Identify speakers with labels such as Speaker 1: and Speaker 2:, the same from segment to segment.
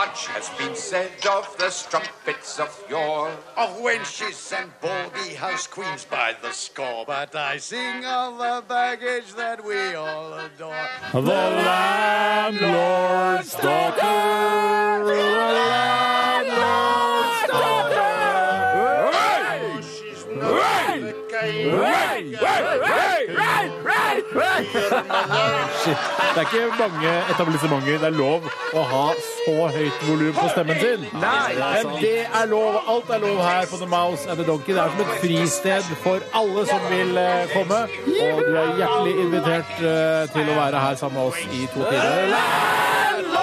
Speaker 1: Much has been said of the strumpets of yore.
Speaker 2: of wenches and baldy house queens by the score. But I sing of the baggage that we all adore.
Speaker 3: Det er ikke mange etablissementer det er lov å ha så høyt volum på stemmen sin. Men det er lov. Alt er lov her på The Mouse and the Donkey. Det er som et fristed for alle som vil eh, komme. Og du er hjertelig invitert eh, til å være her sammen med oss i to timer.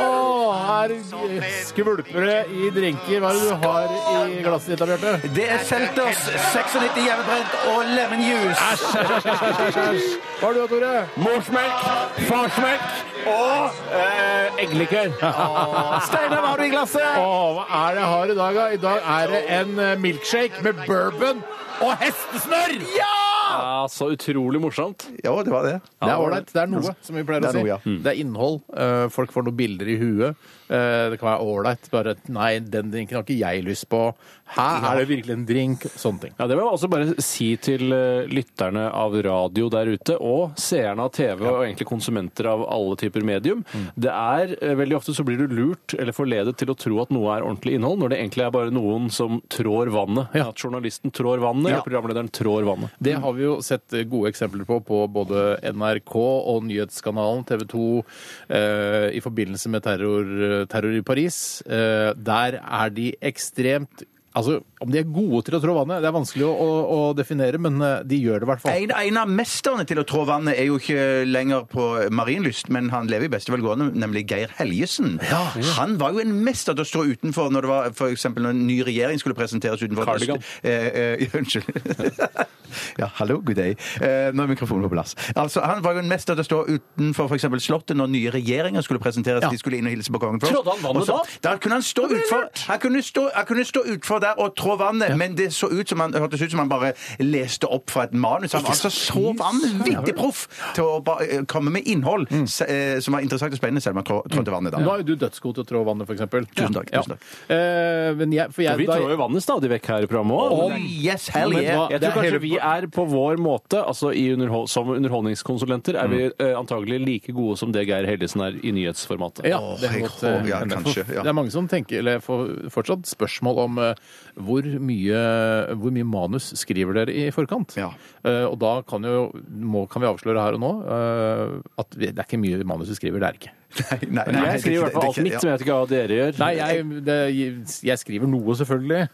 Speaker 3: Åh, Her skvulper det i drinker. Hva er det du har i glasset ditt, da, Bjarte?
Speaker 4: Det er Selters 96 hjemmebrent og lemonjuice.
Speaker 3: Hva har du da, Tore? Morsmelk, farsmelk og eggelikør.
Speaker 4: eh, Steinar, hva har du i glasset?
Speaker 3: hva er det jeg har i dag, da? I dag er det en eh, milkshake med bourbon og hestesnørr!
Speaker 5: Ja, så utrolig morsomt.
Speaker 4: Ja, det var det.
Speaker 3: Det er ålreit. Det er noe, som vi pleier
Speaker 4: Det
Speaker 3: å
Speaker 4: er
Speaker 3: si. Mm.
Speaker 4: noe, ja.
Speaker 3: Det er innhold. Eh, Folk får noen bilder i huet. Eh, Det kan være ålreit. Bare Nei, den drinken har ikke jeg lyst på. Her er det virkelig en drink. Sånne ting.
Speaker 5: Ja, Det må jeg også bare si til eh, lytterne av radio der ute, og seerne av TV, og egentlig konsumenter av alle typer medium.
Speaker 3: Mm.
Speaker 5: Det er eh, Veldig ofte så blir du lurt eller forledet til å tro at noe er ordentlig innhold, når det egentlig er bare noen som trår vannet.
Speaker 3: Ja.
Speaker 5: At journalisten trår vannet,
Speaker 3: Ja.
Speaker 5: eller programlederen trår vannet.
Speaker 3: Det har vi jo sett gode eksempler på på både NRK og nyhetskanalen TV 2 eh, i forbindelse med terror, terror i Paris. Eh, der er de ekstremt Altså, Om de er gode til å trå vannet, det er vanskelig å, å, å definere, men eh, de gjør det i hvert fall.
Speaker 4: En, en av mesterne til å trå vannet er jo ikke lenger på Marienlyst, men han lever i beste velgående, nemlig Geir Helgesen. Han var jo en mester til å stå utenfor når det var for eksempel når en ny regjering skulle presenteres utenfor.
Speaker 5: Cardigan.
Speaker 4: Eh, eh, unnskyld. ja, hallo, good day. Eh, nå er mikrofonen på plass. Altså, Han var jo en mester til å stå utenfor f.eks. Slottet når nye regjeringer skulle presenteres. De skulle inn og hilse på kongen først.
Speaker 5: Trådde han
Speaker 4: Og
Speaker 5: vannet
Speaker 4: så- Da kunne han stå utfor. Han kunne stå, han kunne stå utfor der og trå vannet, men det så ut som han, hørtes ut som han bare leste opp fra et manus. Han var altså så vanvittig proff til å ba, eh, komme med innhold
Speaker 5: Mm.
Speaker 4: se- eh, som var interessant og spennende, selv om han trå- trådte vannet da.
Speaker 3: Nå er jo du dødsgod til å trå vannet, f.eks.
Speaker 4: Tusen takk, tusen takk.
Speaker 3: Eh, men jeg, for jeg,
Speaker 5: Vi
Speaker 3: da-
Speaker 5: trår jo vannet stadig vekk her i programmet òg.
Speaker 4: Yes, hell
Speaker 3: Men
Speaker 4: yeah!
Speaker 3: hva-
Speaker 5: Jeg
Speaker 3: Det
Speaker 5: tror
Speaker 3: er
Speaker 5: kanskje
Speaker 3: hele-
Speaker 5: vi er på vår måte, altså i underhol som underholdningskonsulenter, er
Speaker 3: Mm.
Speaker 5: vi eh, antagelig like gode som det Geir Hellesen er i nyhetsformatet.
Speaker 3: Ja,
Speaker 4: Åh,
Speaker 3: det, er
Speaker 4: jeg
Speaker 3: mot,
Speaker 4: håper- ja,
Speaker 3: eh, NF.
Speaker 4: kanskje, ja.
Speaker 3: det er mange som tenker, eller får fortsatt spørsmål om eh, hvor, mye, hvor mye manus skriver dere i forkant.
Speaker 4: Ja.
Speaker 3: Eh, og da kan, jo, må, kan vi avsløre her og nå eh, at vi, det er ikke mye manus vi skriver, det er det ikke.
Speaker 4: Nei, nei, nei,
Speaker 5: Jeg skriver i hvert fall alt mitt, som jeg vet ikke hva dere gjør.
Speaker 3: Nei, jeg, det, jeg skriver noe, selvfølgelig.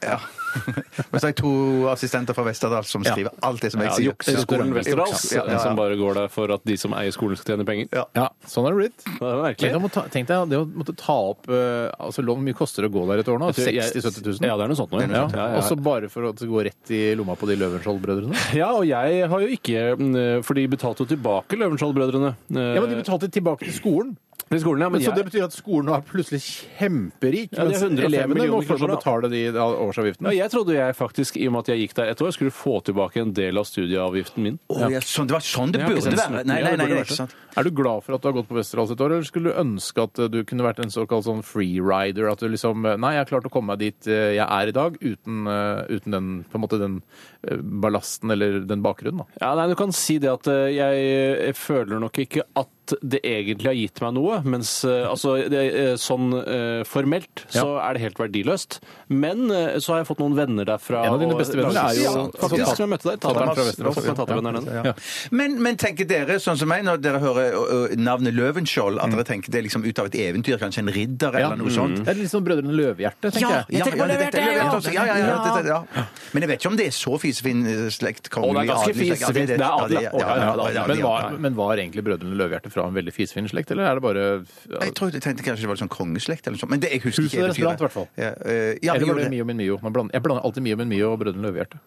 Speaker 4: Men så har jeg to assistenter fra Vesterdal som skriver alt det som jeg
Speaker 5: Ja,
Speaker 4: sier.
Speaker 5: Jukseskolen Westerdals,
Speaker 4: Ja, ja, ja.
Speaker 5: som bare går der for at de som eier skolen skal tjene penger.
Speaker 4: Ja.
Speaker 3: Ja, sånn er det blitt.
Speaker 5: Det er merkelig.
Speaker 3: Tenk, å må ta, tenk deg det å måtte ta opp eh, altså, Hvor mye koster det å gå der et år nå?
Speaker 5: Jeg tror jeg-
Speaker 3: 60 000-70 000?
Speaker 5: Ja, det er noe sånt nå, ja.
Speaker 3: Ja,
Speaker 5: Ja, ja, ja.
Speaker 3: Også bare for at det går rett i lomma på de Løvenskiold-brødrene?
Speaker 5: Ja, og jeg har jo ikke mm, For de betalte jo tilbake Løvenskiold-brødrene. eh,
Speaker 3: Ja, men de betalte tilbake til skolen.
Speaker 5: til skolen, ja. Men
Speaker 3: Så
Speaker 5: jeg,
Speaker 3: det betyr at skolen er plutselig kjemperik,
Speaker 5: Ja, de
Speaker 3: mens
Speaker 5: har 105
Speaker 3: elevene må
Speaker 5: millioner
Speaker 3: fortsatt
Speaker 5: kroner, da.
Speaker 3: betale de da årsavgiftene.
Speaker 5: ja, jeg trodde jeg faktisk, i og med at jeg gikk der et år, skulle få tilbake en del av studieavgiften min.
Speaker 4: Å, ja, sånn, det var sånn det
Speaker 5: Ja, ikke
Speaker 4: burde
Speaker 5: sant.
Speaker 4: være! Nei,
Speaker 5: Ja,
Speaker 4: nei,
Speaker 5: det
Speaker 4: nei,
Speaker 5: burde vært
Speaker 4: ikke sant.
Speaker 3: Er du glad for at du har gått på Westerdals et år, eller skulle du ønske at eh, du kunne vært en såkalt sånn freerider? At du liksom eh, Nei, jeg har klart å komme meg dit eh, jeg er i dag, uten, eh, uten den, på en måte den eh, ballasten eller den bakgrunnen, da.
Speaker 5: Ja, nei, Du kan si det at eh, jeg, jeg føler nok ikke at det egentlig har gitt meg noe. Mens eh, altså, det, eh, sånn eh, formelt så er det helt verdiløst. Men eh, så har jeg fått noen venner derfra.
Speaker 3: En av dine
Speaker 5: og-
Speaker 3: beste venner er jo-
Speaker 5: Ja, faktisk, som jeg møtte der.
Speaker 3: Tateren fra
Speaker 5: Tateren
Speaker 3: Vesterålen.
Speaker 5: Tateren fra Vesterålen.
Speaker 4: Ja. Men, men tenker dere, sånn som meg, når dere hører ø, ø, navnet Løvenskiold,
Speaker 5: Mm.
Speaker 4: at dere tenker det er liksom ut av et eventyr, kanskje en ridder eller noe sånt?
Speaker 3: Det er litt sånn Brødrene Løvehjerte, tenker
Speaker 4: Ja,
Speaker 3: jeg.
Speaker 4: ja, ja, det- det- jeg vet også- ja, ja, ja, det- det- ja. Men jeg vet ikke om det er så fisefin eh, slekt.
Speaker 5: Å, det er ganske fisefint. Det er adelig. Å, ja, ja, ja,
Speaker 3: Men var, men var egentlig Brødrene Løvehjerte fra en veldig fisefin slekt, eller er det bare
Speaker 4: Jeg tror jeg tenkte kanskje det var sånn kongeslekt eller noe sånt. Men det, jeg husker
Speaker 3: Huset
Speaker 4: ikke
Speaker 3: deres brant, i hvert fall.
Speaker 4: Ja, eh, ja,
Speaker 3: Eller
Speaker 4: jeg
Speaker 3: var det
Speaker 4: gjorde det.
Speaker 3: Mio min Mio? Man blander, jeg blander alltid Mio min Mio og Brødrene Løvehjerte.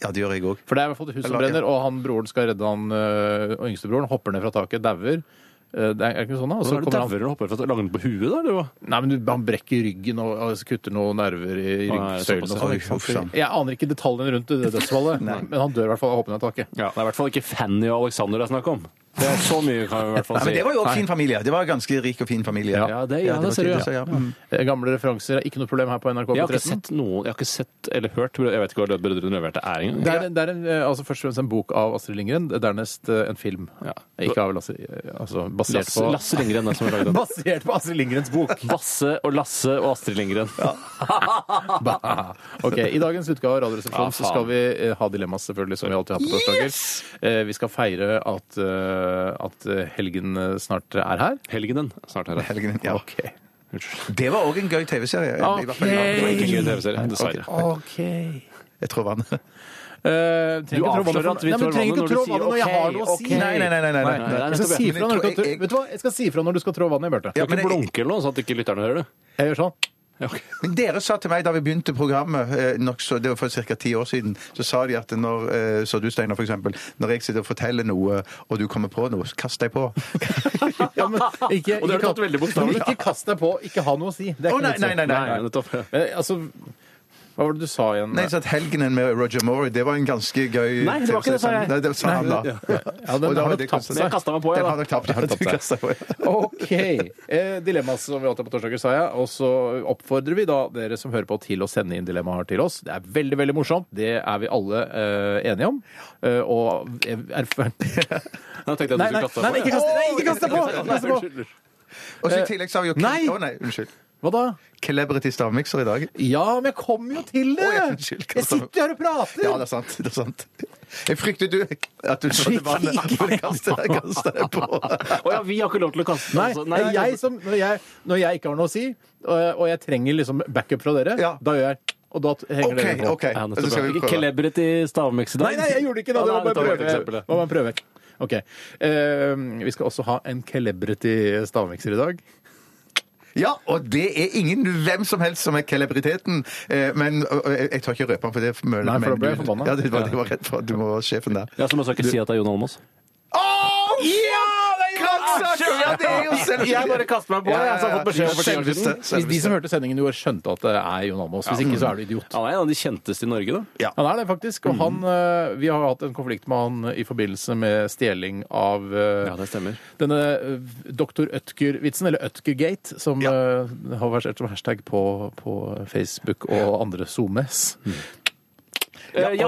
Speaker 4: Ja, det gjør jeg òg.
Speaker 3: For det er i hvert fall et hus som brenner, og han broren skal redde han øh, og yngstebroren. Hopper ned fra taket, dauer. Eh, Det er, er det ikke sånn, da? Og så
Speaker 5: Hvordan er det
Speaker 3: kommer han-
Speaker 5: dauer og hopper for at lager den på huet, da? eller hva?
Speaker 3: Nei, men du- han brekker ryggen og, og kutter noen nerver i i
Speaker 5: Nei,
Speaker 3: ryggsøylen.
Speaker 5: såpass,
Speaker 3: og
Speaker 4: ja. Oi,
Speaker 3: sånn.
Speaker 4: sann.
Speaker 3: Jeg aner ikke detaljene rundt det dødsfallet, men han dør i hvert fall av hoppende taket.
Speaker 5: Det er i hvert fall ikke Fanny og Alexander det er snakk om. Det er så mye kan vi i hvert fall
Speaker 4: Nei,
Speaker 5: si.
Speaker 4: men det var jo også fin familie. Det var ganske rik og fin familie.
Speaker 5: Ja, det- ja, det ser du, ja.
Speaker 4: tydelig, Mm.
Speaker 3: Eh, Gamle referanser er ikke noe problem her på NRK
Speaker 5: Jeg
Speaker 3: på
Speaker 5: har
Speaker 3: 13.
Speaker 5: ikke sett noen, jeg har ikke sett eller hørt Jeg vet ikke hva Brødrene Røverte er engang.
Speaker 3: Det er, det er en, eh, altså først og fremst en bok av Astrid Lindgren, dernest eh, en film.
Speaker 5: Ja.
Speaker 3: Ikke av Lasse, eh, altså basert
Speaker 5: Lasse,
Speaker 3: på
Speaker 5: Lasse Lindgren er som har lagd den.
Speaker 3: Basert på Astrid Lindgrens bok!
Speaker 5: Basse og Lasse og Astrid Lindgren.
Speaker 3: Bah. Ok, I dagens utgave av Radioresepsjonen
Speaker 4: Ah,
Speaker 5: Ja,
Speaker 3: så
Speaker 5: faen.
Speaker 3: skal vi eh, ha dilemma, selvfølgelig, som vi alltid har på torsdager. Eh, Vi skal feire at, eh, at helgen eh, snart er her.
Speaker 5: Helgenen er snart her.
Speaker 4: Helgen, ja.
Speaker 3: Ok.
Speaker 4: Det var òg en gøy TV-serie. i hvert fall.
Speaker 5: Ikke en gøy TV-serie, dessverre.
Speaker 3: Eh,
Speaker 4: Jeg tror vannet.
Speaker 3: du
Speaker 5: avslører at vi trår vannet når du sier
Speaker 3: når jeg
Speaker 5: ok,
Speaker 3: har noe å si.
Speaker 5: ok.
Speaker 4: Nei, nei, nei, nei, nei, nei.
Speaker 3: Jeg skal si fra når du skal
Speaker 4: Jeg-
Speaker 3: trå-
Speaker 4: jeg-
Speaker 3: Vet du hva? Jeg skal si fra når du skal trå vannet, Bjarte.
Speaker 4: Ja,
Speaker 5: Kan
Speaker 4: men
Speaker 5: ikke blunke eller noe, sånn at ikke lytterne hører det?
Speaker 3: Jeg gjør sånn.
Speaker 4: Men dere sa til meg da vi begynte programmet, eh, nok så, det var for ca. ti år siden, så sa de at når, eh, så du Steinar for eksempel, når jeg sitter og forteller noe, og du kommer på noe, så kast deg på.
Speaker 3: Ja, men ikke,
Speaker 5: Og det har du
Speaker 3: ikke-
Speaker 5: tatt veldig bokstavelig.
Speaker 3: Men Ikke kast deg på, ikke ha noe å si. Det er ikke
Speaker 4: Å,
Speaker 3: noe å si.
Speaker 4: nei, nei, nei, nei.
Speaker 5: nettopp.
Speaker 3: Men, altså, hva var det du sa igjen?
Speaker 4: Nei, så at helgenen med Roger Moore, det var en ganske gøy...
Speaker 5: Nei, det var ikke det, sa jeg.
Speaker 4: Nei, det sa han da.
Speaker 3: ja, den
Speaker 4: Og da
Speaker 3: har
Speaker 4: var
Speaker 3: nok
Speaker 4: det
Speaker 3: tapt
Speaker 4: konstant.
Speaker 5: Men jeg kasta meg på,
Speaker 4: Den
Speaker 5: jeg,
Speaker 4: har
Speaker 5: da.
Speaker 4: nok tapt, ja,
Speaker 3: Den har
Speaker 4: du
Speaker 3: tapt
Speaker 4: kastet deg på. ja.
Speaker 3: OK. Eh, dilemma som vi alltid har på torsdager, sa jeg. Og så oppfordrer vi da dere som hører på til å sende inn dilemmaer til oss. Det er veldig, veldig morsomt. Det er vi alle eh, enige om. Eh, og eh, erfaren...
Speaker 5: Nå tenkte jeg
Speaker 3: Nei,
Speaker 5: at
Speaker 3: nei,
Speaker 5: du skulle
Speaker 3: nei, ikke
Speaker 5: kaste deg
Speaker 3: kast
Speaker 5: på.
Speaker 3: nei, ikke kast deg på! Ikke kast deg på!
Speaker 5: Unnskyld.
Speaker 4: Og så i tillegg sa vi jo...
Speaker 3: Nei!
Speaker 4: Å nei, unnskyld.
Speaker 3: Hva da?
Speaker 4: Celebrity stavmikser i dag.
Speaker 3: Ja, men jeg kom jo til det!
Speaker 4: Å, ja, unnskyld,
Speaker 3: Jeg
Speaker 4: kast deg på.
Speaker 3: sitter her og prater!
Speaker 4: Ja, det er sant, det er sant. Jeg fryktet du at du trodde vannet, at du kastet deg, kastet deg på.
Speaker 5: Å ja, vi har ikke lov til å kaste
Speaker 3: Nei,
Speaker 5: altså.
Speaker 3: det er jeg som, når, jeg, når jeg ikke har noe å si, og og jeg trenger liksom backup fra dere,
Speaker 4: Ja.
Speaker 3: da gjør jeg Og da henger
Speaker 4: Ok,
Speaker 3: dere på.
Speaker 4: ok.
Speaker 5: Ja,
Speaker 4: Så
Speaker 5: nettopp.
Speaker 4: skal vi
Speaker 5: Ikke
Speaker 4: prøve.
Speaker 5: celebrity stavmiks i dag.
Speaker 3: Nei, nei, jeg gjorde ikke det! Det
Speaker 5: Ja,
Speaker 3: var bare
Speaker 5: nettopp,
Speaker 3: prøve.
Speaker 5: eksempelet.
Speaker 3: Det var bare en prøve. Ok. Eh, vi skal også ha en celebrity stavmikser i dag.
Speaker 4: Ja, og det er ingen hvem som helst som er celebriteten. Eh, men og- og jeg, jeg tør ikke røpe han, for det møler
Speaker 3: Nei, for da
Speaker 4: men
Speaker 3: ble jeg
Speaker 4: du-
Speaker 3: forbanna.
Speaker 4: Ja, det var, det var rett for at du må sjefen der.
Speaker 5: Ja, så må jeg ikke si at det er Jon Almaas.
Speaker 4: Oh, ja! Kraftsak! Ja, det er jo selv...
Speaker 5: kaster meg
Speaker 4: på, jeg, altså, jeg har fått beskjed om for ti år siden.
Speaker 3: Hvis de som hørte sendingen i år, skjønte at det er Jon Almaas. Hvis ikke, så er du idiot.
Speaker 5: Han er en av de kjenteste i Norge, da.
Speaker 3: Han er det, faktisk. Og han, eh, vi har hatt en konflikt med han i forbindelse med stjeling av eh,
Speaker 5: Ja, det stemmer.
Speaker 3: Denne eh, Dr. Ødker-vitsen, eller Ødker-gate, som eh, har versert som hashtag på, på Facebook og andre SoMes.
Speaker 5: Eh, Ja, det,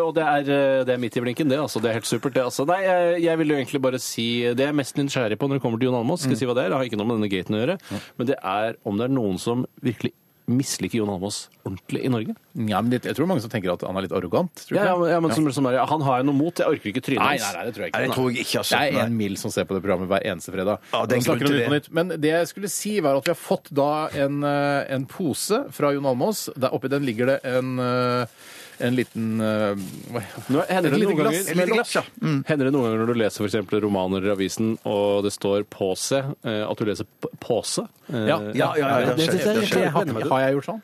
Speaker 5: og det er, eh, det er midt i blinken, det. altså. Det er helt supert, det. altså. Nei, jeg, jeg vil jo egentlig bare si Det jeg er mest nysgjerrig på når det kommer til Jon Almaas, skal jeg si hva det er, det har ikke noe med denne gaten å gjøre, men det er om det er noen som virkelig misliker Jon Almaas ordentlig i Norge.
Speaker 3: Mm, Ja, men det- jeg tror mange som tenker at han er litt arrogant. Tror du
Speaker 5: Ja,
Speaker 3: ikke
Speaker 5: ja, men,
Speaker 3: det?
Speaker 5: ja, men som, som er, han har jo noe mot. Jeg orker ikke trynet
Speaker 3: Nei,
Speaker 5: hans.
Speaker 3: nei, nei, det tror jeg ikke.
Speaker 4: Nei, det tror jeg ikke, altså.
Speaker 3: Det er
Speaker 4: Nei.
Speaker 3: en mil som ser på det programmet hver eneste fredag.
Speaker 4: Ja, det er en
Speaker 3: Nå snakker
Speaker 4: grunn til
Speaker 3: vi om Nytt på Nytt. Men det jeg skulle si, var at vi har fått da en, eh, en pose fra Jon Almaas. Der Oppi den ligger det en, eh, en liten eh, hva-
Speaker 5: Nå hender det
Speaker 3: Et lite
Speaker 5: noen
Speaker 3: glass,
Speaker 5: ganger-
Speaker 3: et lite glass, ja.
Speaker 5: Hender det noen ganger når du leser for eksempel romaner i avisen, og det står 'påse', eh, at du leser p- 'påse'? Eh,
Speaker 3: Ja,
Speaker 4: ja, ja, ja,
Speaker 5: det, det, det, det, det,
Speaker 3: Jeg har, har jeg gjort sånn?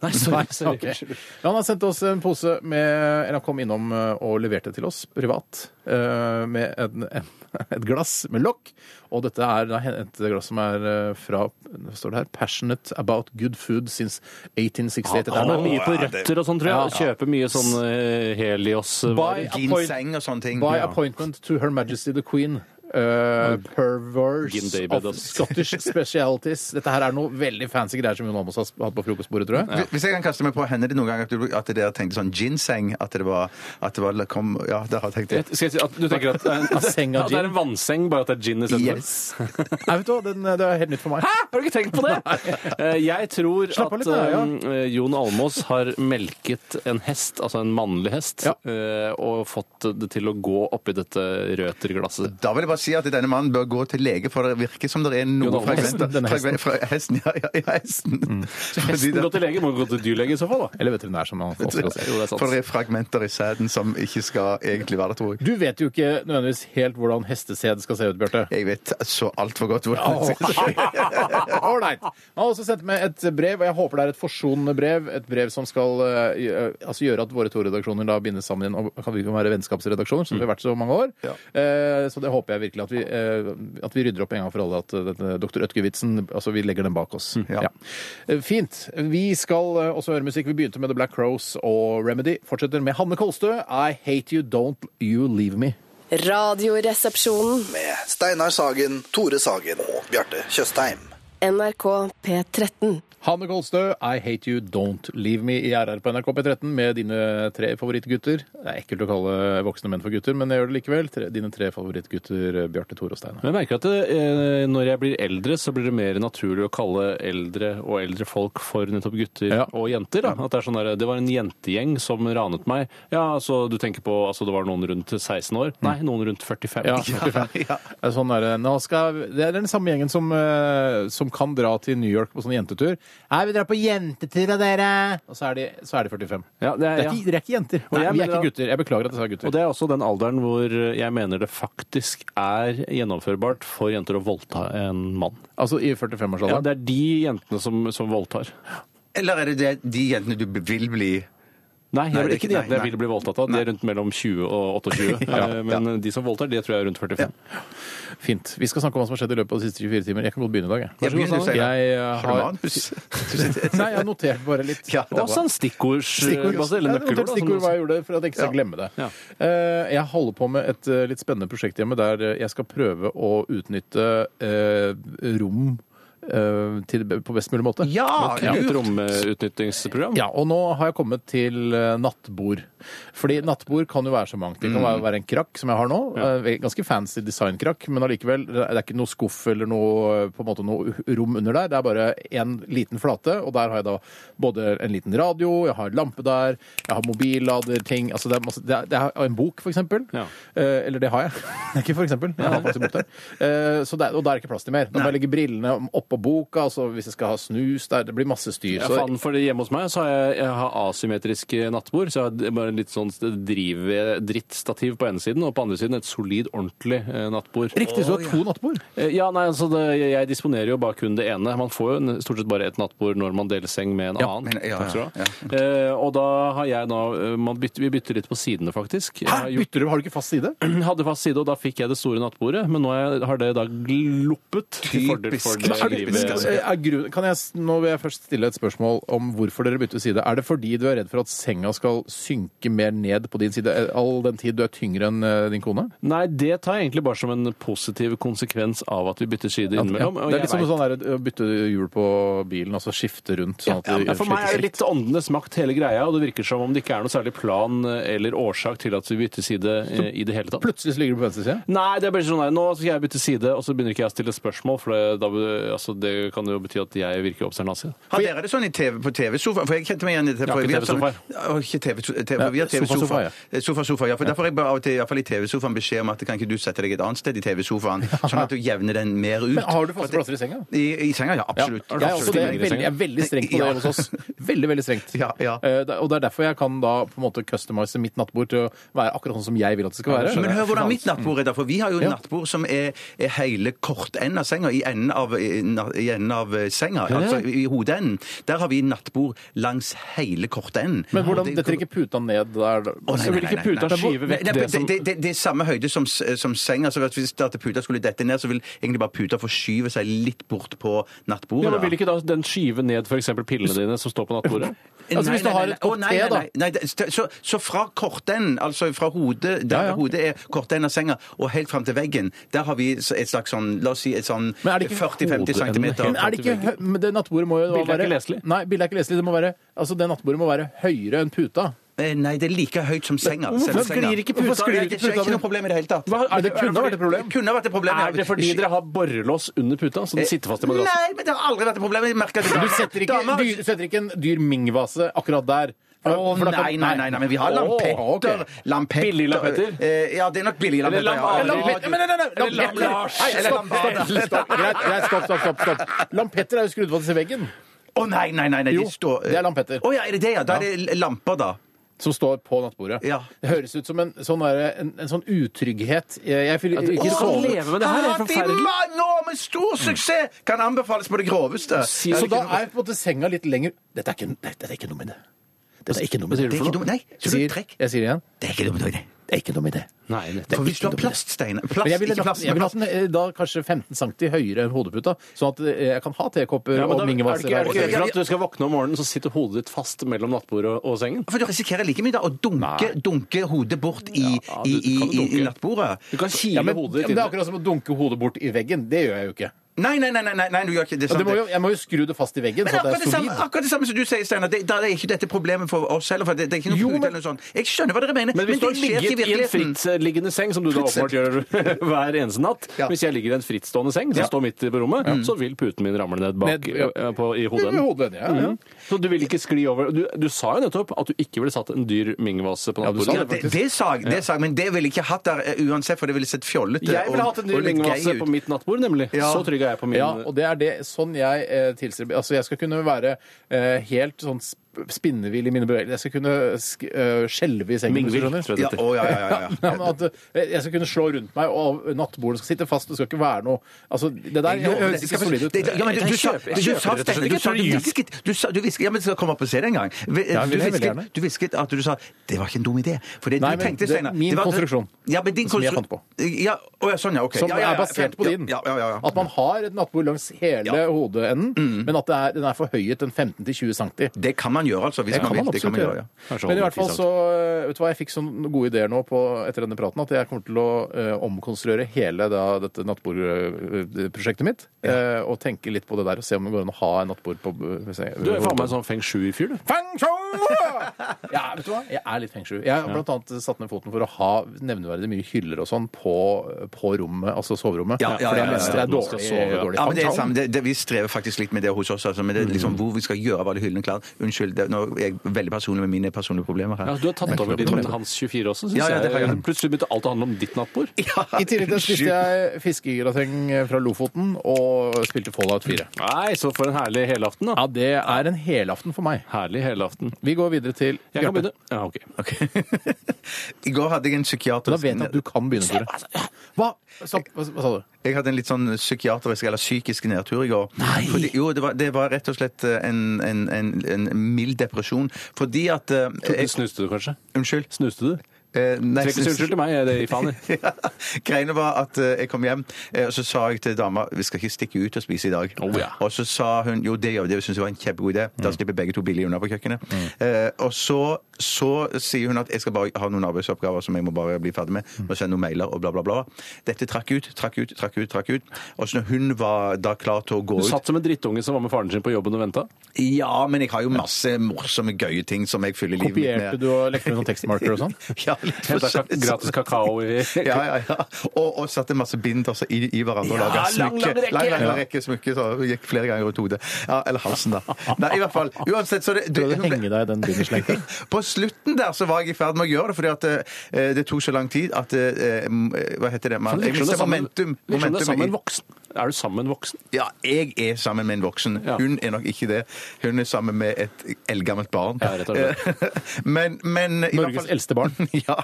Speaker 5: Nei, sorry. sorry.
Speaker 3: Ok. Men Han har sendt oss en pose med Eller han kom innom eh, og leverte til oss privat eh, med en, en, et glass med lokk. Og dette er da et glass som er eh, fra hva står det her, 'Passionate about good food since 1868'.
Speaker 5: Han er
Speaker 3: Det er
Speaker 5: mye
Speaker 3: noe-
Speaker 5: på røtter og sånn, tror jeg. og Kjøper mye sånn eh,
Speaker 3: By,
Speaker 5: Helios-varer.
Speaker 3: appoint,
Speaker 4: Ginseng og sånne ting.
Speaker 3: by
Speaker 4: Ja.
Speaker 3: appointment to Her Majesty the Queen. Uh,
Speaker 5: Gin
Speaker 3: perverse
Speaker 5: David,
Speaker 3: of
Speaker 5: ass.
Speaker 3: Scottish specialities. Dette her er noe veldig fancy greier som Jon Almaas har hatt på frokostbordet, tror jeg.
Speaker 4: Hvis jeg kan kaste meg på, hender det noen ganger at, du, at dere tenkte sånn ginseng? At det var, at det var kom, Ja, det har jeg tenkt.
Speaker 5: Skal jeg si at du tenker at det er en,
Speaker 3: Av seng av
Speaker 5: at det er en vannseng, bare at det er gin istedenfor?
Speaker 4: Yes.
Speaker 3: Nei, vet du hva, den, eh, det er helt nytt for meg.
Speaker 5: Hæ? Har du ikke tenkt på det? Eh, Jeg tror
Speaker 3: Slapp av
Speaker 5: at
Speaker 3: litt, da, ja.
Speaker 5: eh, Jon Almås har melket en hest, altså en mannlig hest,
Speaker 3: Ja.
Speaker 5: eh, og fått det til å gå oppi dette røterglasset.
Speaker 4: Da vil jeg bare si at denne mannen bør gå til lege, for det virker som det er noe
Speaker 5: Jo, da,
Speaker 4: fragmenter
Speaker 3: hesten, Mm. denne hesten.
Speaker 4: fragmenter fra hesten. Ja, ja, ja hesten. Fordi
Speaker 5: Gå
Speaker 4: det,
Speaker 5: til lege, må gå til dyrlege i så fall, da.
Speaker 3: Eller veterinær, som man ofte sier.
Speaker 5: Jo, det er sant.
Speaker 4: for det er fragmenter i sæden som ikke skal egentlig være der, tror jeg.
Speaker 3: Du vet jo ikke nødvendigvis helt hvordan hestesæd skal se ut, Bjarte.
Speaker 4: Jeg vet så altfor godt hvordan det sånn.
Speaker 3: Ålreit. Han har også sendt meg et brev, og jeg håper det er et forsonende brev. Et brev som skal eh, gjø- altså gjøre at våre to redaksjoner da bindes sammen igjen. Og kan vi kan være vennskapsredaksjoner, som vi har vært så mange år. Eh, så det håper jeg virkelig at vi, eh, at vi rydder opp en gang for alle at eh, dette dr. Ødke-vitsen altså vi legger den bak oss. Ja. Eh, Fint. Vi skal eh, også høre musikk. Vi begynte med The Black Crows og Remedy. Fortsetter med Hanne Kolstø. I hate you, don't you leave me.
Speaker 6: Radioresepsjonen.
Speaker 7: Med Steinar Sagen, Tore Sagen og Bjarte Tjøstheim.
Speaker 6: NRK P13.
Speaker 3: Hanne Kolstø, I Hate You Don't Leave Me i RR på NRK P13 med dine tre favorittgutter. Det er ekkelt å kalle voksne menn for gutter, men jeg gjør det likevel. Tre, dine tre favorittgutter, Bjarte, Tore og Steinar.
Speaker 5: Men jeg merker at det, eh, når jeg blir eldre, så blir det mer naturlig å kalle eldre og eldre folk for nettopp gutter
Speaker 3: Ja.
Speaker 5: og jenter. Da. At det er sånn der, det var en jentegjeng som ranet meg. Ja, altså du tenker på altså, det var noen rundt 16 år? Nei, noen rundt 45.
Speaker 3: Ja, 45. Det er Sånn er det. Nå skal, det er den samme gjengen som, eh, som kan dra til New York på sånn jentetur. Nei, vi drar på jentetur av dere! Og så er de, så er de 45.
Speaker 5: Ja, det
Speaker 3: dere,
Speaker 5: er-
Speaker 3: er ikke, dere er ikke jenter.
Speaker 5: Og
Speaker 3: Nei, vi
Speaker 5: jeg
Speaker 3: er
Speaker 5: mener
Speaker 3: ikke
Speaker 5: at-
Speaker 3: gutter. Jeg beklager at jeg sa gutter.
Speaker 5: Og det er også den alderen hvor jeg mener det faktisk er gjennomførbart for jenter å voldta en mann.
Speaker 3: altså i 45-årsalderen.
Speaker 5: Ja, det er de jentene som, som voldtar.
Speaker 4: Eller er det det de jentene du vil bli?
Speaker 5: Nei, jeg,
Speaker 4: Nei,
Speaker 5: vil
Speaker 4: det er
Speaker 5: ikke
Speaker 4: ikke-
Speaker 5: de
Speaker 4: nei,
Speaker 5: jentene jeg
Speaker 4: nei.
Speaker 5: vil bli voldtatt av. De er rundt mellom 20 og 28. Eh, Men de som voldtar, det tror jeg er rundt 45.
Speaker 3: Fint. Vi skal snakke om hva som har skjedd i løpet av de siste 24 timer. Jeg kan godt begynne i dag, jeg.
Speaker 4: Ja, begynn du,
Speaker 3: Steinar.
Speaker 4: Steinar.
Speaker 3: jeg eh,
Speaker 4: Har du
Speaker 3: har...
Speaker 4: manus?
Speaker 3: Nei, jeg har notert bare litt.
Speaker 4: Ja, det er
Speaker 5: Også
Speaker 4: bra.
Speaker 5: en stikkords...
Speaker 3: Stikkord,
Speaker 5: altså,
Speaker 3: Ja,
Speaker 5: eller
Speaker 3: sånn. jeg noterte
Speaker 5: nøkkelord. da, som
Speaker 3: stikkord hva
Speaker 5: du sier.
Speaker 3: jeg gjorde for at jeg ikke skal glemme det.
Speaker 5: Ja.
Speaker 3: Eh, Jeg holder på med et eh, litt spennende prosjekt hjemme der eh, jeg skal prøve å utnytte eh, rom eh, til, på best mulig måte.
Speaker 4: Ja,
Speaker 5: Ja, Et romutnyttingsprogram?
Speaker 3: Ja, og nå har jeg kommet til eh, nattbord. Fordi nattbord kan jo være så mangt. Det kan
Speaker 5: Mm.
Speaker 3: være- være en krakk, som jeg har nå. eh, Ganske fancy designkrakk, men allikevel, det er ikke noe skuff eller noe, eh, på en måte, noe rom under der. Det er bare en liten flate, og der har jeg da både en liten radio, jeg har lampe der, jeg har mobillader, ting altså det er masse, det er, det er og en bok, for eksempel.
Speaker 5: Ja.
Speaker 3: Eh, Eller det har jeg. ikke for eksempel. Jeg har faktisk en bok der. Eh, Så det, er- og der er ikke plass til mer. Da må jeg legge brillene oppå boka, altså hvis jeg skal ha snus der. Det blir masse styr.
Speaker 5: Ja,
Speaker 3: så-
Speaker 5: faen, fordi hjemme hos meg så har jeg, jeg har asymmetriske nattbord. Så jeg har bare litt sånn drive- drittstativ på ene siden, og på andre siden et solid, ordentlig eh, nattbord.
Speaker 3: Riktig, så du har to nattbord.
Speaker 5: Eh, Ja, nei, altså det, Jeg disponerer jo bare kun det ene. Man får jo en- stort sett bare et nattbord når man deler seng med en annen.
Speaker 4: men- ja,
Speaker 5: Takk skal du
Speaker 4: ja,
Speaker 5: ha. Eh, og da har jeg da eh, man bytter, Vi bytter litt på sidene, faktisk. Jeg har
Speaker 3: Hæ?
Speaker 5: gjort-
Speaker 3: Bytter du? Har du ikke fast side?
Speaker 5: hadde fast side, og da fikk jeg det store nattbordet. Men nå har jeg- har det da loppet til fordel for det
Speaker 3: Er det- skal-
Speaker 5: livet.
Speaker 3: er grunn- Kan jeg, s- nå vil jeg først stille et spørsmål om hvorfor dere bytter side. Er det fordi du er redd for at senga skal synke mer ned på din side eh, all den tid du er tyngre enn eh, din kone?
Speaker 5: Nei, det tar jeg egentlig bare som en positiv konsekvens av at vi bytter side innimellom.
Speaker 3: Ja,
Speaker 5: og
Speaker 3: det er
Speaker 5: jeg
Speaker 3: litt som
Speaker 5: vet-
Speaker 3: sånn der, å bytte hjul på bilen, altså skifte rundt. Sånn at det
Speaker 5: Ja, for meg er det
Speaker 3: sliter
Speaker 5: litt åndenes makt hele greia, og det virker som om det ikke er noe særlig plan eh, eller årsak til at vi bytter side eh, i det hele tatt.
Speaker 3: Plutselig så ligger du på venstre side.
Speaker 5: Nei, det er bare sånn her, nå skal jeg bytte side, og så begynner ikke jeg å stille spørsmål, for det, da, altså, det kan jo bety at jeg virker obsternasig.
Speaker 4: Har dere det sånn i TV, på TV-sofaen? For jeg kjente meg igjen i det.
Speaker 5: Ja,
Speaker 4: for
Speaker 5: ikke
Speaker 4: vi har sånn-
Speaker 5: TV-sofaer.
Speaker 4: Å, Ikke TV-sofa. TV, vi har
Speaker 3: Sofa, sofa,
Speaker 4: TV-sofa.
Speaker 3: ja.
Speaker 4: Eh, Sofa, sofa, ja. For derfor har jeg bare av og til, i hvert fall i TV-sofaen, beskjed om at kan ikke du sette deg et annet sted i TV-sofaen, sånn at du jevner den mer ut.
Speaker 3: Men har du faste
Speaker 4: For at-
Speaker 3: plasser i senga?
Speaker 4: I, i senga, ja. Absolutt.
Speaker 3: Jeg er, også det, jeg er veldig, jeg er veldig streng på det
Speaker 4: Ja.
Speaker 3: hos oss. Veldig, veldig strengt.
Speaker 4: Ja, ja.
Speaker 3: Eh, det- Og det er derfor jeg kan da på en måte customize mitt nattbord til å være akkurat sånn som jeg vil at det skal være.
Speaker 4: Men hør hvordan mitt nattbord er, da. For vi har jo nattbord som er, er hele kortenden av senga. I enden av, i na- i enden av eh, senga, altså i i hodeenden. Der har vi nattbord langs hele kortenden.
Speaker 3: Men hvordan detter ikke puta ned der? Altså,
Speaker 4: Å, nei,
Speaker 5: Så vil
Speaker 4: nei,
Speaker 5: ikke
Speaker 4: nei,
Speaker 5: puta
Speaker 4: nei.
Speaker 5: skyve
Speaker 4: Nei,
Speaker 5: vekk
Speaker 4: nei,
Speaker 5: det som...
Speaker 4: det, det, det er samme høyde som, s- som senga. Så hvis at puta skulle dette ned, så vil egentlig bare puta forskyve seg litt bort på
Speaker 5: Ja,
Speaker 4: nattbordet.
Speaker 5: men vil ikke da den skyve ned for eksempel pillene dine som står på nattbordet?
Speaker 3: Altså, hvis du har et
Speaker 4: Å, nei,
Speaker 3: kort te, da.
Speaker 4: nei, nei, det- st- så, så fra kortenden, altså fra hodet, der
Speaker 3: ja.
Speaker 4: hodet er kortenden av senga, og helt fram til veggen, der har vi s- et slags sånn, la oss si, et sånn
Speaker 3: Men er det ikke
Speaker 4: 40-50
Speaker 5: hodeenden
Speaker 4: cm.
Speaker 3: Men er det ikke hø- men det nattbordet må jo da
Speaker 5: Bildet er
Speaker 3: være
Speaker 5: ikke leselig.
Speaker 3: Nei, bildet er ikke leselig. Det må være Altså, det nattbordet må være høyere enn puta.
Speaker 4: Nei, det er like høyt som senga.
Speaker 5: hvorfor
Speaker 4: selve senga.
Speaker 5: sklir ikke puta?
Speaker 4: Hvorfor sklir ikke
Speaker 5: Det er ikke-
Speaker 4: puta? Det er ikke noe problem i det hele tatt.
Speaker 3: Men det kunne vært et problem.
Speaker 4: Det kunne vært et problem.
Speaker 5: Er det fordi dere har borrelås under puta, så den
Speaker 4: Eh,
Speaker 5: sitter fast i madrassen?
Speaker 4: Nei, men det har aldri vært et problem. Jeg merker at
Speaker 3: Du setter ikke,
Speaker 4: Damer-
Speaker 3: dyr, du setter ikke en dyr mingvase akkurat der.
Speaker 4: Å nei, nei, nei, nei, men vi har lampetter.
Speaker 3: Å, ok.
Speaker 4: lampetter.
Speaker 5: Billig lampetter?
Speaker 4: Eh, ja, det er nok billig lampetter.
Speaker 5: lambader.
Speaker 4: ja.
Speaker 5: Lampetter,
Speaker 3: Men, nei, nei, nei,
Speaker 5: Eller Lam Lars.
Speaker 3: Nei, eller Lampetter. Stopp, greit, greit, stopp, stopp, stopp, stopp. Lampetter er jo skrudd fast i veggen,
Speaker 4: Å nei, nei, nei, nei,
Speaker 3: Jo,
Speaker 4: de står eh,
Speaker 3: det er lampetter.
Speaker 4: Å ja, er det det, ja? Da er det lamper, da.
Speaker 3: som står på nattbordet.
Speaker 4: Ja.
Speaker 3: Det høres ut som en sånn, derre- en, en sånn utrygghet. Jeg, jeg vil ikke
Speaker 5: Ikke sånn
Speaker 3: sove.
Speaker 5: leve med det her, det er
Speaker 4: Hatt i
Speaker 5: forferdelig.
Speaker 4: mange år med stor suksess! Kan anbefales på det groveste.
Speaker 5: Si-
Speaker 3: Så da er på en måte senga litt lenger Dette er ikke, nei, dette er ikke noe med det. Dette er ikke noe med
Speaker 4: Det er ikke dumt. Nei,
Speaker 3: Jeg
Speaker 4: så du
Speaker 3: sier,
Speaker 4: trekk.
Speaker 3: jeg sier igjen.
Speaker 4: Det er ikke dumt. det.
Speaker 3: Det er ikke noe med det.
Speaker 5: Nei, nettopp.
Speaker 4: For hvis du har
Speaker 3: dumt.
Speaker 4: plaststeiner
Speaker 3: Men
Speaker 4: Plast,
Speaker 3: jeg ville
Speaker 4: ikke
Speaker 3: lagt,
Speaker 4: plast,
Speaker 3: jeg
Speaker 4: men
Speaker 3: ville
Speaker 4: plast.
Speaker 3: hatt den eh, da kanskje 15 cm høyere enn hodeputa, sånn at eh, jeg kan ha tekopper
Speaker 5: Ja,
Speaker 3: og
Speaker 5: men da, er det ikke,
Speaker 3: mingevaser.
Speaker 5: er det ikke redd
Speaker 3: og-
Speaker 5: for at du skal våkne om morgenen, så sitter hodet ditt fast mellom nattbordet og, og sengen?
Speaker 4: For du risikerer like mye da å dunke, dunke hodet bort i,
Speaker 5: Ja,
Speaker 4: i,
Speaker 5: du
Speaker 4: i,
Speaker 5: kan
Speaker 4: i, i
Speaker 5: dunke.
Speaker 4: nattbordet.
Speaker 5: Du kan kile
Speaker 3: Ja, men, ja,
Speaker 5: hodet
Speaker 3: men
Speaker 5: ditt Sånn,
Speaker 3: det er
Speaker 5: inn.
Speaker 3: akkurat som å dunke hodet bort i veggen. Det gjør jeg jo ikke.
Speaker 4: Nei, nei, nei, nei, nei, nei, du gjør ikke det. er
Speaker 3: Det
Speaker 4: sant,
Speaker 3: må
Speaker 4: det.
Speaker 3: jo, jeg må jo skru det fast i veggen,
Speaker 4: Men
Speaker 3: så at
Speaker 4: akkurat
Speaker 3: det
Speaker 4: det,
Speaker 3: er
Speaker 4: samme,
Speaker 3: solid.
Speaker 4: akkurat det samme som du sier, Steinar. Det, da er ikke dette problemet for oss heller. For det, det er ikke noe
Speaker 3: Jo,
Speaker 4: pute
Speaker 3: men-
Speaker 4: eller noe sånt. Jeg skjønner hva dere mener,
Speaker 5: Men hvis
Speaker 4: det
Speaker 5: du har
Speaker 4: skjer ikke i
Speaker 5: ligget i en
Speaker 4: virkeligheten.
Speaker 5: frittliggende seng, som du da åpenbart gjør hver eneste natt
Speaker 4: Ja.
Speaker 5: Hvis jeg ligger i en frittstående seng som
Speaker 4: Ja.
Speaker 5: står midt i på rommet, så vil puten min ramle ned bak
Speaker 3: Ned, ja.
Speaker 5: eh, på, i hodet.
Speaker 3: I hodet, ja, ja.
Speaker 5: Mhm. Så du vil ikke skli over Du, du sa jo nettopp at du ikke ville satt en dyr mingvase på
Speaker 3: Ja, du sa
Speaker 5: nattbordet.
Speaker 4: Ja, det, det sa jeg, det sa jeg, men det ville jeg ikke hatt der eh, uansett, for det ville sett fjollete
Speaker 5: Jeg ville hatt en dyr
Speaker 4: litt
Speaker 5: mingvase
Speaker 4: gay ut.
Speaker 5: på mitt nattbord, nemlig.
Speaker 4: Ja.
Speaker 5: Så trygg er jeg på min.
Speaker 3: Ja, og det er det sånn jeg eh, tilstreber. Altså, jeg skal kunne være eh, helt sånn sp spinnevill i mine bevegelser. Jeg skal kunne sk eh, skjelve i sengen. hvis du
Speaker 5: Mingvill,
Speaker 3: skjønner.
Speaker 5: tror
Speaker 4: Ja,
Speaker 5: jeg det heter.
Speaker 4: å, ja, ja, ja,
Speaker 3: Ja,
Speaker 4: ja.
Speaker 3: men at eh, jeg skal kunne slå rundt meg, og nattbordet skal sitte fast. Det skal ikke være noe Altså, det der
Speaker 4: Jo, men
Speaker 3: høres ikke solid ut.
Speaker 4: det- ja, men du, du, sa-
Speaker 5: Jeg kjøper- jeg
Speaker 4: du
Speaker 5: kjøper
Speaker 4: sa
Speaker 5: rett og slett
Speaker 4: Steffen, du
Speaker 5: ikke,
Speaker 4: sa-
Speaker 5: for
Speaker 4: du
Speaker 5: jeg-
Speaker 4: hvisket du sa- du hvisket- Ja, men skal jeg komme opp og se det en gang.
Speaker 3: Ja,
Speaker 4: Vi- Du
Speaker 3: vil jeg veldig
Speaker 4: hvisket-
Speaker 3: gjerne.
Speaker 4: du hvisket at du sa det var ikke en dum idé. For det
Speaker 3: Nei,
Speaker 4: du
Speaker 3: men
Speaker 4: tenkte,
Speaker 3: det er
Speaker 4: Steinar
Speaker 3: min
Speaker 4: det var-
Speaker 3: konstruksjon.
Speaker 4: Ja, men din
Speaker 3: Som jeg
Speaker 4: konstru-
Speaker 3: fant på.
Speaker 4: Ja, å, ja, sånn, ja. OK.
Speaker 3: Som
Speaker 4: ja,
Speaker 3: er
Speaker 4: ja, ja,
Speaker 3: basert på
Speaker 4: ja,
Speaker 3: din.
Speaker 4: Ja, ja, ja, ja.
Speaker 3: At man har et nattbord langs hele
Speaker 4: Ja. Mm.
Speaker 3: hodeenden, men at det er, den er forhøyet en 15-20 cm.
Speaker 4: Det kan man gjøre, altså. Hvis
Speaker 3: Det
Speaker 4: man
Speaker 3: kan
Speaker 4: vil.
Speaker 3: man
Speaker 4: Det
Speaker 3: absolutt
Speaker 4: kan man gjøre, ja.
Speaker 3: gjøre.
Speaker 5: Kanskje
Speaker 3: Men i
Speaker 5: holde
Speaker 3: hvert fall
Speaker 5: ti
Speaker 3: så øh, vet du hva, jeg fikk sånne gode ideer nå på, etter denne praten at jeg kommer til å øh, omkonstruere hele da, dette nattbordprosjektet mitt. øh, og tenke litt på det der og se om det går an å ha en nattbord på øh, hvis jeg-
Speaker 5: Du er faen meg en sånn feng shui-fyr, du.
Speaker 3: Feng shui! Ja, vet du hva? Jeg er litt feng shui. Jeg har blant annet satt ned foten for å ha nevneverdig mye hyller og sånn på, på rommet, altså soverommet.
Speaker 4: Ja, ja,
Speaker 3: for det
Speaker 4: ja,
Speaker 3: er
Speaker 4: ja,
Speaker 3: mest
Speaker 4: ja.
Speaker 3: det er liksom- dårlig,
Speaker 5: Ja,
Speaker 3: dårlig
Speaker 4: Ja, men det er
Speaker 3: feng shui.
Speaker 4: samme. Det, det, vi strever faktisk litt med det hos oss. Altså, men det er liksom
Speaker 3: Mm.
Speaker 4: hvor vi skal gjøre av alle hyllene klart. Unnskyld, det, nå er jeg veldig personlig med mine personlige problemer her.
Speaker 5: Ja, du har tatt over din Hans 24 også, syns
Speaker 4: Ja, ja, det har
Speaker 5: jeg.
Speaker 4: jeg.
Speaker 5: Plutselig begynte alt å handle om ditt nattbord.
Speaker 3: I tillegg til det spiste jeg fiskegrateng fra Lofoten og spilte Fallout 4.
Speaker 5: Nei, så for en herlig helaften, da.
Speaker 3: Ja, det er en helaften for meg.
Speaker 5: Herlig helaften.
Speaker 3: Vi går videre til
Speaker 5: Jeg kan
Speaker 3: Bjarte.
Speaker 5: begynne. Ja, ok.
Speaker 4: Ok. I går hadde jeg en psykiatrisk
Speaker 3: Da vet jeg at du kan begynne, Tore. Hva? Stopp. Hva, hva sa du?
Speaker 4: Jeg hadde en litt sånn psykiatrisk eller psykisk nedtur i går. Nei! Fordi, jo, det var, det var rett og slett eh, en, en, en, en mild depresjon. Fordi at eh,
Speaker 5: Du
Speaker 4: jeg,
Speaker 5: Snuste du, kanskje?
Speaker 4: Unnskyld?
Speaker 5: Snuste du?
Speaker 4: Eh, nei,
Speaker 5: Trenger ikke si unnskyld til meg, jeg er det i faen i.
Speaker 4: Ja. Greiene var at eh, jeg kom hjem, eh, og så sa jeg til dama vi skal ikke stikke ut og spise i dag.
Speaker 5: Oh, ja.
Speaker 4: Og så sa hun jo, det gjør vi, det syns jeg var en kjempegod idé.
Speaker 3: Mm.
Speaker 4: Da slipper begge to billig unna på kjøkkenet. Eh, og så, så sier hun at jeg skal bare ha noen arbeidsoppgaver som jeg må bare bli ferdig med,
Speaker 3: Mm.
Speaker 4: og sende noen mailer og bla, bla, bla. Dette trakk ut, trakk ut, trakk ut, trakk ut. Og så når hun var da klar til å gå
Speaker 5: Du
Speaker 4: ut
Speaker 5: satt som en drittunge som var med faren sin på jobben og venta.
Speaker 4: Ja, men jeg har jo masse morsomme, gøye ting som jeg fyller livet mitt med.
Speaker 3: Kopierte du og lekte med noen tekstmarker og sånn?
Speaker 4: Ja, litt for
Speaker 5: Henta
Speaker 4: sånn-
Speaker 5: gratis kakao i
Speaker 4: Ja, ja, ja. Og, og satte masse bind også i, i hverandre og
Speaker 5: Ja,
Speaker 4: laga
Speaker 5: lang, lang
Speaker 4: smykke.
Speaker 5: rekke.
Speaker 4: Lang, lang, lang rekke smykke, så det gikk flere ganger rundt hodet. Ja, eller halsen, da. Nei, i hvert fall. Uansett, så det, det-
Speaker 3: Prøvde å henge deg i den binderslengten.
Speaker 4: På slutten der så var jeg i ferd med å gjøre det, fordi at eh, det tok så lang tid at eh, Hva heter det? Man, jeg
Speaker 5: Liksom det
Speaker 4: mister
Speaker 5: er sammen-
Speaker 4: momentum.
Speaker 5: liksom det er
Speaker 4: momentum i-
Speaker 5: sammen med en voksen. Er du sammen med en voksen?
Speaker 4: ja, jeg er sammen med en voksen.
Speaker 5: Ja.
Speaker 4: Hun er nok ikke det. Hun er sammen med et eldgammelt barn.
Speaker 5: Ja, rett og
Speaker 4: slett. men, men i hvert
Speaker 3: Norges
Speaker 4: fall,
Speaker 3: eldste barn.
Speaker 4: ja,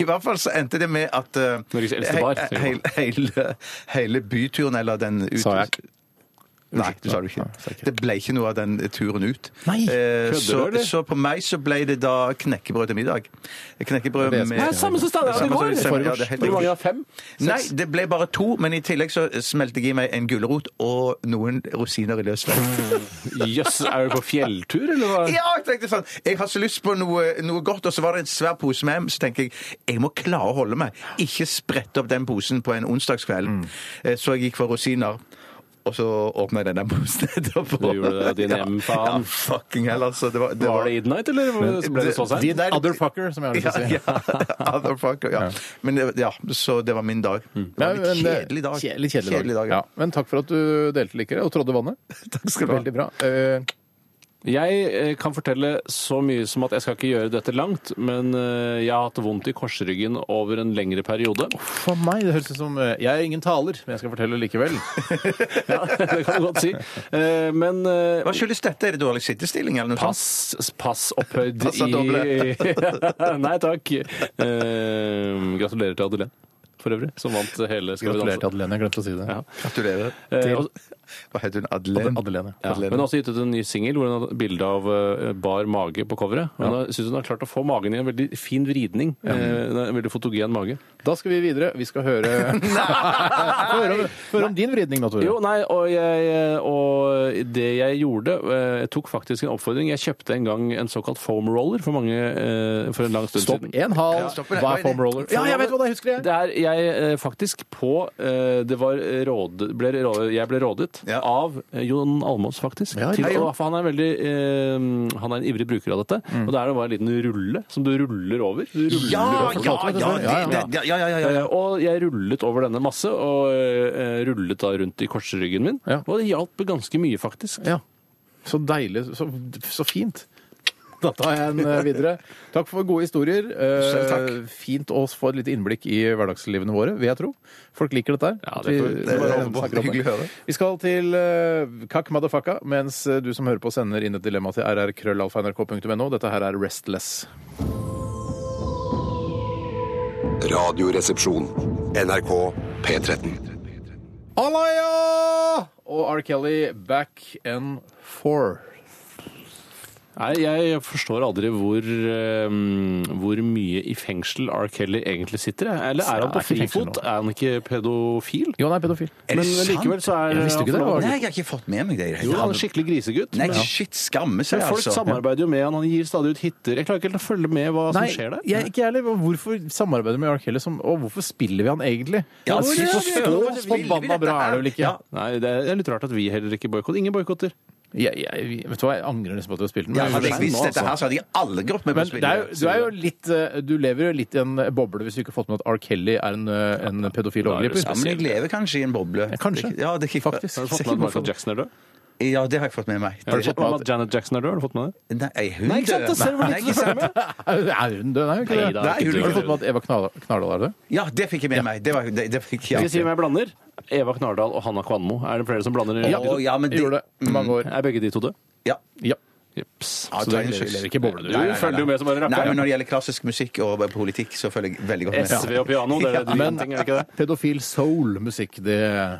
Speaker 4: I hvert fall så endte det med at eh,
Speaker 5: Norges eldste bar, sier
Speaker 4: he- he- hele, hele byturen, eller den ut...
Speaker 3: Sa jeg ikke.
Speaker 4: Nei, du sa det ikke.
Speaker 3: Nei, sa jeg ikke.
Speaker 4: Det ble ikke noe av den turen ut.
Speaker 3: Nei,
Speaker 4: Eh,
Speaker 5: kødder
Speaker 4: så,
Speaker 5: du, eller?
Speaker 4: så på meg så ble det da knekkebrød til middag. Knekkebrød
Speaker 3: Det er det
Speaker 4: med
Speaker 3: som
Speaker 5: Nei, samme som Steinar hadde i
Speaker 4: Samme som-
Speaker 5: går!
Speaker 4: ja, det er
Speaker 5: Forgårs.
Speaker 4: helt
Speaker 5: Hvor
Speaker 4: riktig.
Speaker 5: mange har fem?
Speaker 4: Nei, det ble bare to, men i tillegg så smelte jeg i meg en gulrot og noen rosiner i løsvekt.
Speaker 5: Jøss, er du på fjelltur, eller hva?
Speaker 4: Ja, jeg tenkte sånn, jeg har så lyst på noe, noe godt, og så var det en svær pose med, så tenker jeg, jeg må klare å holde meg. Ikke sprette opp den posen på en onsdagskveld. Eh, Så jeg gikk for rosiner, og så åpnet jeg den der posen etterpå.
Speaker 5: Du gjorde det, din
Speaker 4: Ja,
Speaker 5: M-faen.
Speaker 4: fucking hell, altså. Det var, det
Speaker 5: Var
Speaker 4: var-
Speaker 5: det Idnight, eller ble det så
Speaker 3: De
Speaker 5: seint?
Speaker 3: der Otherfucker, som jeg
Speaker 4: Ja,
Speaker 3: har lyst til
Speaker 4: ja.
Speaker 3: å si.
Speaker 4: Otherfucker, ja. Men det- ja, så det var min dag. Det
Speaker 3: Nei,
Speaker 4: var en
Speaker 3: men,
Speaker 4: litt
Speaker 3: eh,
Speaker 4: kjedelig dag.
Speaker 3: kje- Litt kjedelig dag.
Speaker 4: ja.
Speaker 3: Ja, men takk for at du delte like det og trådde vannet.
Speaker 4: Takk skal du ha.
Speaker 3: Veldig bra. Eh,
Speaker 5: Jeg eh, kan fortelle så mye som at jeg skal ikke gjøre dette langt, men eh, jeg har hatt vondt i korsryggen over en lengre periode.
Speaker 3: For meg, det høres ut som eh, Jeg er ingen taler, men jeg skal fortelle likevel.
Speaker 5: Ja, det kan du godt si. Eh, Men eh,
Speaker 4: Hva skyldes dette? Er det dårlig sittestilling eller noe sånt?
Speaker 5: pass, pass opphøyd
Speaker 4: Passa
Speaker 5: i Nei takk. Eh, gratulerer til Adelén, for øvrig, som vant hele Skal vi
Speaker 3: Gratulerer til
Speaker 5: danse.
Speaker 3: Adelene. Jeg glemte å si det.
Speaker 5: Ja.
Speaker 4: Gratulerer.
Speaker 5: Eh, og-
Speaker 4: Hva heter hun? Adelén?
Speaker 3: Adelene.
Speaker 5: Ja, men hun har også gitt ut en ny singel hvor hun har et bilde av eh, bar mage på coveret. Hun har- synes hun har klart å få magen i en veldig fin vridning. Eh, det er En veldig fotogen mage.
Speaker 3: Da skal vi videre. Vi skal høre Få høre om, få høre om din vridning, da, Tore.
Speaker 5: Jo, nei, og, jeg, og det jeg gjorde eh, Jeg tok faktisk en oppfordring. Jeg kjøpte en gang en såkalt foam roller for mange eh, for en lang stund
Speaker 3: Stopp.
Speaker 5: siden.
Speaker 3: En hal,
Speaker 4: stopp med det.
Speaker 3: hver foam roller. Ja, jeg vet hva det er, husker jeg.
Speaker 5: Det er jeg eh, faktisk på eh, Det var råd, ble, rå- Jeg ble rådet
Speaker 4: Ja.
Speaker 5: av eh, Jon Almås, faktisk.
Speaker 3: Ja,
Speaker 5: til,
Speaker 3: hei, Jon.
Speaker 5: å- for han er, veldig, eh, han er en ivrig bruker av dette. Og det er det bare en liten rulle som du ruller over. Du ruller
Speaker 4: Ja,
Speaker 5: over.
Speaker 4: ja, ja, det, det, ja, ja, ja, ja, ja.
Speaker 5: Eh, Og jeg rullet over denne masse, og eh, rullet da rundt i korsryggen min.
Speaker 3: Ja.
Speaker 5: Og det hjalp ganske mye, faktisk.
Speaker 3: Ja. Så deilig. Så, så fint. Da tar jeg en eh, videre. Takk for gode historier. Eh,
Speaker 4: Selv takk.
Speaker 3: Fint å få et lite innblikk i hverdagslivene våre, vil jeg tro. Folk liker dette her.
Speaker 5: Ja, det får-
Speaker 3: Vi-
Speaker 5: det
Speaker 3: vi bare
Speaker 4: er
Speaker 3: håper på.
Speaker 4: hyggelig å
Speaker 3: Snakker om det. Vi skal til eh, Kakk Madafaka, mens eh, du som hører på, sender inn et dilemma til rrkrøllalfa.nrk.no. Dette her er Restless.
Speaker 8: Radioresepsjon. NRK P13.
Speaker 3: Alaya! Og R. Kelly, back and forth.
Speaker 5: Nei, jeg forstår aldri hvor, eh, hvor mye i fengsel R. Kelly egentlig sitter. jeg. Eller er han
Speaker 3: Han er
Speaker 5: på
Speaker 3: ikke i fengsel
Speaker 5: frifot? Er han ikke pedofil?
Speaker 3: Jo, han er pedofil.
Speaker 4: Er det
Speaker 5: Men
Speaker 4: sant?
Speaker 5: likevel så er
Speaker 3: Jeg visste ikke det.
Speaker 5: han forlovet.
Speaker 4: Nei, jeg har ikke fått med meg det. i det hele
Speaker 5: Jo, han
Speaker 4: tatt.
Speaker 5: er en skikkelig grisegutt.
Speaker 4: Nei,
Speaker 5: Men
Speaker 4: shit, skamme seg,
Speaker 5: Folk
Speaker 4: altså.
Speaker 5: samarbeider jo med han, han gir stadig ut hitter. Jeg klarer ikke helt å følge med hva som skjer der.
Speaker 3: Jeg, ikke jeg heller. Hvorfor samarbeider vi med R. Kelly, som, og hvorfor spiller vi han egentlig?
Speaker 4: Ja,
Speaker 3: Altså,
Speaker 4: hvor er
Speaker 3: så
Speaker 4: det? Hvor er det? Vil vi
Speaker 3: forbanna
Speaker 4: dette
Speaker 3: bra er det vel ikke?
Speaker 4: her?
Speaker 5: Nei, det er litt rart at vi heller ikke boikotter. Ingen boikotter.
Speaker 3: Jeg, jeg, vet du hva, jeg angrer nesten på at vi har spilt den.
Speaker 4: Ja,
Speaker 3: men
Speaker 4: hadde
Speaker 3: vi
Speaker 4: jeg
Speaker 3: gjorde det. altså.
Speaker 4: visst dette her, så hadde jeg aldri gått
Speaker 3: Men
Speaker 4: med på
Speaker 3: det
Speaker 4: å spille.
Speaker 3: er, jo- du er jo litt eh, Du lever jo litt i en eh, boble hvis du ikke har fått med at R. Kelly er en, eh, en pedofil
Speaker 5: Da er det
Speaker 4: Ja,
Speaker 3: overgriper.
Speaker 4: men jeg lever kanskje i en boble.
Speaker 3: Ja, kanskje.
Speaker 4: Ja, det,
Speaker 3: Faktisk.
Speaker 5: Har du fått med at Michael Jackson er død?
Speaker 4: Ja, det har jeg fått med meg.
Speaker 5: Har du fått med at Janet Jackson er død? Har du fått med det?
Speaker 4: Nei, ei, hun
Speaker 5: Nei, ikke sant,
Speaker 4: døde.
Speaker 5: da ser du hvor
Speaker 4: Nei,
Speaker 5: lite
Speaker 4: ikke sant.
Speaker 3: Er hun død? Nei, hun er ikke
Speaker 5: Nei,
Speaker 3: det.
Speaker 5: da,
Speaker 3: Nei,
Speaker 4: hun er
Speaker 3: Har
Speaker 4: ikke
Speaker 3: du fått med at Eva Knardal Knardal er død?
Speaker 4: Ja, det fikk jeg med meg. Det var, det, det fikk
Speaker 5: Skal
Speaker 4: jeg.
Speaker 5: jeg si hvem jeg blander? Eva Knardal og Hanna Kvanmo. Er det flere som blander?
Speaker 4: Å, ja, men
Speaker 3: Jeg Gjorde det i mange år.
Speaker 5: Er begge de to døde?
Speaker 4: Ja.
Speaker 3: Ja.
Speaker 5: Jeps.
Speaker 4: Ja,
Speaker 3: Så
Speaker 4: ta
Speaker 3: det
Speaker 4: en
Speaker 3: lever,
Speaker 4: skyss.
Speaker 3: lever ikke i boble, du.
Speaker 5: Nei, nei, nei, nei. følger jo med som bare rapper.
Speaker 4: Nei, men når det gjelder klassisk musikk og politikk, så følger jeg veldig godt med.
Speaker 5: SV og piano, det er det
Speaker 3: Men
Speaker 5: din ting, er det ikke det?
Speaker 3: pedofil soul-musikk, det,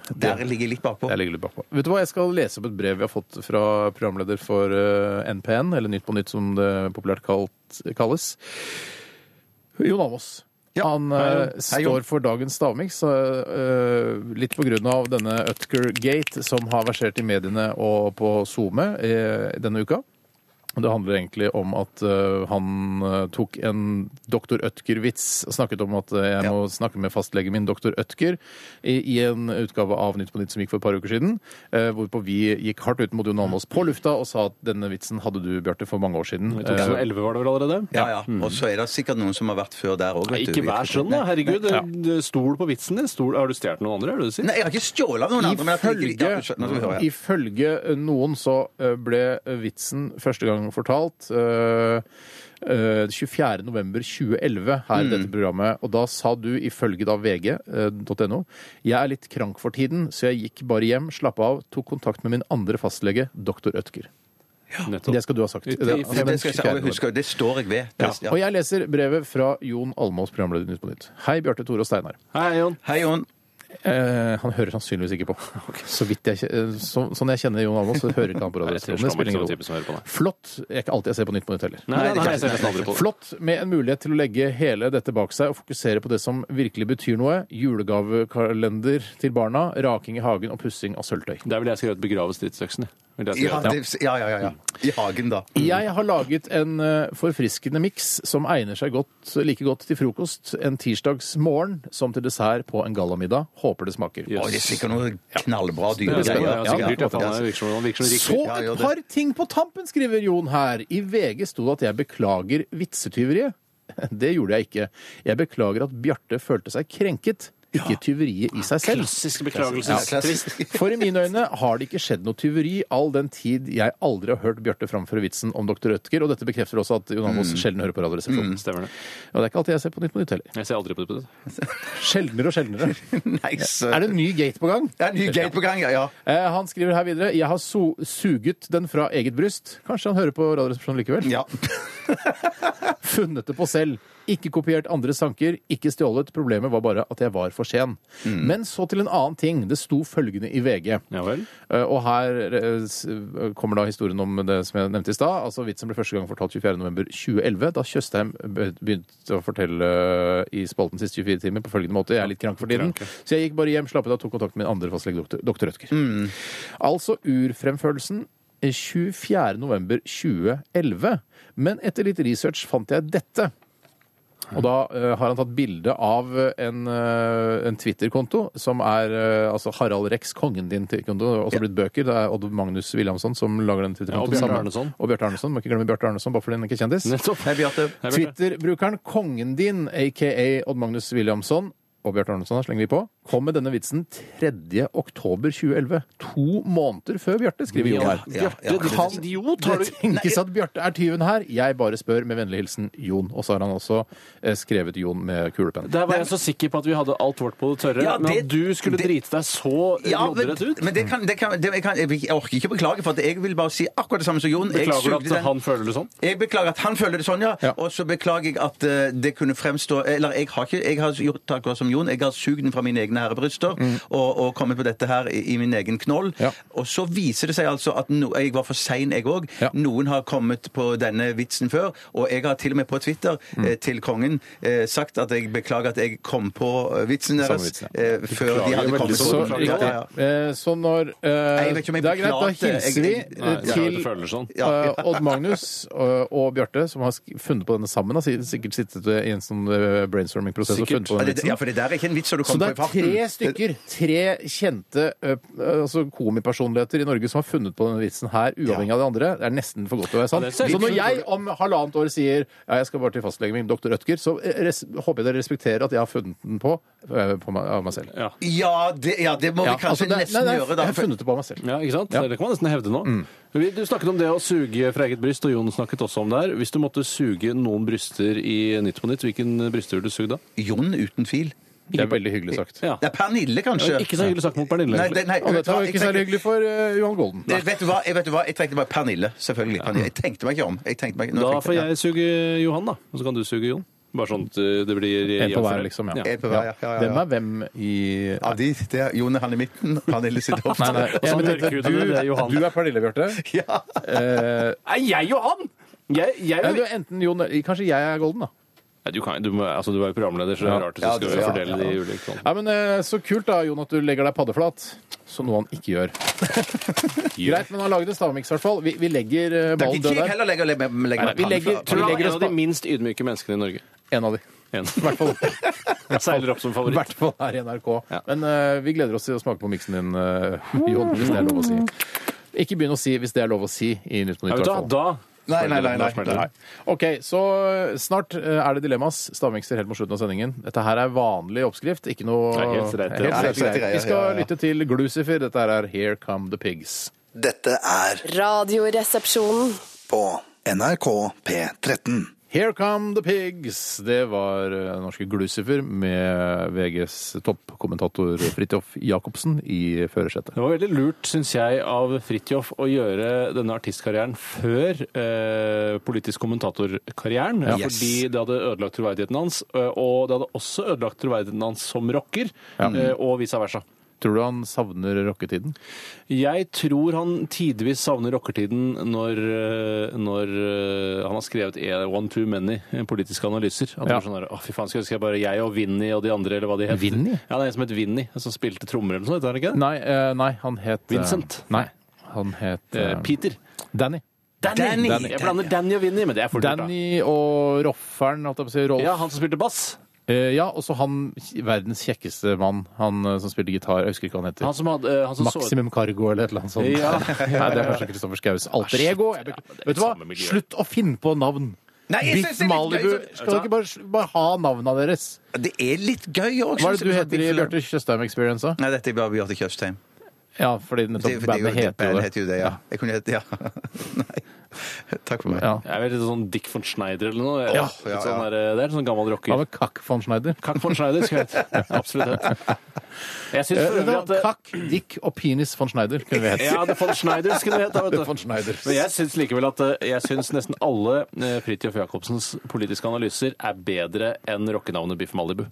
Speaker 3: det
Speaker 4: Der ligger jeg litt bakpå.
Speaker 3: Jeg ligger litt bakpå. Vet du hva, jeg skal lese opp et brev vi har fått fra programleder for eh, NPN, eller Nytt på Nytt som det populært kalt, kalles. Jon Almaas. Han eh,
Speaker 4: Jon.
Speaker 3: står for dagens stavmiks, eh, eh, litt på grunn av denne Utker-gate som har versert i mediene og på SoMe eh, denne uka. Det handler egentlig om at eh, han eh, tok en doktor Ødker-vits. Snakket om at eh, jeg må snakke med fastlegen min, doktor Ødker, i, i en utgave av Nytt på Nytt som gikk for et par uker siden. eh, hvorpå vi gikk hardt ut mot Jon Almaas på lufta og sa at denne vitsen hadde du, Bjarte, for mange år siden. Eh,
Speaker 5: I 2011 var det vel allerede?
Speaker 4: Ja, ja. Og så er det sikkert noen som har vært før der òg.
Speaker 5: Mm. Nei, ikke vær sånn, da. Herregud. eh, Stol på vitsen din. Stol. Har du stjålet noen andre? Er det det du sier?
Speaker 4: Nei, jeg har ikke stjålet av noen andre. Men jeg tenker litt- ja, skjønner, nå hører jeg.
Speaker 3: Ifølge noen så eh, ble vitsen første gang fortalt eh, eh, 24. november 2011
Speaker 4: Mm.
Speaker 3: her i dette programmet, og da sa du ifølge da eh, vg.no Jeg er litt krank for tiden, så jeg gikk bare hjem, slappa av, tok kontakt med min andre fastlege, doktor Ødker.
Speaker 5: Nettopp.
Speaker 3: Det skal du ha sagt.
Speaker 5: I-
Speaker 3: altså, Det,
Speaker 5: i-
Speaker 4: Det, skal jeg si, alle husker, det står jeg ved. Det,
Speaker 3: Ja. Og jeg leser brevet fra Jon Almås, programleder i Nytt på Nytt. Hei, Bjarte, Tore og Steinar.
Speaker 5: Hei, Jon.
Speaker 4: Hei, Jon.
Speaker 3: Eh, han hører sannsynligvis ikke på. Så vidt jeg, kje- eh, så, sånn jeg kjenner Jon Almaas, så hører ikke han på
Speaker 5: Nei, jeg tror ikke han er sånn type som hører på,
Speaker 3: radioen.
Speaker 5: nei.
Speaker 3: Flott. Det er ikke alltid jeg ser på Nytt på Nytt heller.
Speaker 5: Nei, nei, nei, jeg ser nesten aldri på det.
Speaker 3: Flott med en mulighet til å legge hele dette bak seg og fokusere på det som virkelig betyr noe. Julegavekalender til barna, raking i hagen og pussing av sølvtøy.
Speaker 5: Det er vel jeg skrevet 'Begrave stridsøksene'. Vil jeg
Speaker 4: Ja,
Speaker 5: skrive.
Speaker 4: det, ja, ja, ja, ja. I hagen, da.
Speaker 3: Jeg har laget en eh, forfriskende miks som egner seg godt, like godt til frokost en tirsdags morgen som til dessert på en gallamiddag. Håper det smaker.
Speaker 5: Yes.
Speaker 4: Å, det er sikkert noe knallbra
Speaker 5: Det er spennende.
Speaker 4: dyregreier.
Speaker 5: Ja, sikkert dyrt, ja, faen, det virker som- han virker som en
Speaker 3: Så
Speaker 5: riktig-
Speaker 4: Ja, ja,
Speaker 3: et
Speaker 4: det-
Speaker 3: par ting på tampen, skriver Jon her. I VG sto det at jeg beklager vitsetyveriet. Det gjorde jeg ikke. Jeg beklager at Bjarte følte seg krenket. ikke tyveriet i seg selv.
Speaker 5: Klassisk beklagelse.
Speaker 3: Ja. For i mine øyne har det ikke skjedd noe tyveri all den tid jeg aldri har hørt Bjarte framføre vitsen om Dr. Rødtger, og dette bekrefter også at Jon
Speaker 4: Mm.
Speaker 3: Almaas sjelden hører på Radioresepsjonen.
Speaker 5: Stemmer det.
Speaker 3: Og det er ikke alltid jeg ser på Nytt på Nytt heller.
Speaker 5: Jeg ser aldri på det. på det.
Speaker 3: Sjeldnere og sjeldnere.
Speaker 4: Nice.
Speaker 3: Er det en ny gate på gang?
Speaker 4: Det er en ny gate på gang, ja. ja.
Speaker 3: Eh, han skriver her videre Jeg har so suget den fra eget bryst. Kanskje han hører på Radioresepsjonen likevel?
Speaker 4: ja.
Speaker 3: Funnet det på selv. Ikke kopiert andres tanker, ikke stjålet. Problemet var bare at jeg var for sen. Men så til en annen ting. Det sto følgende i VG.
Speaker 5: Ja vel.
Speaker 3: Eh, Og her eh, s- kommer da historien om det som jeg nevnte i stad. Altså Vitsen ble første gang fortalt 24.11.2011, da Tjøstheim be- begynte å fortelle eh, i spalten siste 24 timer på følgende måte. Jeg er litt krank for tiden, så jeg gikk bare hjem, slappet av, tok kontakt med min andre fastlege, doktor, doktor Rødtger. Altså urfremførelsen eh, 24.11.2011. Men etter litt research fant jeg dette. Og da eh, har han tatt bilde av eh, en, eh, en Twitter-konto som er eh, altså Harald Rex, kongen din til konto. Det har også blitt bøker. Det er Odd Magnus Williamson som lager den
Speaker 5: Ja, og
Speaker 3: Twitter-kontoen.
Speaker 5: Bjarte
Speaker 3: sammen-
Speaker 5: Arneson.
Speaker 3: Og Bjarte Arneson. Må ikke glemme Bjarte Arneson bare fordi han ikke er kjendis.
Speaker 5: Nettopp.
Speaker 4: Hei, Bjarte.
Speaker 5: Nei, Bjarte.
Speaker 3: Twitter-brukeren kongen din, aka Odd Magnus Williamson, og Bjarte Arneson her slenger vi på, kom med denne vitsen 3. oktober 2011. To måneder før Bjarte, skriver Jon her.
Speaker 4: ja, ja.
Speaker 5: Bjarte,
Speaker 4: Kan-
Speaker 5: din idiot! Har
Speaker 3: Det
Speaker 5: du
Speaker 3: tenkes at Bjarte er tyven her. Jeg bare spør med vennlig hilsen Jon. Og så har han også eh, skrevet Jon med kulepenn.
Speaker 5: Der var jeg så sikker på at vi hadde alt vårt på det tørre,
Speaker 4: Ja,
Speaker 5: men
Speaker 4: det-
Speaker 5: at du skulle
Speaker 4: det-
Speaker 5: drite deg så eh,
Speaker 4: Ja, men,
Speaker 5: loddrett ut
Speaker 4: men det kan, det kan, det, jeg, kan, jeg orker ikke beklage, for at jeg vil bare si akkurat det samme som Jon. Jeg
Speaker 5: Beklager
Speaker 4: sugde
Speaker 5: du at
Speaker 4: den-
Speaker 5: han føler det sånn?
Speaker 4: Jeg beklager at han føler det sånn, ja. Og så beklager jeg at eh, det kunne fremstå Eller jeg har ikke jeg har gjort akkurat som Jon. Jeg har sugd den fra mine egne herrebryster og, og kommet på dette her i, i min egen knoll.
Speaker 3: Mm. Ja.
Speaker 4: Og så viser det seg altså at no, jeg var for sein, jeg òg.
Speaker 3: Ja.
Speaker 4: Noen har kommet på denne vitsen før. Og jeg har til og med på Twitter
Speaker 3: Mm.
Speaker 4: eh, til kongen eh, sagt at jeg beklager at jeg kom på eh, vitsen deres
Speaker 3: vitsen,
Speaker 4: eh, før de hadde kommet
Speaker 3: Så,
Speaker 4: på den.
Speaker 3: riktig.
Speaker 4: Ja, ja.
Speaker 3: Eh, så når eh,
Speaker 4: jeg vet ikke om jeg
Speaker 3: Det er greit, da
Speaker 4: beklagte.
Speaker 3: hilser vi
Speaker 4: Jeg-
Speaker 3: eh,
Speaker 5: Nei, jeg
Speaker 3: til
Speaker 5: føler det sånn.
Speaker 4: Ja.
Speaker 3: Eh, Odd Magnus og, og Bjarte, som har sk- funnet på denne sammen, har si- sikkert sittet i en sånn eh, brainstorming-prosess og funnet på
Speaker 4: Ja,
Speaker 3: den
Speaker 4: det, ja,
Speaker 3: vitsen.
Speaker 4: for det der er ikke en vits som du
Speaker 3: Så det
Speaker 4: kommer
Speaker 3: er
Speaker 4: på i farten.
Speaker 3: tre stykker, tre kjente eh, altså komipersonligheter i Norge som har funnet på denne vitsen her, uavhengig av de andre. Det er nesten for godt til å være sant.
Speaker 5: Ja, det er
Speaker 3: så
Speaker 5: selvfølgelig.
Speaker 3: når jeg om halvannet år sier ja, jeg skal bare til fastlegen min, doktor Rødtger, så eh, res håper jeg dere respekterer at jeg har funnet den på, eh, på meg, av meg selv.
Speaker 5: Ja.
Speaker 4: Ja, det, ja, det må
Speaker 3: Ja,
Speaker 4: vi kanskje
Speaker 3: altså, det er-
Speaker 4: nesten
Speaker 3: nei, nei,
Speaker 4: gjøre, da.
Speaker 3: Jeg har funnet det på av meg selv.
Speaker 5: Ja, ikke sant? Det kan man nesten hevde nå.
Speaker 4: Mm.
Speaker 5: Vi- Du snakket om det å suge fra eget bryst, og Jon snakket også om det her. Hvis du måtte suge noen bryster i Nytt på Nytt, hvilken bryster ville du sugd da?
Speaker 4: Jon uten fil.
Speaker 3: Det er veldig hyggelig sagt.
Speaker 5: Ja.
Speaker 4: Det er Pernille, kanskje.
Speaker 5: Ikke så hyggelig sagt mot Pernille.
Speaker 4: Nei,
Speaker 5: egentlig.
Speaker 4: det, nei,
Speaker 3: Og
Speaker 4: vet du
Speaker 3: dette
Speaker 4: hva,
Speaker 3: var
Speaker 4: jeg
Speaker 3: ikke særlig
Speaker 4: tenkte-
Speaker 3: hyggelig for eh, Johan Golden.
Speaker 4: Det- Vet du hva, jeg, vet du hva, jeg tenkte bare Pernille, selvfølgelig. Pernille. Jeg tenkte meg ikke om. Jeg tenkte meg, nå
Speaker 5: Da
Speaker 4: tenkte
Speaker 5: får jeg suge Johan, da. Og så kan du suge Jon. Bare sånn at eh, det blir
Speaker 3: En på hver, liksom.
Speaker 5: Ja.
Speaker 3: Ja.
Speaker 4: En på hver, ja, ja, ja, ja.
Speaker 3: Hvem er hvem i
Speaker 4: Ja, de, det er Jon han i midten, Pernille sitter opp.
Speaker 3: Nei, nei.
Speaker 5: Og så mørkhudet, Altså, det er Johan.
Speaker 3: du er Pernille, Bjarte.
Speaker 4: Ja.
Speaker 3: Eh,
Speaker 5: Er jeg Johan?! Jeg, jeg,
Speaker 3: ja, du er enten Jon Kanskje jeg er Golden, da.
Speaker 5: Nei, du, kan, du, må, altså, du er jo programleder, så det er rart hvis
Speaker 4: Ja,
Speaker 5: du
Speaker 4: det-
Speaker 5: skal
Speaker 4: ja,
Speaker 5: fordele de ulike sånn.
Speaker 3: Ja, men eh, Så kult, da, Jon, at du legger deg paddeflat. Som noe han ikke gjør. Greit, men han lagde en stavmiks, i hvert fall. Vi, vi legger eh,
Speaker 4: Det er
Speaker 3: ballen
Speaker 4: ikke
Speaker 3: død
Speaker 4: jeg
Speaker 3: der.
Speaker 4: heller legger, legger, legger
Speaker 3: Nei, vi legger-
Speaker 5: Tror du han
Speaker 3: legger
Speaker 5: er en
Speaker 3: oss
Speaker 5: av de
Speaker 3: på-
Speaker 5: minst ydmyke menneskene i Norge?
Speaker 3: En av de.
Speaker 5: En.
Speaker 3: I hvert fall.
Speaker 5: Seiler opp som
Speaker 3: I hvert
Speaker 5: favoritt.
Speaker 3: fall her i NRK.
Speaker 5: Ja.
Speaker 3: Men eh, vi gleder oss til å smake på miksen din, eh, Jon, hvis det er lov å si. Ikke begynn å si 'hvis det er lov å si' i Nytt på
Speaker 5: Ja,
Speaker 3: Nytt. i
Speaker 5: vet du hva,
Speaker 3: hvert fall.
Speaker 5: da
Speaker 4: Nei, nei, nei. nei,
Speaker 3: Nei. OK, så eh, snart eh, er det dilemmas. Stavmikser helt mot slutten av sendingen. Dette her er vanlig oppskrift, ikke noe
Speaker 5: Det er helt rett,
Speaker 3: Helt
Speaker 5: ja.
Speaker 3: rett
Speaker 4: Ja, helt rett,
Speaker 3: greier.
Speaker 4: ja,
Speaker 3: Vi skal
Speaker 4: ja, ja.
Speaker 3: lytte til Glucifer. Dette her er Here Come The Pigs.
Speaker 7: Dette er
Speaker 6: Radioresepsjonen.
Speaker 7: på NRK P13.
Speaker 3: Here Come The Pigs. Det var eh, norske Glucifer med VGs toppkommentator Fridtjof Jacobsen i førersetet.
Speaker 5: Det var veldig lurt, syns jeg, av Fridtjof å gjøre denne artistkarrieren før eh, politisk kommentatorkarrieren.
Speaker 3: Ja.
Speaker 5: Fordi det hadde ødelagt troverdigheten hans, eh, og det hadde også ødelagt troverdigheten hans som rocker, eh, og vice versa.
Speaker 3: Tror du han savner rocketiden?
Speaker 5: Jeg tror han tidvis savner rockertiden når, eh, når eh, han har skrevet e- One Too Many eh, politiske analyser.
Speaker 3: Ja.
Speaker 5: At ja. sånn der, Å, fy faen, skulle ønske jeg bare jeg og Vinny og de andre, eller hva de het.
Speaker 3: Vinny?
Speaker 5: Ja, det er en som het Vinny, som spilte trommer eller noe sånt, er det ikke det?
Speaker 3: Nei, eh, nei han het eh,
Speaker 5: Vincent?
Speaker 3: Nei, han het
Speaker 5: Eh,
Speaker 3: eh,
Speaker 5: Peter.
Speaker 3: Danny.
Speaker 5: Danny!
Speaker 3: Danny.
Speaker 5: Jeg blander Danny og Vinny, men det er for dyrt, da.
Speaker 3: Danny og Roffern, holdt jeg på å si. Rolf.
Speaker 5: Ja, han som spilte bass.
Speaker 3: Eh, ja, og så han verdens kjekkeste mann, han eh, som spilte gitar. Jeg husker ikke hva han heter.
Speaker 5: Han som hadde eh, han som
Speaker 3: Maximum Cargo eller et eller annet sånt.
Speaker 5: Ja.
Speaker 3: Nei, det er kanskje Kristoffer Skaus alter ego. Jeg, vet du hva?
Speaker 5: samme miljø.
Speaker 3: Slutt å finne på navn!
Speaker 4: Nei, jeg
Speaker 3: Biff
Speaker 4: synes det er litt
Speaker 3: Malibu.
Speaker 4: gøy, så-
Speaker 3: Skal dere ikke bare, bare ha navnene deres?
Speaker 4: Det er litt gøy òg.
Speaker 3: Hva er det du heter i Bjarte Tjøstheim Experience? da?
Speaker 4: Nei, dette er bare Bjarte Tjøstheim.
Speaker 3: Ja, fordi
Speaker 4: Det,
Speaker 3: nettopp
Speaker 4: det, er jo-
Speaker 3: bandet heter
Speaker 4: bandet
Speaker 3: jo det.
Speaker 4: heter jo det, ja. Jeg kunne hett Ja. Nei. Takk for meg.
Speaker 3: Ja.
Speaker 5: Jeg vet, litt sånn Dick von Schneider eller noe.
Speaker 3: Ja,
Speaker 5: Litt
Speaker 4: ja,
Speaker 5: Sånn
Speaker 4: ja.
Speaker 5: der, det er en sånn gammel rocker.
Speaker 3: Hva med Kakk von Schneider?
Speaker 5: Kakk von Schneider skulle jeg hete. Absolutt det. Jeg
Speaker 3: Eh,
Speaker 5: synes for øvrig at eh,
Speaker 3: Kakk, Dick og Penis von Schneider kunne vi hett.
Speaker 5: Ja, det von Schneider skulle det hete.
Speaker 3: Von
Speaker 5: vet du.
Speaker 3: Schneider.
Speaker 5: Men jeg syns likevel at eh, jeg synes nesten alle eh, Fridtjof Jacobsens politiske analyser er bedre enn rockenavnet Biff Malibu.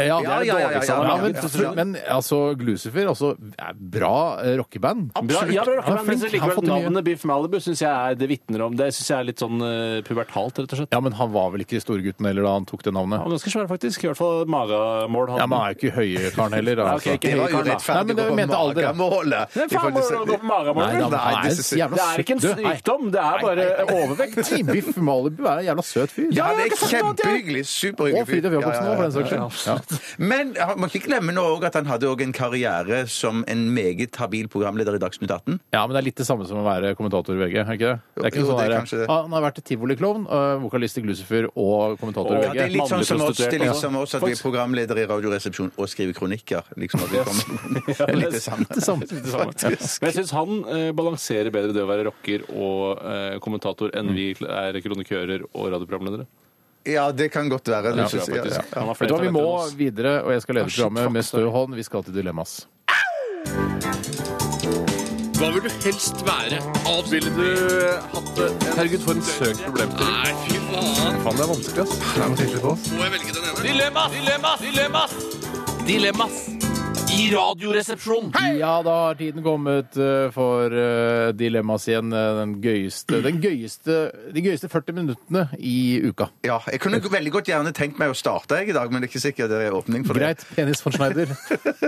Speaker 3: Ja,
Speaker 4: Ja, ja, ja, ja, ja, ja.
Speaker 3: men, men altså, Glucifer altså, er bra eh, rockeband.
Speaker 5: Bra, ja, bra,
Speaker 3: Han er flink,
Speaker 5: rockeband, men så
Speaker 3: han har
Speaker 5: likevel
Speaker 3: fått til mye.
Speaker 5: Navnet Biff Malibu syns jeg er, det vitner om Det syns jeg er litt sånn eh, pubertalt, rett og slett.
Speaker 3: Ja, men han var vel ikke storgutten heller da han tok det navnet?
Speaker 5: Han var ganske svær, faktisk. I hvert fall magemål.
Speaker 3: Ja, men han er jo ikke høye karen heller. da,
Speaker 5: Nei,
Speaker 3: Altså.
Speaker 5: ok, ikke
Speaker 4: Det var
Speaker 5: høy
Speaker 3: Nei,
Speaker 4: jo
Speaker 5: kar, da.
Speaker 3: men
Speaker 4: rettferdig å
Speaker 3: det
Speaker 4: gå på
Speaker 3: mente alder, ja.
Speaker 4: magemålet.
Speaker 5: Men faen,
Speaker 4: I forhold til-
Speaker 5: hvordan går det med magemål?
Speaker 3: Nei, da,
Speaker 5: Det
Speaker 3: han er
Speaker 4: disse-
Speaker 3: en jævla
Speaker 5: Det er ikke en
Speaker 3: søt-
Speaker 5: sykdom, det er bare
Speaker 3: Nei, nei, nei.
Speaker 5: overvekt.
Speaker 3: Nei, Biff Malibu er en jævla søt fyr.
Speaker 4: Ja, det
Speaker 3: det
Speaker 4: er kjempehyggelig. Superhyggelig
Speaker 3: Og Fridtjof
Speaker 4: Ja,
Speaker 3: Jacobsen
Speaker 4: ja,
Speaker 3: òg,
Speaker 4: ja.
Speaker 3: for den saks skyld. Ja.
Speaker 4: Men han må ikke glemme nå også at han hadde også en karriere som en meget habil programleder i Dagsnytt 18.
Speaker 3: Ja, men det er litt det samme som å være kommentator i VG. er ikke det? Det er ikke
Speaker 4: Jo,
Speaker 3: sånn
Speaker 4: det er
Speaker 3: der,
Speaker 4: kanskje det.
Speaker 3: ah, Han har vært tivoliklovn, øh, vokalist i Glucifer og kommentator i
Speaker 5: Og-
Speaker 4: Ja, det
Speaker 3: VG.
Speaker 4: er litt sånn
Speaker 5: Mannlig
Speaker 4: som oss, det er litt
Speaker 5: prostituert,
Speaker 4: som oss at vi er programledere i Radioresepsjonen og skriver kronikker. Liksom at vi kommer
Speaker 5: Ja,
Speaker 4: litt det samme.
Speaker 3: Det samme.
Speaker 5: Det samme. sånn. Men jeg syns han eh, balanserer bedre det å være rocker og eh, kommentator enn vi er kronikører og radioprogramledere.
Speaker 4: Ja, det kan godt være. det
Speaker 5: Det tror
Speaker 4: synes
Speaker 5: jeg
Speaker 4: jeg,
Speaker 5: faktisk.
Speaker 4: ja, ja.
Speaker 5: Han har
Speaker 3: Vet
Speaker 5: flere
Speaker 3: du hva, Vi må
Speaker 5: talenter enn oss.
Speaker 3: videre, og jeg skal lede
Speaker 5: Ah, shit,
Speaker 3: programmet
Speaker 5: fuck,
Speaker 3: med stø
Speaker 5: sorry.
Speaker 3: hånd. Vi skal til Dilemmas.
Speaker 9: Hva vil du helst være? Avspille du eh, hatt det?
Speaker 5: Herregud, for en søk problemstilling.
Speaker 9: Nei, fy faen.
Speaker 3: Faen, det er vanskelig, ass.
Speaker 9: Må jeg velge den ene? Dilemmas! Dilemmas! Dilemmas! Dilemmas! I radioresepsjonen.
Speaker 3: Ja, da har tiden kommet eh, for eh, Dilemmas igjen. eh, Den gøyeste, den gøyeste, de gøyeste 40 minuttene i uka.
Speaker 4: Ja, jeg kunne veldig godt gjerne tenkt meg å starte jeg i dag, men det er ikke sikkert det er åpning for det.
Speaker 3: Greit, penis von Schneider.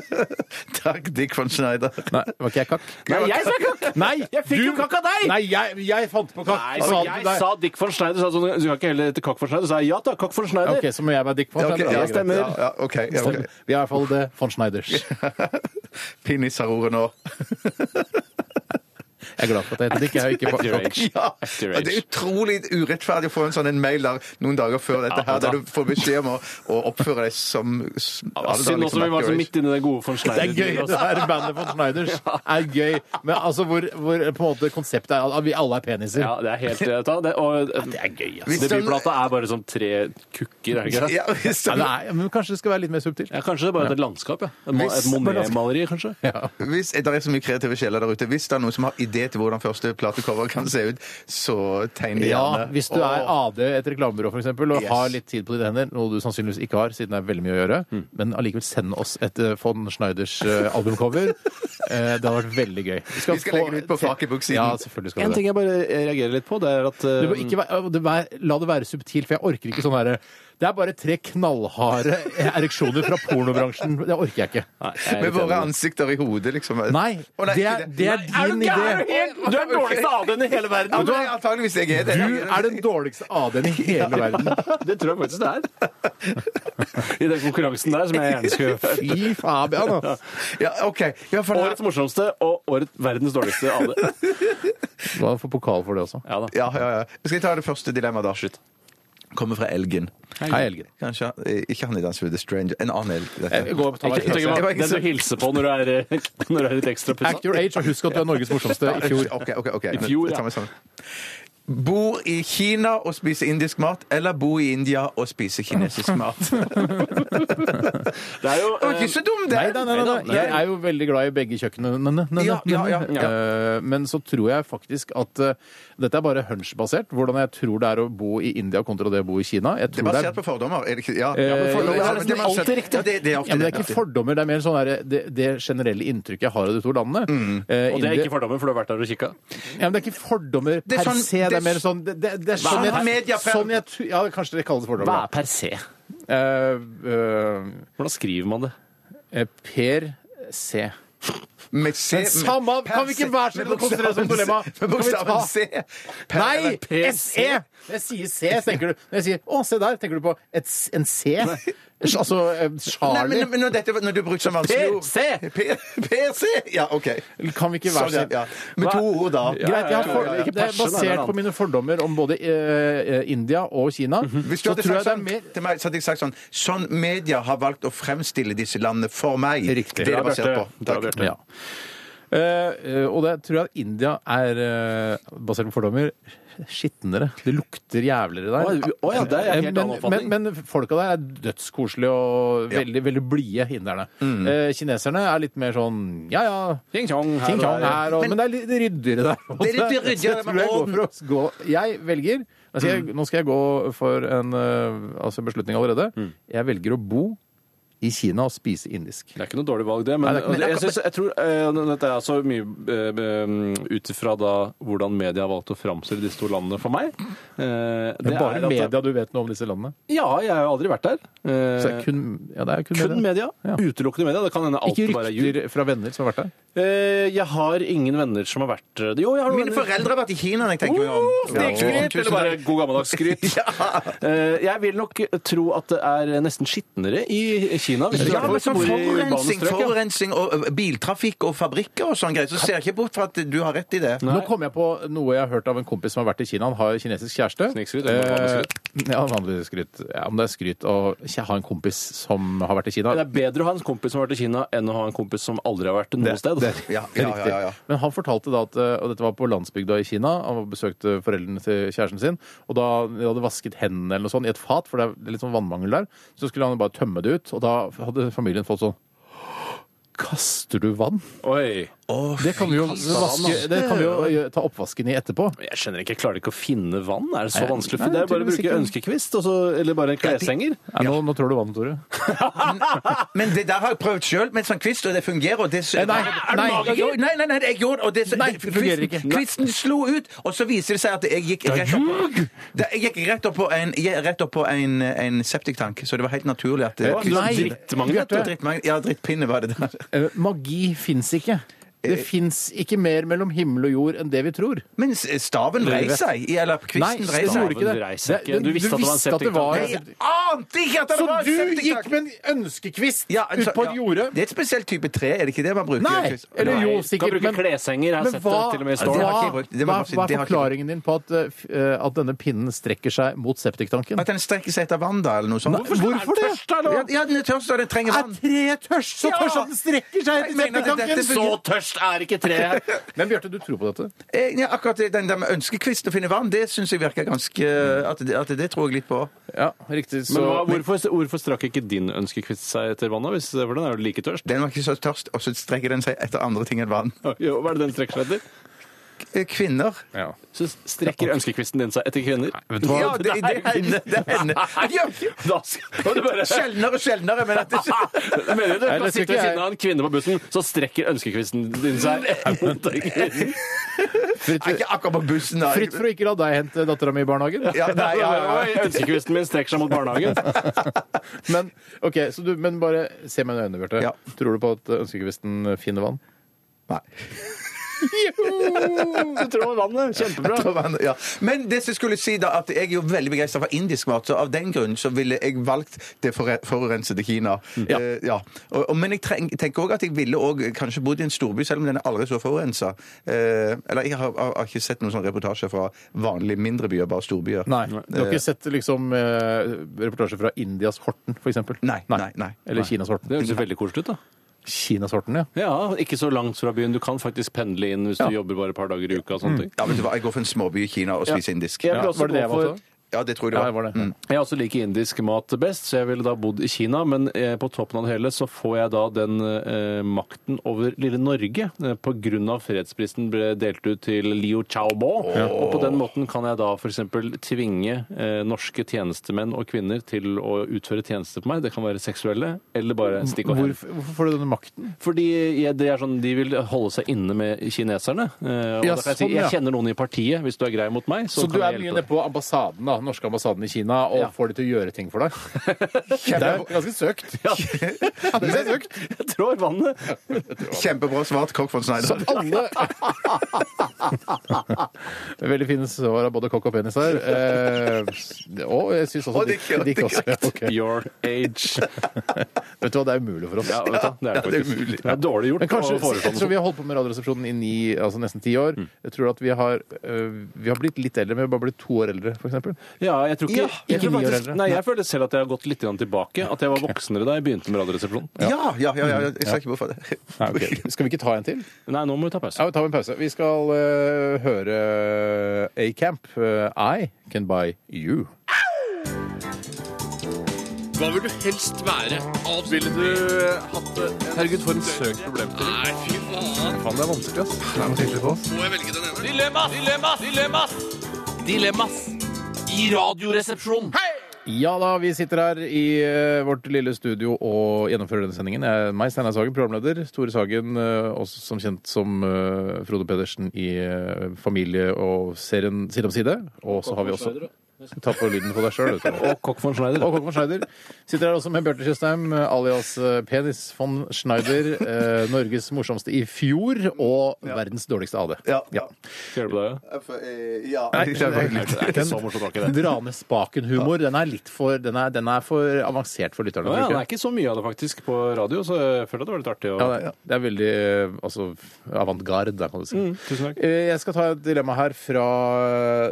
Speaker 4: Takk, Dick von Schneider.
Speaker 3: Nei, var ikke jeg kakk?
Speaker 5: Nei, jeg sa kakk!
Speaker 3: Nei,
Speaker 5: Jeg fikk jo kakk av deg!
Speaker 3: Nei, jeg, jeg fant på kakk.
Speaker 5: Nei,
Speaker 3: Sa
Speaker 5: for
Speaker 3: du-
Speaker 5: jeg
Speaker 3: nei.
Speaker 5: sa Dick von Schneider, sa sånn, du kan ikke heller hete Kakk von Schneider. Så sa jeg ja takk, Kakk von Schneider.
Speaker 3: OK, så må jeg være Dick von
Speaker 4: Ja, ok,
Speaker 3: Schneider.
Speaker 4: ja,
Speaker 3: Ja,
Speaker 4: greit.
Speaker 3: stemmer.
Speaker 4: Ja, ja, ok, ja, ok.
Speaker 3: Sånn, Vi er i hvert fall det von Schneiders.
Speaker 4: Pinnis har ordet nå.
Speaker 3: Jeg er glad for at jeg heter Dick. Jeg er ikke
Speaker 5: Your age.
Speaker 4: Ja,
Speaker 5: At your
Speaker 4: og det er
Speaker 5: age.
Speaker 4: utrolig urettferdig å få en sånn en mail der noen dager før dette her,
Speaker 5: da.
Speaker 4: der du får beskjed om å, å oppføre deg som s-
Speaker 5: Ja,
Speaker 4: alle dager
Speaker 5: Synd også
Speaker 4: som
Speaker 5: vi var
Speaker 4: Mac
Speaker 5: så
Speaker 4: Joyce.
Speaker 5: midt inne i det altså. gode von
Speaker 3: Det
Speaker 5: Schneider.
Speaker 3: er gøy, det her bandet von Schneiders er gøy. Men altså hvor, hvor på en måte konseptet er at vi alle er peniser.
Speaker 5: Ja, det er helt vet du hva, det, og, eh, det er gøy, altså.
Speaker 4: Hvis den-
Speaker 5: Debutplata er bare som tre kukker, er det ikke det?
Speaker 4: Ja, hvis
Speaker 3: Ja,
Speaker 4: den,
Speaker 3: det er, men kanskje det skal være litt mer subtilt.
Speaker 5: Ja, kanskje det er bare et landskap, ja. Et, ma- et Monet-maleri, kanskje?
Speaker 4: hvis, det er så mye kreative sjeler der ute. Hvis det er noen som har idé til hvordan første platecover kan se ut, så tegn det
Speaker 3: Ja,
Speaker 4: gjerne.
Speaker 3: Hvis du er
Speaker 4: Åh.
Speaker 3: AD i et reklamebyrå for eksempel, og
Speaker 4: Yes.
Speaker 3: har litt tid på dine hender, noe du sannsynligvis ikke har, siden det er veldig mye å gjøre,
Speaker 4: Mm.
Speaker 3: men allikevel send oss et eh, von Schneiders eh, albumcover. Eh, det hadde vært veldig gøy.
Speaker 4: Vi skal legge det ut på Fakebook-siden.
Speaker 3: Ja, selvfølgelig skal
Speaker 5: En
Speaker 3: vi det.
Speaker 5: ting jeg bare eh, reagerer litt på, det er at eh,
Speaker 3: Du må ikke være, det vær- la det være subtilt, for jeg orker ikke sånn herre Det er bare tre knallharde ereksjoner fra pornobransjen. Det orker jeg ikke.
Speaker 4: Med våre ansikter i hodet, liksom.
Speaker 3: Nei,
Speaker 4: Å,
Speaker 3: det er, det er din idé.
Speaker 5: Du er den dårligste AD-en i hele verden!
Speaker 4: Ja, men antageligvis jeg er det.
Speaker 3: Du er den dårligste AD-en i hele verden.
Speaker 5: Det tror jeg faktisk det er. I den konkurransen der som jeg gjerne skulle
Speaker 3: Fy faen. altså. ass.
Speaker 4: Ja, OK. Ja, for
Speaker 5: Årets morsomste og årets verdens dårligste AD.
Speaker 3: Du har fått pokal for det også.
Speaker 5: Ja da.
Speaker 4: ja, ja, ja. Skal jeg ta det første dilemmaet, da? Slutt. Kommer fra Elgen.
Speaker 3: Hei, Helge.
Speaker 4: Kanskje eh, Ikke han i Dance with the Stranger. En annen elg. dette.
Speaker 3: Jeg går og tar meg
Speaker 5: Ikke,
Speaker 3: en
Speaker 5: tenk
Speaker 3: pølse.
Speaker 5: på den du hilser på når du er, når du er litt ekstra
Speaker 3: Act
Speaker 5: pussa.
Speaker 3: your age, og husk at du er Norges morsomste i fjor.
Speaker 4: Ok, ok, ok.
Speaker 5: I fjor,
Speaker 4: Jeg tar
Speaker 5: ja.
Speaker 4: meg sammen. Bo i Kina og spise indisk mat, eller bo i India og spise kinesisk mat?
Speaker 5: Det er jo
Speaker 4: Det var
Speaker 5: eh,
Speaker 4: ikke så dum, det!
Speaker 3: Nei, nei, nei, nei, nei. Jeg er jo veldig glad i begge kjøkkenene. Nei, nei,
Speaker 4: Ja, ja, ja,
Speaker 3: nei. Eh, Men så tror jeg faktisk at eh, dette er bare hunch-basert. Hvordan jeg tror det er å bo i India kontra det å bo i Kina. Jeg
Speaker 4: Det er
Speaker 3: tror det
Speaker 4: basert
Speaker 3: er
Speaker 4: på fordommer. Er det ikke? Ja,
Speaker 3: Eh,
Speaker 4: men fordommer-
Speaker 3: ja,
Speaker 4: ja,
Speaker 3: men
Speaker 4: men
Speaker 3: det er
Speaker 4: man
Speaker 3: alltid
Speaker 4: ser-
Speaker 3: riktig.
Speaker 4: Ja, det, det
Speaker 3: ja,
Speaker 4: er ofte
Speaker 3: men det er
Speaker 4: riktig.
Speaker 3: ikke fordommer, det er mer sånn der, det, det generelle inntrykket jeg har av de to landene. Eh,
Speaker 5: Og det er
Speaker 3: India-
Speaker 5: ikke fordommen, for du har vært der og kikka.
Speaker 3: Ja, men det er ikke fordommer
Speaker 4: Det er
Speaker 3: per
Speaker 4: sånn-
Speaker 3: se. Det er mer sånn Det, det, det er sånn
Speaker 4: Hva er media
Speaker 3: jeg,
Speaker 4: per-
Speaker 3: sånn jeg tu- Ja, kanskje det kalles fordommer. da.
Speaker 5: per se?
Speaker 3: Eh,
Speaker 5: Hvordan skriver man det?
Speaker 3: eh, per C.
Speaker 4: Med C-
Speaker 3: Men samme-
Speaker 4: med-
Speaker 3: kan vi ikke være så
Speaker 4: med
Speaker 3: snill å konsentrere oss om
Speaker 4: bokstaven-
Speaker 3: dilemma?
Speaker 4: Med
Speaker 3: Kan
Speaker 4: bokstaven
Speaker 3: vi
Speaker 4: C. Per-
Speaker 3: Nei! E!
Speaker 4: eller-
Speaker 3: SE! Jeg sier C, så tenker du. Når jeg sier 'Å, se der', tenker du på et, s- en C. Altså eh,
Speaker 4: Nei,
Speaker 3: Charlie
Speaker 4: men, men når, dette, når du brukte sånn vanskelig ord P- PC! Ja, OK.
Speaker 3: kan vi ikke være
Speaker 4: Sånn, ja, ja. Med to
Speaker 3: Hva-
Speaker 4: ord, da.
Speaker 3: Greit, jeg har for,
Speaker 4: Ja, ja, ja.
Speaker 3: det er basert på mine fordommer om både eh, India og Kina.
Speaker 4: Hvis du
Speaker 3: Så
Speaker 4: hadde
Speaker 3: tror jeg
Speaker 4: sagt
Speaker 3: det er
Speaker 4: sånn, til meg, så hadde jeg sagt sånn Sånn media har valgt å fremstille disse landene for meg.
Speaker 3: Riktig.
Speaker 4: Det er
Speaker 3: Bra,
Speaker 4: det basert
Speaker 3: Bjarte.
Speaker 4: på.
Speaker 3: Bra,
Speaker 4: Takk.
Speaker 3: Bjarte. Ja. Eh, eh, og det tror jeg at India er, eh, basert på fordommer, skitnere. Det lukter jævligere
Speaker 5: Å,
Speaker 3: der.
Speaker 5: å ja, det er jeg helt
Speaker 3: men,
Speaker 5: annen oppfatning.
Speaker 3: men, men folka der er dødskoselige og veldig, veldig blide, hinderne.
Speaker 5: Mm.
Speaker 3: Eh, kineserne er litt mer sånn ja ja,
Speaker 5: Ting tjong her
Speaker 3: ting
Speaker 5: og
Speaker 3: tjong
Speaker 5: der, ja.
Speaker 3: her, og, men, det er litt ryddigere der.
Speaker 4: Det er litt
Speaker 3: Så jeg
Speaker 4: ryddigere,
Speaker 3: tror
Speaker 4: men
Speaker 3: jeg går
Speaker 4: orden.
Speaker 3: for å gå Jeg velger nå skal
Speaker 5: Mm.
Speaker 3: jeg, nå skal jeg gå for en eh, altså beslutning allerede.
Speaker 5: Mm.
Speaker 3: Jeg velger å bo i Kina og spise indisk.
Speaker 5: Det er ikke noe dårlig valg, det. Men,
Speaker 3: Nei, det er ikke-
Speaker 5: jeg, synes, jeg tror eh, Dette er altså mye eh, ut ifra da hvordan media har valgt å framstille disse to landene for meg. Eh,
Speaker 3: Det er bare
Speaker 5: at-
Speaker 3: media du vet noe om disse landene?
Speaker 5: Ja, jeg har jo aldri vært der. Eh,
Speaker 3: Så det er kun, ja, det er kun,
Speaker 5: kun
Speaker 3: media.
Speaker 5: media.
Speaker 3: Ja.
Speaker 5: Utelukkende media. Det kan hende alt
Speaker 3: Ikke
Speaker 5: bare er jul.
Speaker 3: rykter fra venner som har vært der?
Speaker 5: Eh, jeg har ingen venner som har vært det. Jo, jeg har noen
Speaker 4: Mine
Speaker 5: venner.
Speaker 4: foreldre har vært i Kina, når jeg tenker meg om.
Speaker 5: Oh, snikskryt! Eller bare god gammeldags skryt. Eh, Jeg vil nok tro at det er nesten skitnere i Kina. Hvis du
Speaker 4: Ja,
Speaker 5: er
Speaker 4: men
Speaker 5: folk som
Speaker 4: sånn
Speaker 5: bor i urbane
Speaker 4: forurensing,
Speaker 5: strøk, ja.
Speaker 4: forurensing og ø, biltrafikk og fabrikker og sånn greier, så ser jeg ikke bort fra at du har rett i det.
Speaker 3: Nå kom jeg på noe jeg har hørt av en kompis som har vært i Kina. Han har kinesisk kjæreste.
Speaker 5: Snikskryt, eller
Speaker 3: Eh,
Speaker 5: vanlig
Speaker 3: Ja, vanlig skryt. Ja, om det er skryt å ikke ha en kompis som har vært i Kina.
Speaker 5: Det er bedre å ha en kompis som har vært i Kina, enn å ha en kompis som aldri har vært noe sted.
Speaker 4: altså. Ja, ja, ja, ja, ja.
Speaker 3: Men han fortalte da at eh, og dette var på landsbygda i Kina. Han besøkte foreldrene til kjæresten sin. Og da de hadde vasket hendene eller noe sånt i et fat, for det er litt sånn vannmangel der, så skulle han bare tømme det ut. Og da hadde familien fått sånn Kaster du vann?
Speaker 5: Oi.
Speaker 3: Det kan vi jo, vaske, det kan vi jo gjø- ta oppvasken i etterpå.
Speaker 5: Jeg skjønner ikke, jeg klarer ikke å finne vann. Er det så
Speaker 3: Nei,
Speaker 5: vanskelig?
Speaker 3: nei,
Speaker 5: For det er bare å
Speaker 3: tydeligvis
Speaker 5: bruke ønskekvist, og så- eller bare en kleshenger.
Speaker 3: Nei, nå, nå tror du vann, Tore.
Speaker 4: Men det der har jeg prøvd sjøl med en sånn kvist, og det fungerer. Og det,
Speaker 3: Eh, nei, er du
Speaker 4: nei,
Speaker 3: magiker?
Speaker 4: Jo, nei, nei, nei, jeg gjorde og det,
Speaker 3: Nei, det fungerer
Speaker 4: kvisten-
Speaker 3: ikke.
Speaker 4: Kvisten slo ut, og så viser det seg at jeg gikk rett opp, Da- jeg gikk rett opp på en, jeg- rett opp på en, en septiktank, så det var helt naturlig at
Speaker 5: Det var
Speaker 4: kvisten-
Speaker 3: sånn
Speaker 5: nei, drittmange, vet du.
Speaker 4: Drittmange. Ja, drittpinne var det der.
Speaker 3: Eh, Magi fins ikke. Det fins ikke mer mellom himmel og jord enn det vi tror.
Speaker 4: Men staven
Speaker 3: Dere
Speaker 4: vrei
Speaker 3: vet.
Speaker 4: seg, eller kvisten vrei
Speaker 3: staven
Speaker 4: seg.
Speaker 3: gjorde ikke det.
Speaker 5: vrei seg ikke.
Speaker 3: Det-
Speaker 5: Du visste at det var
Speaker 3: en
Speaker 5: en septiktank.
Speaker 4: Jeg ante ikke at det
Speaker 3: Så
Speaker 4: var en
Speaker 3: du
Speaker 4: septiktank.
Speaker 3: gikk med en ønskekvist
Speaker 4: Ja, altså,
Speaker 3: ut på
Speaker 4: ja.
Speaker 3: et jorde?
Speaker 4: Det er et spesielt type tre, er det ikke det man bruker?
Speaker 3: Nei! Eller jo,
Speaker 5: Nei,
Speaker 3: sikkert.
Speaker 5: kan bruke kleshenger, jeg har
Speaker 3: men
Speaker 5: sett det
Speaker 3: hva,
Speaker 5: til og med i
Speaker 4: Storm. Det har
Speaker 3: hva,
Speaker 4: ikke jeg brukt. Det må
Speaker 3: hva,
Speaker 4: jeg bare si,
Speaker 3: hva
Speaker 4: det
Speaker 3: er
Speaker 4: har ikke jeg
Speaker 3: forklaringen din på at, eh, f- eh, at denne pinnen strekker seg mot septiktanken?
Speaker 4: At den strekker seg etter vann, da, eller noe sånt.
Speaker 3: Hvorfor det?
Speaker 4: Ja, ja, den er tørst, og den trenger
Speaker 3: Er
Speaker 4: vann.
Speaker 3: treet tørst så
Speaker 4: Ja!
Speaker 3: tørst at den strekker seg
Speaker 4: Jeg
Speaker 3: etter
Speaker 4: mener at
Speaker 3: septiktanken?
Speaker 4: dette fungerer.
Speaker 3: tørst er ikke treet! Men Bjarte, du tror på dette?
Speaker 4: Eh, Ja, akkurat det- den der med ønskekvisten å finne vann, det syns jeg virker ganske eh, at det, at det tror jeg litt på.
Speaker 3: Ja, riktig.
Speaker 5: Men hva, hvorfor, hvorfor strakk ikke din ønskekvist seg etter vannet? Hvis, for den er jo like tørst.
Speaker 4: Den var ikke så tørst, og så strekker den seg etter andre ting enn vann.
Speaker 5: Jo, hva er det den strekker seg etter?
Speaker 4: Eh, Kvinner.
Speaker 3: Ja.
Speaker 5: Så strekker ønskekvisten din seg etter kvinner.
Speaker 4: Ja, det, det hender. Det hender. Det gjør ikke-
Speaker 5: Da skal du bare
Speaker 4: Sjeldnere og sjeldnere, men at det
Speaker 5: Jeg mener du
Speaker 3: Nei,
Speaker 5: kan
Speaker 3: det tror
Speaker 5: sitte
Speaker 3: ikke
Speaker 5: ved
Speaker 3: jeg.
Speaker 5: siden av en kvinne på bussen, så strekker ønskekvisten din seg mot den kvinnen.
Speaker 3: Fritt,
Speaker 4: Nei, Ikke akkurat på bussen, da.
Speaker 3: fritt for å ikke la deg hente dattera mi i barnehagen.
Speaker 4: Ja, nei, ja, ja,
Speaker 5: Oi,
Speaker 4: ja.
Speaker 5: Ønskekvisten min strekker seg mot barnehagen.
Speaker 3: Men, ok, så du, men bare se meg i øynene, Bjarte.
Speaker 4: Ja.
Speaker 3: Tror du på at ønskekvisten finner vann?
Speaker 4: Nei.
Speaker 5: Du tror vannet. Kjempebra.
Speaker 4: Jeg tror han- Ja. Men det som jeg skulle si da, at jeg er jo veldig begeistra for indisk mat, så av den grunn så ville jeg valgt det forure- forurensede Kina.
Speaker 3: Mm. Ja.
Speaker 4: Eh, ja. Og, og, men jeg treng, tenker òg at jeg ville òg kanskje bodd i en storby, selv om den er aldri så forurensa. Eh, eller jeg har, har, har ikke sett noen sånn reportasje fra vanlige mindre byer, bare storbyer.
Speaker 3: Nei. Du har ikke sett liksom, eh, reportasje fra Indias Horten, f.eks.?
Speaker 4: Nei, nei, nei.
Speaker 3: Eller Kinas
Speaker 5: Det
Speaker 3: Horten.
Speaker 5: høres jo veldig koselig ut, da.
Speaker 3: Kinas Horten, ja.
Speaker 5: Ja, ikke så langt fra byen. Du kan faktisk pendle inn hvis du jobber bare et par dager i uka. og sånne ting.
Speaker 4: Mm. Ja, vet du hva, jeg går for en småby i Kina og spiser indisk.
Speaker 5: Jeg
Speaker 3: ja.
Speaker 5: vil også
Speaker 3: Var det det
Speaker 5: gå
Speaker 3: jeg valgte?
Speaker 5: for-
Speaker 3: da?
Speaker 4: Ja, det tror jeg det
Speaker 3: Ja,
Speaker 4: var.
Speaker 3: det
Speaker 4: Mm.
Speaker 3: var det.
Speaker 5: Jeg også liker indisk mat best, så jeg ville da bodd i Kina. Men eh, på toppen av det hele så får jeg da den eh, makten over lille Norge. Eh, på grunn av fredsprisen ble delt ut til Liu Xiaobo. Og på den måten kan jeg da f.eks. tvinge eh, norske tjenestemenn og -kvinner til å utføre tjenester på meg. Det kan være seksuelle, eller bare stikk og hen.
Speaker 3: Hvorfor, hvorfor får du denne makten?
Speaker 5: Fordi jeg, det er sånn, De vil holde seg inne med kineserne. Eh, og
Speaker 3: Ja,
Speaker 5: da kan jeg, si,
Speaker 3: sånn, ja.
Speaker 5: jeg kjenner noen i partiet. Hvis du er grei mot meg, så,
Speaker 3: Så, du
Speaker 5: kan
Speaker 3: er
Speaker 5: jeg
Speaker 3: mye
Speaker 5: hjelpe
Speaker 3: nede
Speaker 5: deg.
Speaker 3: på ambassaden, da, norske ambassaden i Kina og
Speaker 5: Ja.
Speaker 3: får de til å gjøre ting for deg? det er ganske søkt. Ja. det er søkt.
Speaker 5: Jeg tror
Speaker 10: vannet.
Speaker 4: Kjempebra svart kokk von Schneider.
Speaker 10: Som alle-
Speaker 3: Veldig fine svar av både kokk og penis her. Eh, og jeg syns også
Speaker 10: Og Dick, ja,
Speaker 3: Dick også.
Speaker 10: Dick, ja.
Speaker 3: Your age. vet du hva, det er umulig for oss.
Speaker 5: Ja, vet du hva, det er det Ja, det er faktisk. umulig. Det er dårlig gjort
Speaker 3: Men kanskje,
Speaker 5: å foreslå sånn. Mm. noe
Speaker 3: ettersom vi har holdt på med Radioresepsjonen i ni, altså nesten ti år, jeg tror at vi har, eh, vi har blitt litt eldre, men vi har bare blitt to år eldre, f.eks.
Speaker 5: Ja, jeg tror ikke,
Speaker 3: Ja, ikke
Speaker 5: jeg tror
Speaker 3: ni år
Speaker 5: faktisk,
Speaker 3: eldre.
Speaker 5: Nei, jeg føler selv at jeg har gått litt grann tilbake. At jeg var voksnere da jeg begynte med Radioresepsjonen.
Speaker 4: Ja, ja, ja, ja, jeg ser ikke hvorfor det.
Speaker 3: Nei, ok. Skal vi ikke ta en til?
Speaker 5: Nei, nå må vi ta pause.
Speaker 3: Ja, vi tar en pause. Vi skal eh, høre A-Camp. eh, I Can Buy You.
Speaker 9: Hva vil du helst være? Ville du hatt det? Herregud, for en søk problemstilling. Nei, fy faen.
Speaker 3: Faen, det er vanskelig, ass. Det er vanskelig for oss.
Speaker 9: Må jeg velge den ene? Dilemmas, dilemmas, dilemmas! Dilemmas i radioresepsjonen.
Speaker 3: Ja da, vi sitter her i eh, vårt lille studio og gjennomfører denne sendingen. Jeg er meg, Steinar Sagen, programleder. Tore Sagen, eh, også som kjent som eh, Frode Pedersen i eh, Familie og serien Side om side. Og så har vi også Ta på lyden på deg sjøl, vet du.
Speaker 5: Og Kokk von Schneider.
Speaker 3: Og Kokk von Schneider. Sitter her også med Bjarte Tjøstheim, eh, alias eh, Penis von Schneider. eh, Norges morsomste i fjor, og verdens dårligste AD. Ja.
Speaker 5: Skal jeg hjelpe deg?
Speaker 7: Ja.
Speaker 3: Nei, det er ikke så morsomt akkurat det. Dra med spaken-humor. Den er litt for, den er, den er for avansert for lytterne.
Speaker 5: Å ja,
Speaker 3: tror
Speaker 5: det
Speaker 3: jeg.
Speaker 5: er ikke så mye av det faktisk på radio, så jeg føler at det var litt artig å
Speaker 3: Ja, det, er- det er veldig eh, altså, avantgarde, da, kan du si.
Speaker 5: Mm, tusen takk.
Speaker 3: Eh, Jeg skal ta et dilemma her fra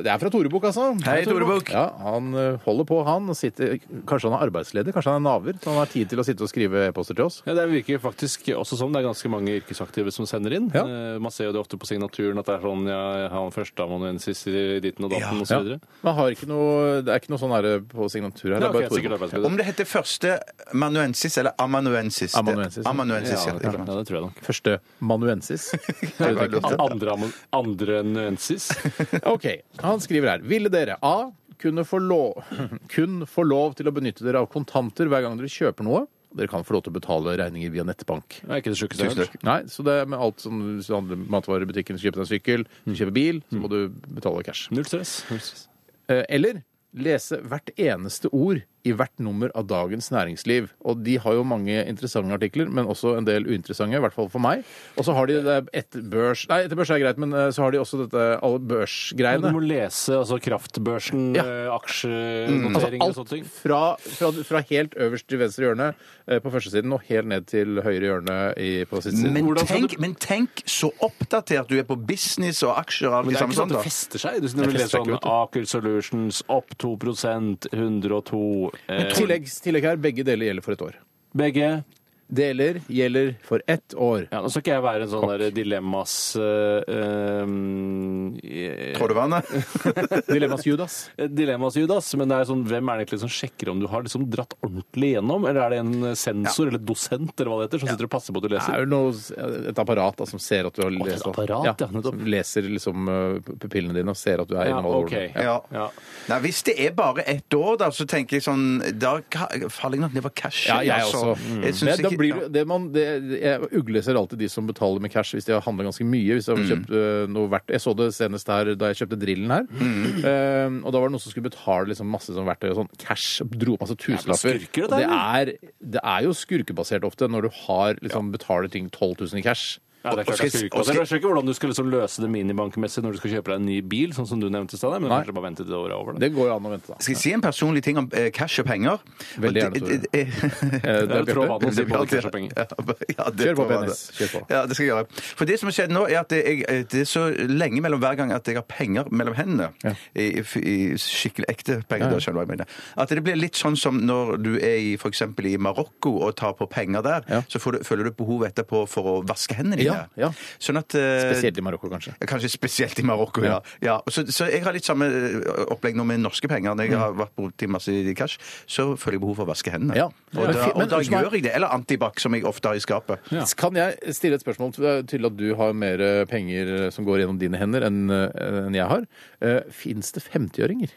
Speaker 3: Det er fra Torebukk, altså.
Speaker 5: Hei, Tore Bukk.
Speaker 3: Ja, han eh, holder på, han. og Sitter, kanskje han er arbeidsledig, kanskje han er naver. Så han har tid til å sitte og skrive e-poster til oss.
Speaker 5: Ja, Det virker faktisk også som det er ganske mange yrkesaktive som sender inn. Eh, Man ser jo det ofte på signaturen at det er sånn ja, jeg har en førsteamanuensis i ditten og datten og så videre.
Speaker 3: Man har ikke noe, det er ikke noe sånn her på signatur her. det er
Speaker 5: Nei, ok,
Speaker 3: bare
Speaker 5: sikkert
Speaker 3: Torebukk.
Speaker 5: arbeidsledig.
Speaker 4: Om det heter første manuensis eller amanuensis.
Speaker 3: Amanuensis, ja.
Speaker 4: Amanuensis, ja.
Speaker 3: Ja, det er klart.
Speaker 5: Ja, det tror jeg nok.
Speaker 3: Første manuensis.
Speaker 5: Andre, andre nuensis.
Speaker 3: OK. Han skriver her. Ville dere A. Kunne få, lov, kun få lov til å benytte dere av kontanter hver gang dere kjøper noe? Dere kan få lov til å betale regninger via nettbank.
Speaker 5: Det er ikke det sjukeste jeg har hørt.
Speaker 3: Nei, så det er med alt som hvis du handler i matvarebutikken, hvis du kjøper deg en sykkel, hvis du kjøper bil, så må du betale cash.
Speaker 5: Null stress. Null stress.
Speaker 3: Eh, Eller lese hvert eneste ord i hvert nummer av Dagens Næringsliv. Og de har jo mange interessante artikler, men også en del uinteressante, i hvert fall for meg. Og så har de det etter børs Nei, etter børs er greit, men eh, så har de også dette alle
Speaker 5: Men
Speaker 3: børsgreiene.
Speaker 5: Du må lese altså kraftbørsen, eh,
Speaker 3: Mm.
Speaker 5: aksjenotering og
Speaker 3: Altså,
Speaker 5: sånne ting.
Speaker 3: alt fra, fra, fra helt øverst til venstre hjørne eh, på første siden og helt ned til høyre hjørne i, på siste siden.
Speaker 4: Men
Speaker 3: Hvordan skal
Speaker 4: tenk, men tenk så oppdatert du er på business og aksjer og alt
Speaker 5: Men
Speaker 4: det
Speaker 5: det er
Speaker 4: samme
Speaker 5: ikke sånn
Speaker 4: sånn,
Speaker 5: at
Speaker 4: da.
Speaker 5: det fester seg. Du synes når
Speaker 4: Det
Speaker 5: du leser
Speaker 4: fester seg
Speaker 5: sånn
Speaker 4: ikke,
Speaker 5: Aker Solutions opp 2 102 eh,
Speaker 3: Men tillegg, tillegg her, begge deler gjelder for et år.
Speaker 5: Begge
Speaker 3: Deler gjelder for ett år.
Speaker 5: Ja, Nå skal ikke jeg være en sånn der dilemmas uh, um,
Speaker 4: Trådvannet?
Speaker 3: dilemmas Judas.
Speaker 5: eh, Dilemmas Judas, men det er sånn, hvem er det egentlig som sjekker om du har liksom dratt ordentlig gjennom? Eller er det en sensor eller dosent eller hva det heter, som sitter og passer på at du
Speaker 3: Det er
Speaker 5: leser?
Speaker 3: jo noe, et apparat da, som ser at du har
Speaker 5: Å, det er
Speaker 3: lest
Speaker 5: et apparat, ja, nettopp.
Speaker 3: som leser liksom eh, pupillene dine og ser at du er
Speaker 5: Ja,
Speaker 3: innom alle
Speaker 5: ok.
Speaker 3: ordene.
Speaker 4: Ja. Nei, hvis det er bare ett år, da, så tenker jeg sånn Da ka- faller jeg nok ned på cash.
Speaker 3: Ja, jeg
Speaker 4: altså.
Speaker 3: også.
Speaker 4: Jeg
Speaker 3: Mm.
Speaker 4: syns
Speaker 3: Det, da
Speaker 4: ikke-
Speaker 3: blir, det- det man, det, jeg ugleser alltid de som betaler med cash hvis de har handla ganske mye. Hvis de har kjøpt eh, noe verdt. Jeg så det senest her da jeg kjøpte drillen her. Eh, og da var det noen som skulle betale liksom masse sånn verktøy og sånn cash. og Dro opp masse tusenlapper.
Speaker 5: skurker det
Speaker 3: Og det,
Speaker 5: der,
Speaker 3: er, det er jo skurkebasert ofte når du har, liksom, betaler ting 12 000 i cash.
Speaker 5: Ja, det er
Speaker 3: Og
Speaker 5: klart
Speaker 3: skal-
Speaker 5: jeg skal ikke
Speaker 3: og
Speaker 5: Jeg
Speaker 3: skal-
Speaker 5: skjønner ikke hvordan du skal liksom løse det minibankmessig når du skal kjøpe deg en ny bil, sånn som du nevnte i stad, men
Speaker 4: Nei.
Speaker 5: kanskje bare vente til det året er over. da.
Speaker 3: Det går jo an å vente, da.
Speaker 4: Skal jeg si en personlig ting om eh, cash og penger?
Speaker 3: Veldig gjerne,
Speaker 4: Og det-
Speaker 3: Tore.
Speaker 4: det- det-
Speaker 3: Eh, det er
Speaker 4: Det er
Speaker 3: Bjarte.
Speaker 4: Bjarte.
Speaker 3: Det er Bjarte.
Speaker 4: Ja, ja, det
Speaker 3: Kjør på,
Speaker 4: tror jeg
Speaker 3: Penis.
Speaker 4: det.
Speaker 3: Kjør på.
Speaker 4: Ja, det skal jeg gjøre. For det som har skjedd nå, er at jeg, eh, det er så lenge mellom hver gang at jeg har penger mellom hendene. I, i skikkelig ekte penger,
Speaker 3: Ja, ja.
Speaker 4: da skjønner du hva jeg mener. At det blir litt sånn som når du er i f.eks. i Marokko og tar på penger der, så får du, føler du behov etterpå for å vaske hendene dine.
Speaker 3: Ja, ja.
Speaker 4: Sånn at eh,
Speaker 3: Spesielt i Marokko, kanskje.
Speaker 4: ja, Kanskje spesielt i Marokko, ja. ja. og så, så jeg har litt samme eh, opplegg nå med norske penger. Når jeg har vært borti masse i cash, så føler jeg behov for å vaske hendene.
Speaker 3: Ja.
Speaker 4: Og
Speaker 3: Men
Speaker 4: da,
Speaker 3: fi-
Speaker 4: og
Speaker 3: men
Speaker 4: da
Speaker 3: unnskyld meg.
Speaker 4: gjør jeg det. Eller antibac, som jeg ofte har i skapet.
Speaker 3: Kan jeg stille et spørsmål til eh, til at du har mer eh, penger som går gjennom dine hender enn eh, enn jeg har? Fins det 50-åringer?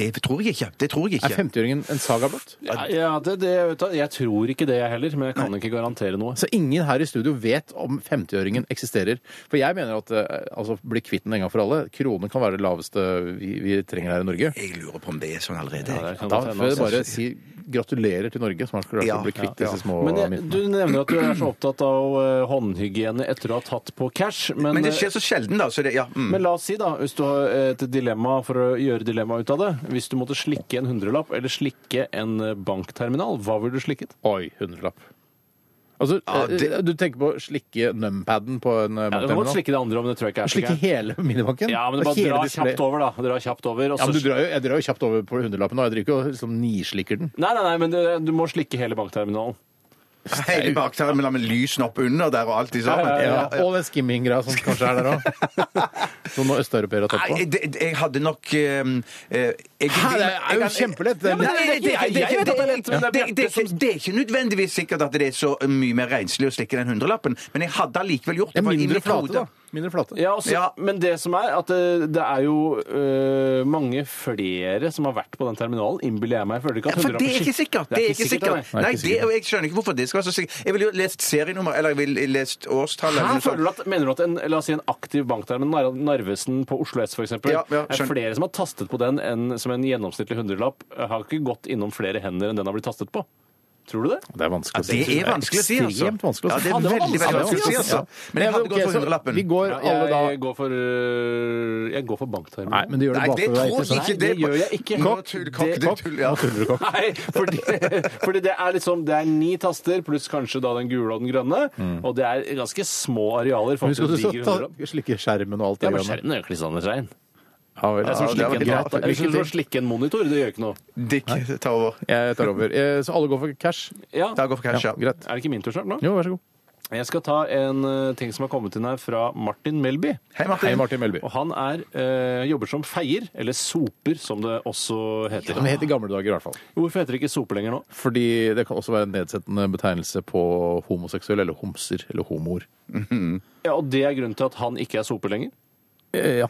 Speaker 4: Det tror jeg ikke. Det tror jeg
Speaker 3: Er 50-åringen en saga blott?
Speaker 5: Ja, ja, det, det, vet du hva, jeg tror ikke det jeg heller, men jeg kan ikke garantere noe.
Speaker 3: Så Altså, ingen her i studio vet om 50-øringen eksisterer. For jeg mener at eh, altså, bli kvitt den en gang for alle. Kroner kan være det laveste vi, vi trenger her i Norge.
Speaker 4: Jeg lurer på om det er sånn allerede.
Speaker 5: Ja, det kan
Speaker 3: Da
Speaker 5: godt hende,
Speaker 3: får jeg
Speaker 5: altså.
Speaker 3: bare si gratulerer til Norge, som har klart
Speaker 5: Ja.
Speaker 3: å bli kvitt
Speaker 5: Ja, ja.
Speaker 3: disse små
Speaker 5: Men jeg,
Speaker 3: myntene.
Speaker 5: Du nevner at du er så opptatt av eh, håndhygiene etter å ha tatt på cash. Men, eh,
Speaker 4: Men det skjer så sjelden, da. Så det, ja. mm.
Speaker 5: Men la oss si, da, hvis du har et dilemma for å gjøre dilemma ut av det Hvis du måtte slikke en hundrelapp eller slikke en eh, bankterminal, hva ville du slikket?
Speaker 3: Oi, hundrelapp. Altså,
Speaker 5: Ja, det-
Speaker 3: eh, Du tenker på å slikke numpaden på en eh,
Speaker 5: Ja, du må godt slikke det andre, men det tror jeg ikke er så
Speaker 3: Slikke
Speaker 5: gærent.
Speaker 3: hele minibanken?
Speaker 5: Ja, men
Speaker 3: Det er
Speaker 5: bare
Speaker 3: hele
Speaker 5: dra
Speaker 3: displayet.
Speaker 5: kjapt over, da. Dra kjapt over, og
Speaker 3: Ja,
Speaker 5: så
Speaker 3: men du drar jo, jeg drar jo kjapt over på hundrelappen nå. Jeg driver ikke og liksom nislikker den.
Speaker 5: Nei, nei, nei, men det- du må slikke hele bankterminalen.
Speaker 4: Hele bakterien med lysene opp under der og alt i sammen.
Speaker 3: Ja, Og den skimming-greia som kanskje er der òg. Som noen østeuropeere har tatt på.
Speaker 4: Nei, det, det- jeg hadde nok ehm, eh, jeg-
Speaker 3: Hæ, det er jo
Speaker 4: jeg- jeg-
Speaker 3: kjempelett, det.
Speaker 4: Ja, men det- det- det-
Speaker 3: Jeg
Speaker 4: det-
Speaker 3: vet at det er lett, men det
Speaker 4: det-
Speaker 3: er
Speaker 4: det- det- det- Det er ikke nødvendigvis sikkert at det er så mye mer renslig å stikke den hundrelappen, men jeg hadde allikevel gjort det. for i mitt hode-
Speaker 3: Mindre flate.
Speaker 5: Ja, også,
Speaker 4: Ja.
Speaker 5: Men det som er, at eh, det, det er jo øh, mange flere som har vært på den terminalen, innbiller jeg meg. Jeg føler ikke
Speaker 4: Ja,
Speaker 5: at
Speaker 4: for det
Speaker 5: hundrelappen
Speaker 4: er ikke sikkert! Det er ikke sikkert.
Speaker 5: nei.
Speaker 4: Nei, det, og jeg skjønner ikke hvorfor det skal være så sikkert. Jeg ville jo lest serienummer, eller jeg ville lest årstallet. eller
Speaker 5: Her
Speaker 4: noe sånt.
Speaker 5: føler du at, Mener du at en, la oss si en aktiv bankterm, Nar- Narvesen på Oslo S f.eks.,
Speaker 4: Ja, ja,
Speaker 5: er
Speaker 4: skjønner.
Speaker 5: flere som har tastet på den enn som en gjennomsnittlig hundrelapp? eh, Har ikke gått innom flere hender enn den har blitt tastet på? Tror du det?
Speaker 3: Det er vanskelig å si.
Speaker 4: Ja, det er vanskelig å si, altså.
Speaker 3: Ekstremt vanskelig å si.
Speaker 4: Ja, det er veldig, veldig vanskelig å si, altså. Men jeg hadde
Speaker 3: ok,
Speaker 4: gått for
Speaker 3: så
Speaker 4: hundrelappen.
Speaker 3: Vi går
Speaker 5: jeg,
Speaker 3: alle da
Speaker 5: går for, øh, jeg går for banktermen.
Speaker 3: Nei, men det gjør du
Speaker 4: Nei, det
Speaker 3: bakover.
Speaker 4: tror jeg
Speaker 5: Nei,
Speaker 4: ikke.
Speaker 5: det gjør jeg ikke.
Speaker 4: Nå tull, kokk,
Speaker 5: Det-
Speaker 4: det tull, ja.
Speaker 3: Nå tuller du, kokk.
Speaker 5: Nei, fordi, fordi det er liksom Det er ni taster pluss kanskje da den gule og den grønne. Og det er ganske små arealer.
Speaker 3: Mm. Men Husk
Speaker 5: faktisk
Speaker 3: at du
Speaker 5: diger
Speaker 3: skal
Speaker 5: hundrelapp.
Speaker 3: ta- slikke skjermen og alt
Speaker 5: Ja,
Speaker 3: det
Speaker 5: men
Speaker 3: greiene.
Speaker 5: skjermen gjør sånn, Kristian Rein.
Speaker 3: Ja, vel.
Speaker 5: Det er som å
Speaker 3: Ja,
Speaker 5: slikke
Speaker 3: det
Speaker 5: en
Speaker 3: var
Speaker 5: data.
Speaker 3: bra.
Speaker 5: Det er som å
Speaker 3: Lykke til.
Speaker 5: slikke en monitor. Det gjør ikke noe.
Speaker 4: Dick, ta over.
Speaker 3: Jeg tar over. Eh, Så alle går for cash?
Speaker 5: Ja,
Speaker 4: Da går for cash, ja.
Speaker 3: Greit.
Speaker 5: Er det ikke min tur snart nå?
Speaker 3: Jo, vær så god.
Speaker 5: Jeg skal ta en eh, ting som har kommet inn her fra Martin Melby.
Speaker 4: Hei, Martin.
Speaker 3: Hei, Martin Melby.
Speaker 5: Og han er, eh, jobber som feier, eller soper som det også heter.
Speaker 3: Som het i gamle dager, i hvert fall.
Speaker 5: Hvorfor heter det ikke soper lenger nå?
Speaker 3: Fordi det kan også være en nedsettende betegnelse på homoseksuelle, eller homser, eller homoer.
Speaker 5: Ja, Og det er grunnen til at han ikke er soper lenger?
Speaker 3: Eh, Ja.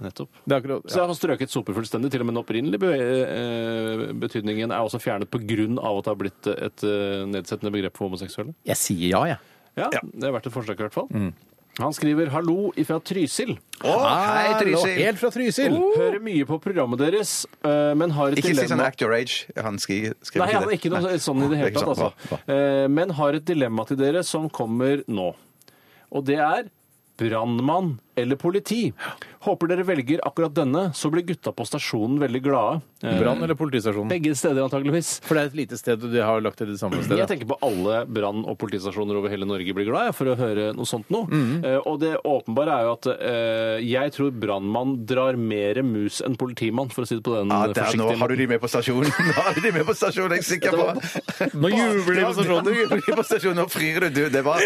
Speaker 5: Nettopp.
Speaker 3: Det er akkurat
Speaker 5: Så jeg har strøket soper fullstendig. Til og med den opprinnelige be eh, betydningen er også fjernet pga. at det har blitt et eh, nedsettende begrep for homoseksuelle.
Speaker 3: Jeg sier ja, jeg.
Speaker 5: Ja, Det er verdt et forsøk, i hvert fall.
Speaker 4: Mm.
Speaker 5: Han skriver 'Hallo ifra Trysil'.
Speaker 4: Å, hei, Trysil.
Speaker 3: Helt fra Ah, Trysil! Oh.
Speaker 5: Hører mye på programmet deres, eh, men har et
Speaker 4: Ikke si
Speaker 5: dilemma
Speaker 4: sånn act your age. Han skriver, skriver
Speaker 5: Nei, han er ikke noe
Speaker 4: Nei.
Speaker 5: sånn i det hele
Speaker 4: Ikke
Speaker 5: tatt,
Speaker 4: sant.
Speaker 5: altså.
Speaker 4: Bra, bra.
Speaker 5: Eh, Men har et dilemma til dere som kommer nå. Og det er brannmann eller politi. Håper dere velger akkurat denne, så blir gutta på stasjonen veldig glade. Eh,
Speaker 3: Brann eller
Speaker 4: Mm.
Speaker 3: politistasjonen?
Speaker 5: Begge steder, antageligvis.
Speaker 3: For det er et lite sted, og de har lagt til det samme
Speaker 5: Jeg
Speaker 3: stedet.
Speaker 5: tenker på alle brann- og politistasjoner over hele Norge blir glad jeg, for å høre noe sånt nå. Eh, og det åpenbare er jo at eh, jeg tror brannmann drar mer mus enn politimann, for å si det på den
Speaker 4: Ja,
Speaker 5: eh,
Speaker 4: der,
Speaker 5: forsiktige
Speaker 4: nå har du
Speaker 5: måten.
Speaker 4: de med på stasjonen! Nå har du de med på stasjonen, jeg er sikker på!
Speaker 3: Nå jubler de på stasjonen.
Speaker 4: Nå jubler de på stasjonen, nå frir du, du! Det var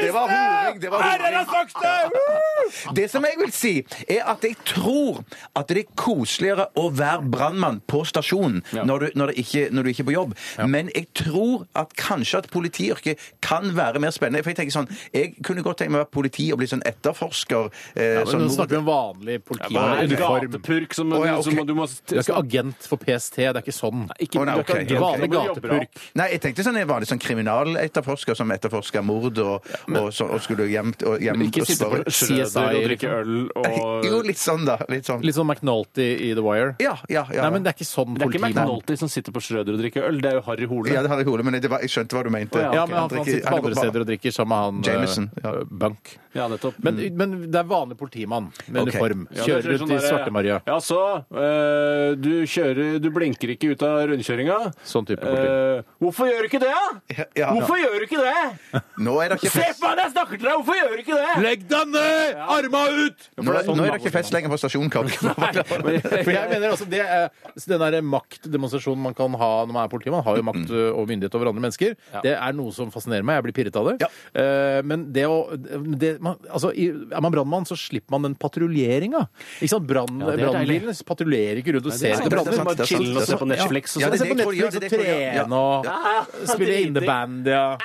Speaker 4: Det var horing! Det var horing. Det som jeg vil si, er at jeg tror at det er koseligere å være brannmann på stasjonen
Speaker 5: Ja.
Speaker 4: når, du, når, det ikke, når du ikke er på jobb. Men jeg tror at kanskje at politiyrket kan være mer spennende. For jeg tenker sånn, jeg kunne godt tenke meg å være politi og bli sånn etterforsker. Eh,
Speaker 3: Ja, men
Speaker 4: sånn
Speaker 3: nå snakker vi om vanlig
Speaker 5: Bare en
Speaker 3: politiuniform.
Speaker 5: gatepurk som,
Speaker 4: Å, ja,
Speaker 5: som
Speaker 4: ok.
Speaker 5: du må
Speaker 3: Du er ikke agent for PST, det er ikke sånn.
Speaker 5: Ikke
Speaker 4: Å, nei,
Speaker 5: du er ikke
Speaker 4: ok,
Speaker 3: ok.
Speaker 5: agent, du må jobbe bra.
Speaker 3: Gatepurk.
Speaker 4: Nei, jeg tenkte sånn en vanlig sånn kriminaletterforsker som etterforsker mord og, og, så, og skulle hjem, og hjem
Speaker 5: Ikke
Speaker 4: og
Speaker 5: sitte på
Speaker 4: spørre
Speaker 5: Schrøder og drikke øl
Speaker 4: Jo,
Speaker 5: og
Speaker 4: litt sånn, da. Litt sånn.
Speaker 3: Litt sånn McNulty i The Wire.
Speaker 4: Ja, ja, ja.
Speaker 3: Nei, men det er ikke sånn
Speaker 5: Det er ikke
Speaker 3: politimann.
Speaker 5: McNulty som sitter på Schrøder og drikker øl, det er jo Harry Hole.
Speaker 4: ja, det har jeg i hodet, men det var, jeg skjønte hva du mente.
Speaker 5: Å,
Speaker 3: Ja, men han,
Speaker 4: Ok,
Speaker 3: han
Speaker 4: drikker-
Speaker 3: sitter på andre
Speaker 4: går bare-
Speaker 3: steder og drikker sammen med han eh,
Speaker 4: Jameson, ja.
Speaker 3: Bunk.
Speaker 5: Ja, nettopp.
Speaker 3: Men, men det er vanlig politimann med
Speaker 4: Ok.
Speaker 3: uniform.
Speaker 5: Ja, det
Speaker 3: Kjører
Speaker 5: ser
Speaker 3: rundt
Speaker 5: ut som
Speaker 3: i
Speaker 5: der-
Speaker 3: Svarte-Maria.
Speaker 5: Ja, så eh, du kjører Du blinker ikke ut av rundkjøringa.
Speaker 3: Sånn type
Speaker 5: Eh, hvorfor gjør du ikke det, da?
Speaker 4: Ja, ja.
Speaker 5: Hvorfor gjør du ikke det?
Speaker 4: Nå er det ikke
Speaker 5: Se
Speaker 4: fest.
Speaker 5: på meg når jeg snakker til deg! Hvorfor gjør du ikke det?
Speaker 3: Legg deg ned! Arma ut!
Speaker 4: Nå er, nå er det ikke fest lenger på stasjonen, Kakk.
Speaker 3: For jeg mener altså, det er, så Den der maktdemonstrasjonen man kan ha når man er politi, man har jo makt ø, og myndighet over andre mennesker, det er noe som fascinerer meg. Jeg blir pirret av det.
Speaker 4: Ja.
Speaker 3: Eh, men det å det, man, altså, i, Er man brannmann, så slipper man den patruljeringa. Ikke sant? Brann-
Speaker 5: det er deilig.
Speaker 3: Brannbilene patruljerer ikke rundt og ser
Speaker 4: sant,
Speaker 3: etter
Speaker 4: det er
Speaker 3: branner.
Speaker 4: sant, det er sant,
Speaker 3: chiller
Speaker 4: det er sant.
Speaker 3: og ser på Netflix og
Speaker 4: Ja, det er
Speaker 3: sånn.
Speaker 4: det jeg tror de gjør, det er det jeg tror de gjør.
Speaker 3: trene og spille innebandy og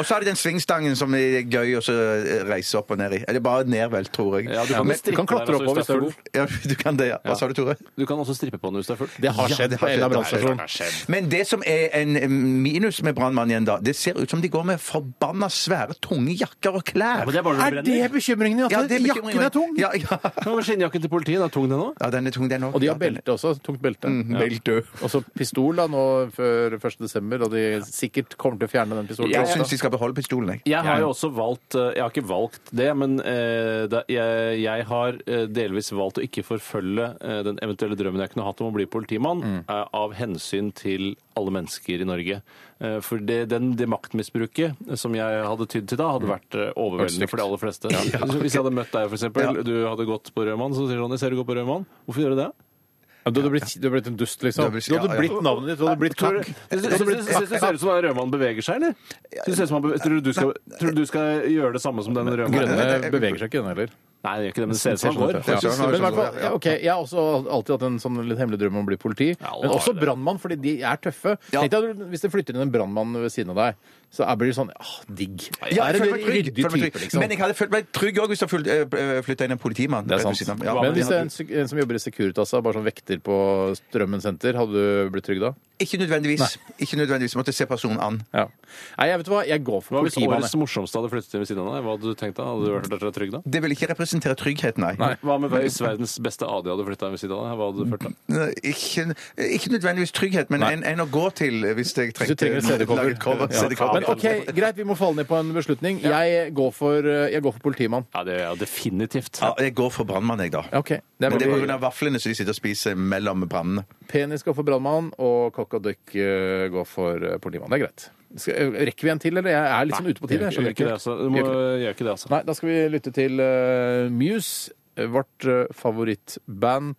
Speaker 4: Og så er det den svingstangen som er gøy å så eh, reise opp og ned i. Eller bare ned, vel, tror jeg.
Speaker 5: Ja, du kan
Speaker 4: Men-
Speaker 5: strippe Du kan klatre der også oppover hvis du er hvis
Speaker 4: Ja, du kan det, ja. Hva sa du, Tore?
Speaker 5: Du kan også strippe på den hvis du er full.
Speaker 4: Det har skjedd på en eller annen brannstasjon. Men det som er en minus med brannmannen igjen, da, det ser ut som de går med forbanna svære, tunge jakker og klær.
Speaker 3: Er det bekymringen? At
Speaker 4: Ja, det er bekymringen.
Speaker 3: jakken er tung?
Speaker 4: Ja, ja.
Speaker 5: Skinnjakken til politiet, den er tung den òg?
Speaker 4: Ja, den er tung, den òg.
Speaker 3: Og de har belte også. Tungt belte.
Speaker 4: Mhm, belte.
Speaker 3: Og så pistol da nå før 1.12., da de sikkert kommer til å fjerne den pistolen.
Speaker 4: Jeg
Speaker 3: også.
Speaker 4: syns de skal beholde pistolen, jeg.
Speaker 5: Jeg har jo også valgt eh, Jeg har ikke valgt det, men eh, da, jeg, jeg har eh, delvis valgt å ikke forfølge eh, den eventuelle drømmen jeg kunne hatt om å bli politimann, eh, av hensyn til alle mennesker i Norge. Eh, For det, den, det maktmisbruket eh, som jeg hadde tydd til da, hadde vært eh, overveldende for de aller fleste. Så Hvis jeg hadde møtt deg, for eksempel, du hadde gått på Rødmann, så sier Ronny, ser du gå på Rødmann? Hvorfor gjør du det?
Speaker 3: Ja, Du hadde blitt, du hadde blitt en dust, liksom.
Speaker 4: Du hadde blitt-
Speaker 3: Du hadde
Speaker 4: ja, ja.
Speaker 3: blitt navnet ditt, du hadde blitt
Speaker 5: Tror du-
Speaker 3: kakk.
Speaker 5: Syns syns- syns- syns du det ser ut som en rødmann beveger seg, eller? Syns det ser ut som han beve- Tror du du skal, tror du du skal gjøre det samme som den rødmannen?
Speaker 3: Grønne beveger seg ikke, den heller.
Speaker 5: Nei, det gjør ikke det, men det
Speaker 4: sånn
Speaker 5: ser ut som han går.
Speaker 3: Ja. Men i hvert fall, ja, ok, Jeg har også alltid hatt en sånn litt hemmelig drøm om å bli politi.
Speaker 5: alle
Speaker 3: Men også
Speaker 5: har det.
Speaker 3: brannmann, fordi de er tøffe. Tenk deg at du- Hvis det flytter inn en brannmann ved siden av deg, så er- blir det sånn ah, digg.
Speaker 4: Ja,
Speaker 3: er
Speaker 4: jeg føler meg
Speaker 3: en
Speaker 4: trygg.
Speaker 3: ryddig
Speaker 4: føler meg
Speaker 3: type,
Speaker 4: trygg.
Speaker 3: liksom.
Speaker 4: Men jeg hadde følt meg trygg òg hvis det flytta inn en politimann.
Speaker 3: Det er
Speaker 4: rett
Speaker 3: sant.
Speaker 4: ved siden av. Ja,
Speaker 3: Men hvis det er en, sek- en som jobber i Securitas, da, bare sånn vekter på Strømmen senter, hadde du blitt trygg da?
Speaker 4: Ikke nødvendigvis. Ikke nødvendigvis. Måtte se personen an.
Speaker 3: Ja. Nei, jeg vet du hva, jeg går for
Speaker 5: Hva hvis
Speaker 3: politimann.
Speaker 5: årets
Speaker 3: jeg.
Speaker 5: morsomste hadde flyttet inn ved siden av deg? Hva hadde du tenkt da? Hadde du vært vært trygg da?
Speaker 4: Det vil ikke representere trygghet, nei.
Speaker 5: Hva med hvis verdens beste AD hadde flyttet inn ved siden av deg? Hva hadde du følt da?
Speaker 4: Nei, Ikke, ikke nødvendigvis trygghet, men en, en å gå til hvis jeg
Speaker 3: Hvis du
Speaker 4: trengte
Speaker 3: trenger et
Speaker 4: lage et
Speaker 3: CD-cover.
Speaker 4: cover,
Speaker 3: Ja.
Speaker 4: CD-cover.
Speaker 3: Men OK, greit, vi må falle ned på en beslutning. Jeg går for, eh, jeg går for politimann.
Speaker 5: Ja, det gjør jeg definitivt.
Speaker 4: Ja, jeg går for brannmann, jeg, da.
Speaker 3: Ja, OK. Det
Speaker 4: Men det er
Speaker 3: veldig-
Speaker 4: pga. vaflene som de sitter og spiser mellom brannene.
Speaker 3: Penis går for brannmann, og kokk og døkk eh, går for eh, politimann. Det er greit. Skal, eh, rekker vi en til, eller? Jeg er litt sånn ute på tid. Jeg
Speaker 5: Gjør
Speaker 3: skjønner
Speaker 5: ikke det,
Speaker 3: ikke.
Speaker 5: altså. Du må gjør ikke det, altså.
Speaker 3: Nei, da skal vi lytte til eh, Muse, eh, vårt eh, favorittband.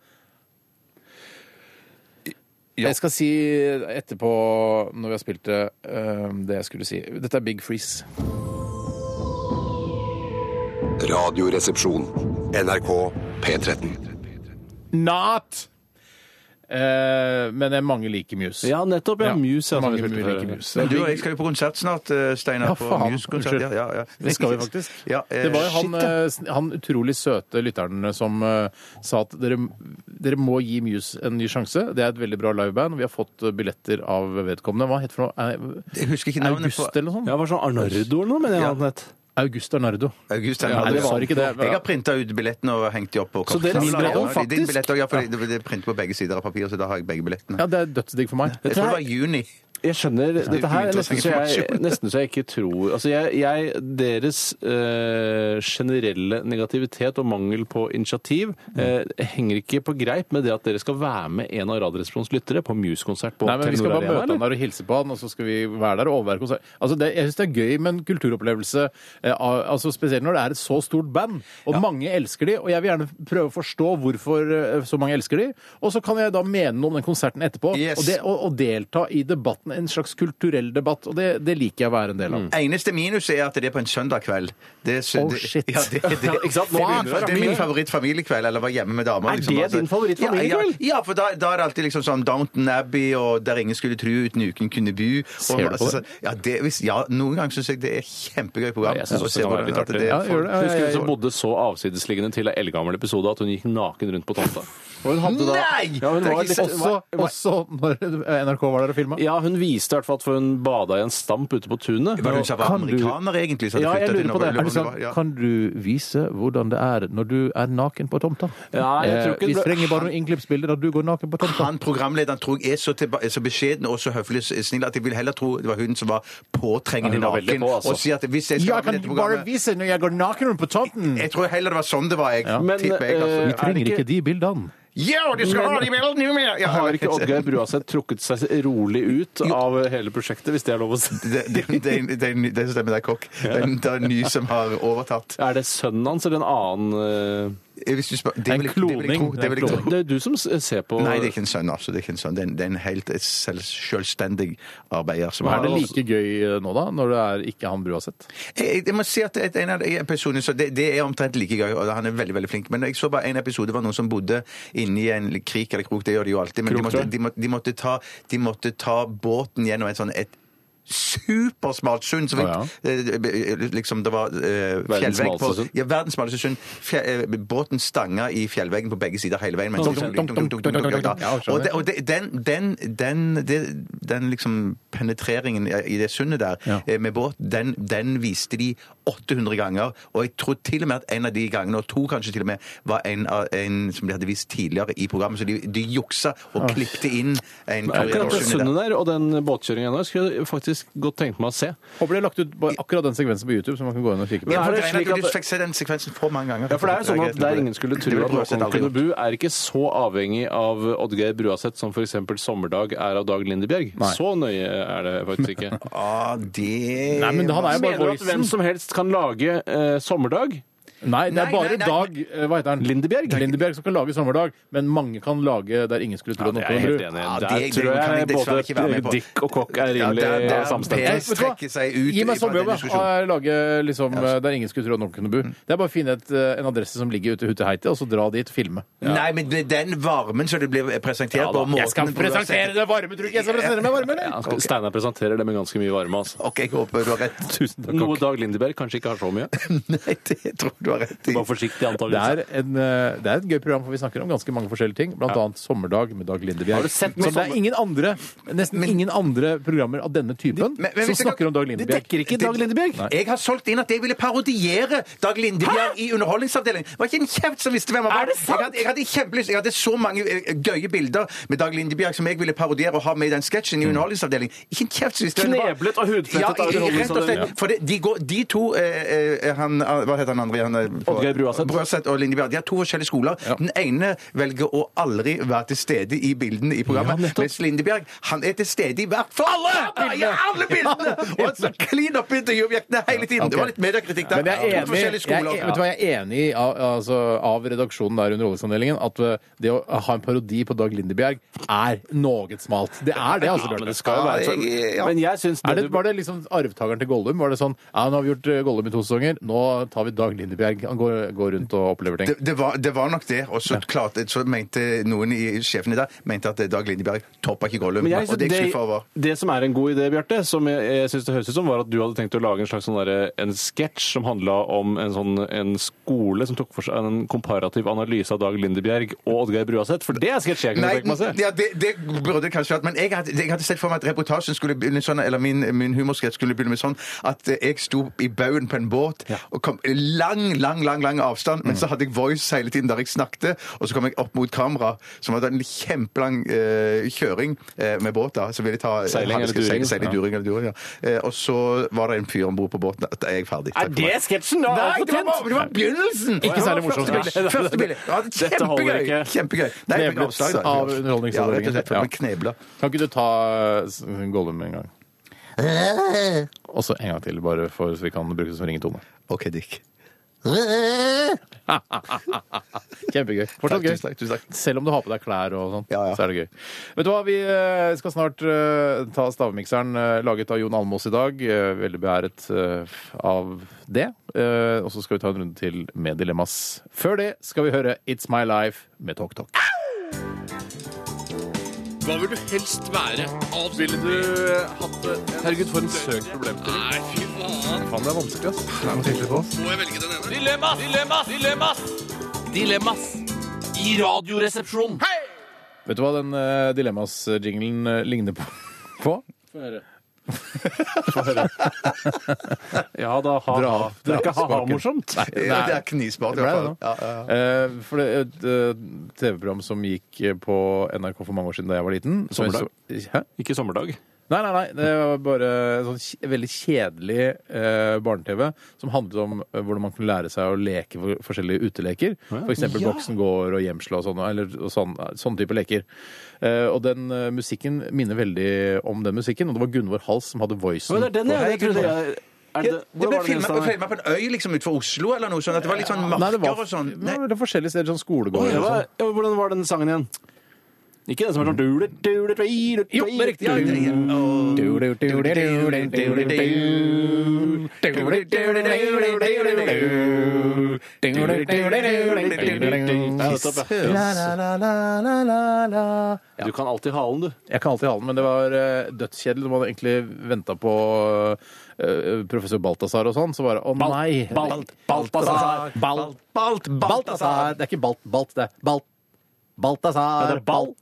Speaker 3: Jeg skal si etterpå, når vi har spilt det, eh, det jeg skulle si. Dette er Big Freeze.
Speaker 8: Radioresepsjon. NRK P13.
Speaker 3: Not! Eh, men jeg mange liker Muse.
Speaker 5: Ja, nettopp. Ja,
Speaker 3: Ja,
Speaker 5: Muse. Ja, som
Speaker 3: mange
Speaker 5: vi spilte
Speaker 3: liker
Speaker 5: før.
Speaker 3: Muse.
Speaker 4: Men du og jeg skal jo på konsert snart, eh, Steinar.
Speaker 3: Ja,
Speaker 4: på
Speaker 3: faen.
Speaker 4: Muse-konsert. Ja, ja, ja.
Speaker 3: Det skal vi faktisk.
Speaker 4: Ja, eh,
Speaker 3: det var jo han,
Speaker 4: shit, da.
Speaker 3: eh, sn- han utrolig søte lytteren som eh, sa at dere, dere må gi Muse en ny sjanse. Det er et veldig bra liveband. Vi har fått eh, billetter av vedkommende. Hva heter det for noe? Eh,
Speaker 4: Jeg husker ikke navnet
Speaker 3: August
Speaker 4: på
Speaker 3: eller noe sånt?
Speaker 5: Ja, var det sånn Arnardo eller noe, mener jeg hadde nett.
Speaker 3: August Arnardo.
Speaker 4: August
Speaker 3: Ja,
Speaker 4: Henrik.
Speaker 3: det var ikke det.
Speaker 4: Jeg har printa ut billettene og hengt de opp. på
Speaker 5: Så dere-
Speaker 4: kaffekanna.
Speaker 5: min billett også,
Speaker 4: Ja, Din
Speaker 5: faktisk?
Speaker 4: billett også, ja, for det det er printet på begge sider av papiret, så da har jeg begge billettene.
Speaker 3: Ja, det er dødsdigg for meg.
Speaker 4: Jeg tror det var juni.
Speaker 5: Jeg skjønner. Dette her er nesten så jeg,
Speaker 4: Uinteressant.
Speaker 5: nesten så jeg ikke tror Altså, jeg, jeg Deres eh, generelle negativitet og mangel på initiativ eh, henger ikke på greip med det at dere skal være med en av Radioresepsjonens lyttere på Muse-konsert på
Speaker 3: Nei, men Vi skal
Speaker 5: Telenor
Speaker 3: bare møte
Speaker 5: Arena.
Speaker 3: han
Speaker 5: eller?
Speaker 3: der og hilse på han, og så skal vi være der og overvære konsert. Altså, det, jeg syns det er gøy med en kulturopplevelse, eh, av- altså spesielt når det er et så stort band, og mange elsker de, og jeg vil gjerne prøve å forstå hvorfor eh, så mange elsker de, og så kan jeg da mene noe om den konserten etterpå,
Speaker 4: Yes.
Speaker 3: og, det, og, og delta i debatten, en slags kulturell debatt, og det, det liker jeg å være en del av.
Speaker 5: Mm.
Speaker 4: Eneste minus er at det er på en søndag kveld. Det er,
Speaker 3: Oh,
Speaker 4: det-
Speaker 3: shit.
Speaker 4: Ja, det, det,
Speaker 5: ikke sant? Nå
Speaker 4: Faen,
Speaker 5: begynner det.
Speaker 4: det er min favorittfamiliekveld, eller var hjemme med damer. liksom, altså.
Speaker 5: Er det din favorittfamiliekveld?
Speaker 4: Ja, ja, ja, for da, da er det alltid liksom sånn Downton Abbey og Der ingen skulle tru uten uken kunne bu.
Speaker 3: Ser
Speaker 4: Og, altså,
Speaker 3: du på det?
Speaker 4: Ja, det, hvis, ja, noen ganger syns jeg det er kjempegøy program.
Speaker 5: Jeg synes
Speaker 4: Og ser
Speaker 5: også det kan være
Speaker 4: hvordan
Speaker 5: litt
Speaker 4: at
Speaker 5: artig.
Speaker 4: det er
Speaker 5: Ja,
Speaker 4: folk-
Speaker 3: gjør det.
Speaker 5: Husker
Speaker 3: ja,
Speaker 5: hun
Speaker 3: ja.
Speaker 5: som bodde så avsidesliggende til ei eldgammel episode at hun gikk naken rundt på tomta. Og hun hadde da,
Speaker 4: Nei!
Speaker 5: Ja, hun
Speaker 4: Det er
Speaker 5: var
Speaker 4: ikke
Speaker 5: litt,
Speaker 4: sant.
Speaker 3: Også, også når NRK var der og filma.
Speaker 5: ja, hun viste i hvert fall at hun bada i en stamp ute på
Speaker 4: Var
Speaker 5: tunet.
Speaker 4: det hun som var
Speaker 3: Kan du-
Speaker 4: amerikaner, egentlig? så hadde
Speaker 5: Ja, jeg
Speaker 4: flyttet
Speaker 5: lurer
Speaker 4: til
Speaker 5: på det.
Speaker 4: Norge,
Speaker 5: Er
Speaker 4: eller hva det var, ja.
Speaker 3: Kan du vise hvordan det er når du er naken på tomta?
Speaker 5: Ja, jeg tror ikke
Speaker 3: Eh, vi
Speaker 5: det ble-
Speaker 3: trenger bare noen innklippsbilder da du går naken på tomta.
Speaker 4: Han programlederen tror jeg er så, tilba- er så beskjeden og så høflig og snill at jeg vil heller tro det var hun som var påtrengende
Speaker 5: Ja, hun var veldig
Speaker 4: naken.
Speaker 5: på, altså.
Speaker 4: Og si at hvis jeg skal være med i dette programmet
Speaker 3: vise når jeg går naken rundt på tomten.
Speaker 4: Jeg tror heller det var sånn det var, jeg.
Speaker 5: Men,
Speaker 4: tipper jeg.
Speaker 5: eh,
Speaker 3: Vi
Speaker 4: Altså.
Speaker 3: trenger
Speaker 5: Er det
Speaker 3: ikke de bildene.
Speaker 4: Ja, du skal ha de meldene med! Ja,
Speaker 5: Har ikke Oddgeir Bruaseth trukket seg rolig ut av hele prosjektet, hvis det er lov å si?
Speaker 4: det, det, det, det, det stemmer, det er kokk. Det er en- det er en ny som har overtatt.
Speaker 5: Er det sønnen hans eller en annen
Speaker 4: Eh, Hvis du spør, det vil, jeg- det vil jeg tro. Det vil jeg
Speaker 5: eh,
Speaker 4: tro.
Speaker 5: Det er du som s- ser på
Speaker 4: Nei, det er ikke en sønn. altså. Det er ikke en sønn. Det er en, det er en helt selv, selvstendig arbeider. som
Speaker 3: Er
Speaker 4: har-
Speaker 3: det like gøy nå, da? Når det er ikke han Bruaseth?
Speaker 4: Jeg, jeg må si at et, en av de episodene, så det, det er omtrent like gøy, og han er veldig veldig flink. Men jeg så bare en episode det var noen som bodde inne i en krik eller krok, det gjør de jo alltid. Men de måtte, de, måtte, de, måtte ta, de måtte ta båten gjennom et sånn et supersmalt sund. Så vi,
Speaker 3: Å,
Speaker 4: eh, liksom, det var eh,
Speaker 3: Verdens
Speaker 4: fjellvegg på
Speaker 3: smaleste sund.
Speaker 4: ja, Verdens smaleste sund. Fje- eh, Båten stanga i fjellveggen på begge sider hele veien. men-
Speaker 3: Sånn, sånn, dunk, dunk, dunk, dunk, dunk, dunk, dunk.
Speaker 4: Ja, Og, det, og det, den, den, den, det- den liksom penetreringen i det sundet der eh, med båt, den, den viste de 800 ganger. Og jeg tror til og med at en av de gangene, og to kanskje til og med, var en, av- en som de hadde vist tidligere i programmet. Så de, de juksa og
Speaker 5: Ah.
Speaker 4: klippte inn en
Speaker 5: Akkurat det
Speaker 4: korridorsund
Speaker 5: sundet der og den båtkjøringen der skulle jeg faktisk godt tenkt meg å se.
Speaker 3: Håper de har lagt ut bare akkurat den sekvensen på YouTube, så man kan gå inn og kikke på
Speaker 5: Men er det
Speaker 4: Nei,
Speaker 5: slik
Speaker 4: nei,
Speaker 5: at-
Speaker 4: Du fikk se den sekvensen for mange ganger.
Speaker 5: Ja, for det er jo sånn at Der ingen skulle
Speaker 4: Det
Speaker 5: tro
Speaker 4: vil
Speaker 5: at
Speaker 4: prøve å sette
Speaker 5: Håkon
Speaker 4: aldri gjort.
Speaker 5: Kunnebu er ikke så avhengig av Oddgeir Bruaseth som f.eks. Sommerdag er av Dag Lindebjerg.
Speaker 3: Nei.
Speaker 5: Så nøye er det faktisk ikke.
Speaker 4: ah, det
Speaker 3: Nei, men han er jo bare
Speaker 5: Mener du at
Speaker 3: voicen.
Speaker 5: hvem som helst kan lage eh, Sommerdag?
Speaker 3: Nei, det er
Speaker 5: Nei,
Speaker 3: bare
Speaker 5: nei, nei.
Speaker 3: Dag eh, hva heter han? Lindebjerg Lindebjerg som kan lage Sommerdag, men mange kan lage Der ingen skulle tro
Speaker 5: Ja,
Speaker 3: at
Speaker 5: det
Speaker 3: noen
Speaker 5: er jeg
Speaker 3: kunne tro.
Speaker 5: helt enig i.
Speaker 3: Ja,
Speaker 5: Der
Speaker 3: det- det
Speaker 5: tror
Speaker 3: kan
Speaker 5: jeg
Speaker 3: vi dessverre ikke være med
Speaker 5: både
Speaker 3: på.
Speaker 5: Dick og Kokk er
Speaker 3: Ja,
Speaker 5: rimelig
Speaker 3: det er- det er-
Speaker 5: samstemte.
Speaker 3: Vet du hva? Gi meg sommerjobb, da. Og Lage liksom
Speaker 4: altså.
Speaker 3: eh, Der ingen skulle tro at noen kunne bo. Det er bare å finne et, eh, en adresse som ligger ute i Huteheiti, og så dra dit og filme.
Speaker 4: Nei, men med den varmen som det blir presentert på måten
Speaker 3: Jeg skal
Speaker 4: på
Speaker 3: presentere det varme, tror du ikke jeg skal presentere meg varme,
Speaker 5: Ja,
Speaker 3: eller?
Speaker 5: skal- Steinar presenterer det med ganske mye varme. Altså.
Speaker 4: Ok, jeg håper du har rett.
Speaker 5: Tusen takk. Noe Dag Lindeberg kanskje ikke har så mye.
Speaker 4: Nei, det tror du har rett i.
Speaker 5: Bare forsiktig,
Speaker 3: Det
Speaker 5: antakelig.
Speaker 3: er, en, eh, det er et gøy program, for vi snakker om ganske mange forskjellige ting. Blant
Speaker 5: Ja.
Speaker 3: annet Sommerdag med Dag Lindebjerg.
Speaker 5: Har du sett noe
Speaker 3: som det
Speaker 5: sommer-
Speaker 3: er ingen andre, nesten ingen andre programmer av denne typen
Speaker 4: Men- men
Speaker 3: som
Speaker 4: vet du hva?
Speaker 3: snakker om Dag Lindebjerg.
Speaker 4: Det dekker ikke Dag
Speaker 3: Lindebjerg.
Speaker 4: Jeg har solgt inn at jeg ville parodiere Dag Lindebjerg i Underholdningsavdelingen. Det var ikke en kjeft som visste hvem han var. Jeg hadde, jeg hadde kjempelyst. Jeg hadde så mange eh, gøye bilder med Dag Lindebjerg som jeg ville parodiere og ha med i den sketsjen i Underholdningsavdelingen. Ikke en kjeft som visste hvem han var.
Speaker 5: Kneblet og hudflettet
Speaker 4: ja, i- i-
Speaker 5: av
Speaker 4: rett og
Speaker 5: Underholdningsavdelingen.
Speaker 4: slett. For det, de, går, de to eh, eh, han, Hva heter han andre? Han, eh, på-
Speaker 5: Oddgeir Bruaseth.
Speaker 4: Brøset og Lindebjerg. De har to forskjellige skoler. Den ene velger å aldri være til stede i bildene i programmet, mens Lindebjerg han er til stede i hvert fall alle, ja, alle bildene! Og han står klin opp i intervjuobjektene hele tiden. Det var litt mediekritikk der.
Speaker 3: Men jeg er enig,
Speaker 4: To
Speaker 3: jeg,
Speaker 4: forskjellige
Speaker 3: er-
Speaker 4: skoler.
Speaker 5: altså.
Speaker 3: vet du hva, jeg er enig i, av, altså, av redaksjonen der under Oljesanddelingen at eh, det å ha en parodi på Dag Lindebjerg er noe smalt. Det er det, altså.
Speaker 5: Ja, men
Speaker 3: Bjarte.
Speaker 5: det skal jo være sånn. Men jeg syns
Speaker 3: Er
Speaker 5: det
Speaker 3: det, var det liksom arvtakeren til Gollum? Var det sånn ja, 'Nå har vi gjort eh, Gollum i to sesonger, nå tar vi Dag Lindebjerg'. Han går, går rundt og opplever ting.
Speaker 4: Det, det, var, det var nok det. Og så klart, så mente noen i sjefene der mente at Dag Lindebjerg toppa ikke Gollum.
Speaker 5: Men
Speaker 4: Og
Speaker 5: jeg,
Speaker 4: det er jeg skuffa over.
Speaker 5: det, det som er en god idé, Bjarte, som jeg, jeg synes det høres ut som, var at du hadde tenkt å lage en slags sånn derre- en sketsj som handla om en, sånn, en skole som tok for seg en komparativ analyse av Dag Lindebjerg og Oddgeir Bruaseth. For det er en sketsj jeg kunne
Speaker 4: Nei,
Speaker 5: tenke meg å se.
Speaker 4: ja, det, det burde det kanskje vært, men jeg hadde, jeg hadde sett for meg at reportasjen skulle begynne sånn, eller min, min humorskrift skulle begynne med sånn at eh, jeg sto i baugen på en båt og kom lang, lang, lang lang avstand, men så hadde jeg voice hele tiden der jeg snakket, og så kom jeg opp mot kamera, som hadde en kjempelang eh, kjøring eh, med båt da, så ville jeg ta eh,
Speaker 5: Seiling eller
Speaker 4: Seil-
Speaker 5: during.
Speaker 4: Seiling,
Speaker 5: Ja.
Speaker 4: during eller during, ja. Eh, og så var det en fyr ombord på båten, da er jeg ferdig. Takk
Speaker 5: Er
Speaker 4: for
Speaker 5: det
Speaker 4: meg.
Speaker 5: sketsjen? da?
Speaker 4: Nei,
Speaker 5: Alt for
Speaker 4: det var,
Speaker 5: tent.
Speaker 4: bare- det var begynnelsen!
Speaker 3: Ikke særlig morsom
Speaker 4: Første bilde.
Speaker 5: sketsj.
Speaker 4: Første bilde. Ja,
Speaker 5: Dette holder
Speaker 4: kjempegøy!
Speaker 5: ikke.
Speaker 4: Kjempegøy. Nei, jeg fikk
Speaker 3: Kneblet
Speaker 4: avslag, da. Jeg fikk
Speaker 3: av
Speaker 4: avslag.
Speaker 3: Underholdningsavdelingen.
Speaker 4: Ja, rett og slett. for
Speaker 3: Ja.
Speaker 4: å bli kneblet.
Speaker 3: Kan ikke du ta eh, s- Gollum en gang? Og så en gang til, bare for, så vi kan bruke det som ringetone.
Speaker 4: OK, Dick.
Speaker 3: Kjempegøy. Fortsatt
Speaker 4: Takk,
Speaker 3: gøy.
Speaker 4: tusen takk, tusen takk.
Speaker 3: Selv om du har på deg klær og sånn,
Speaker 4: Ja, ja.
Speaker 3: så er det gøy. Vet du hva, vi eh, skal snart eh, ta stavmikseren eh, laget av Jon Almås i dag. Eh, Veldig beæret eh, av det. Eh, Og så skal vi ta en runde til med Dilemmas. Før det skal vi høre It's My Life med Tok Tok.
Speaker 9: Hva vil du helst være? Ville du eh, hatt eh, det? Herregud, for en søk problemstilling. Nei, fy faen.
Speaker 3: Faen, det er vanskelig, ass.
Speaker 9: Må jeg velge den ene? Dilemmas! Dilemmas! Dilemmas! Dilemmas i Radioresepsjonen.
Speaker 3: Vet du hva den eh, Dilemmas-jinglen eh, ligner på? på?
Speaker 5: Ja da, ha,
Speaker 3: Dra-
Speaker 5: ha. Det er ikke
Speaker 3: dra-
Speaker 5: ha-ha-morsomt.
Speaker 3: Nei,
Speaker 4: Det er- det er knisbart, i
Speaker 3: Det ble
Speaker 4: hvert
Speaker 3: det
Speaker 4: fall.
Speaker 3: nå.
Speaker 4: Ja, ja, ja.
Speaker 3: Eh, for det er et eh, TV-program som gikk eh, på NRK for mange år siden da jeg var liten. som jeg
Speaker 5: Sommerdag?
Speaker 3: så- Hæ?
Speaker 5: Ikke sommerdag.
Speaker 3: Nei, nei, nei. Det var bare sånn kj- veldig kjedelig eh, barne-TV som handlet om eh, hvordan man kunne lære seg å leke for- forskjellige uteleker. For eksempel Boksen går og Gjemsla og sånne, eller, og sånn, sånne type leker. Eh, og den eh, musikken minner veldig om den musikken, og det var Gunvor Hals som hadde voicen.
Speaker 5: Men det er den, ja.
Speaker 4: Hei,
Speaker 5: Jeg trodde jeg er det,
Speaker 4: Det
Speaker 5: Hvor
Speaker 4: ble
Speaker 5: var det den
Speaker 4: filma
Speaker 5: stedet?
Speaker 4: på en øy liksom utenfor Oslo eller noe sånt. At det var litt sånn
Speaker 3: Nei, det var,
Speaker 4: marker og sånn.
Speaker 3: det
Speaker 4: Nei.
Speaker 3: var forskjellige steder, sånn skolegård
Speaker 5: Det
Speaker 3: og sånn.
Speaker 5: var- ja, Hvordan var den sangen igjen? Ikke den som er sånn Jo, det
Speaker 3: Jo, det er riktig. Ja, det er riktig.
Speaker 5: Ja, nettopp, ja.
Speaker 3: La-la-la-la-la-la.
Speaker 5: Du kan alltid halen, du.
Speaker 3: Jeg kan alltid ha den, men det var eh, dødskjedelig. Man hadde egentlig venta på eh, professor Balthazar og sånn, så bare å nei!
Speaker 11: Balt-
Speaker 3: Balthazar!
Speaker 11: Balthazar.
Speaker 3: Balt, balt, Balthazar! Det er ikke Balt, Balt, det er Balt. Balthazar!
Speaker 5: Ja, det er Bal-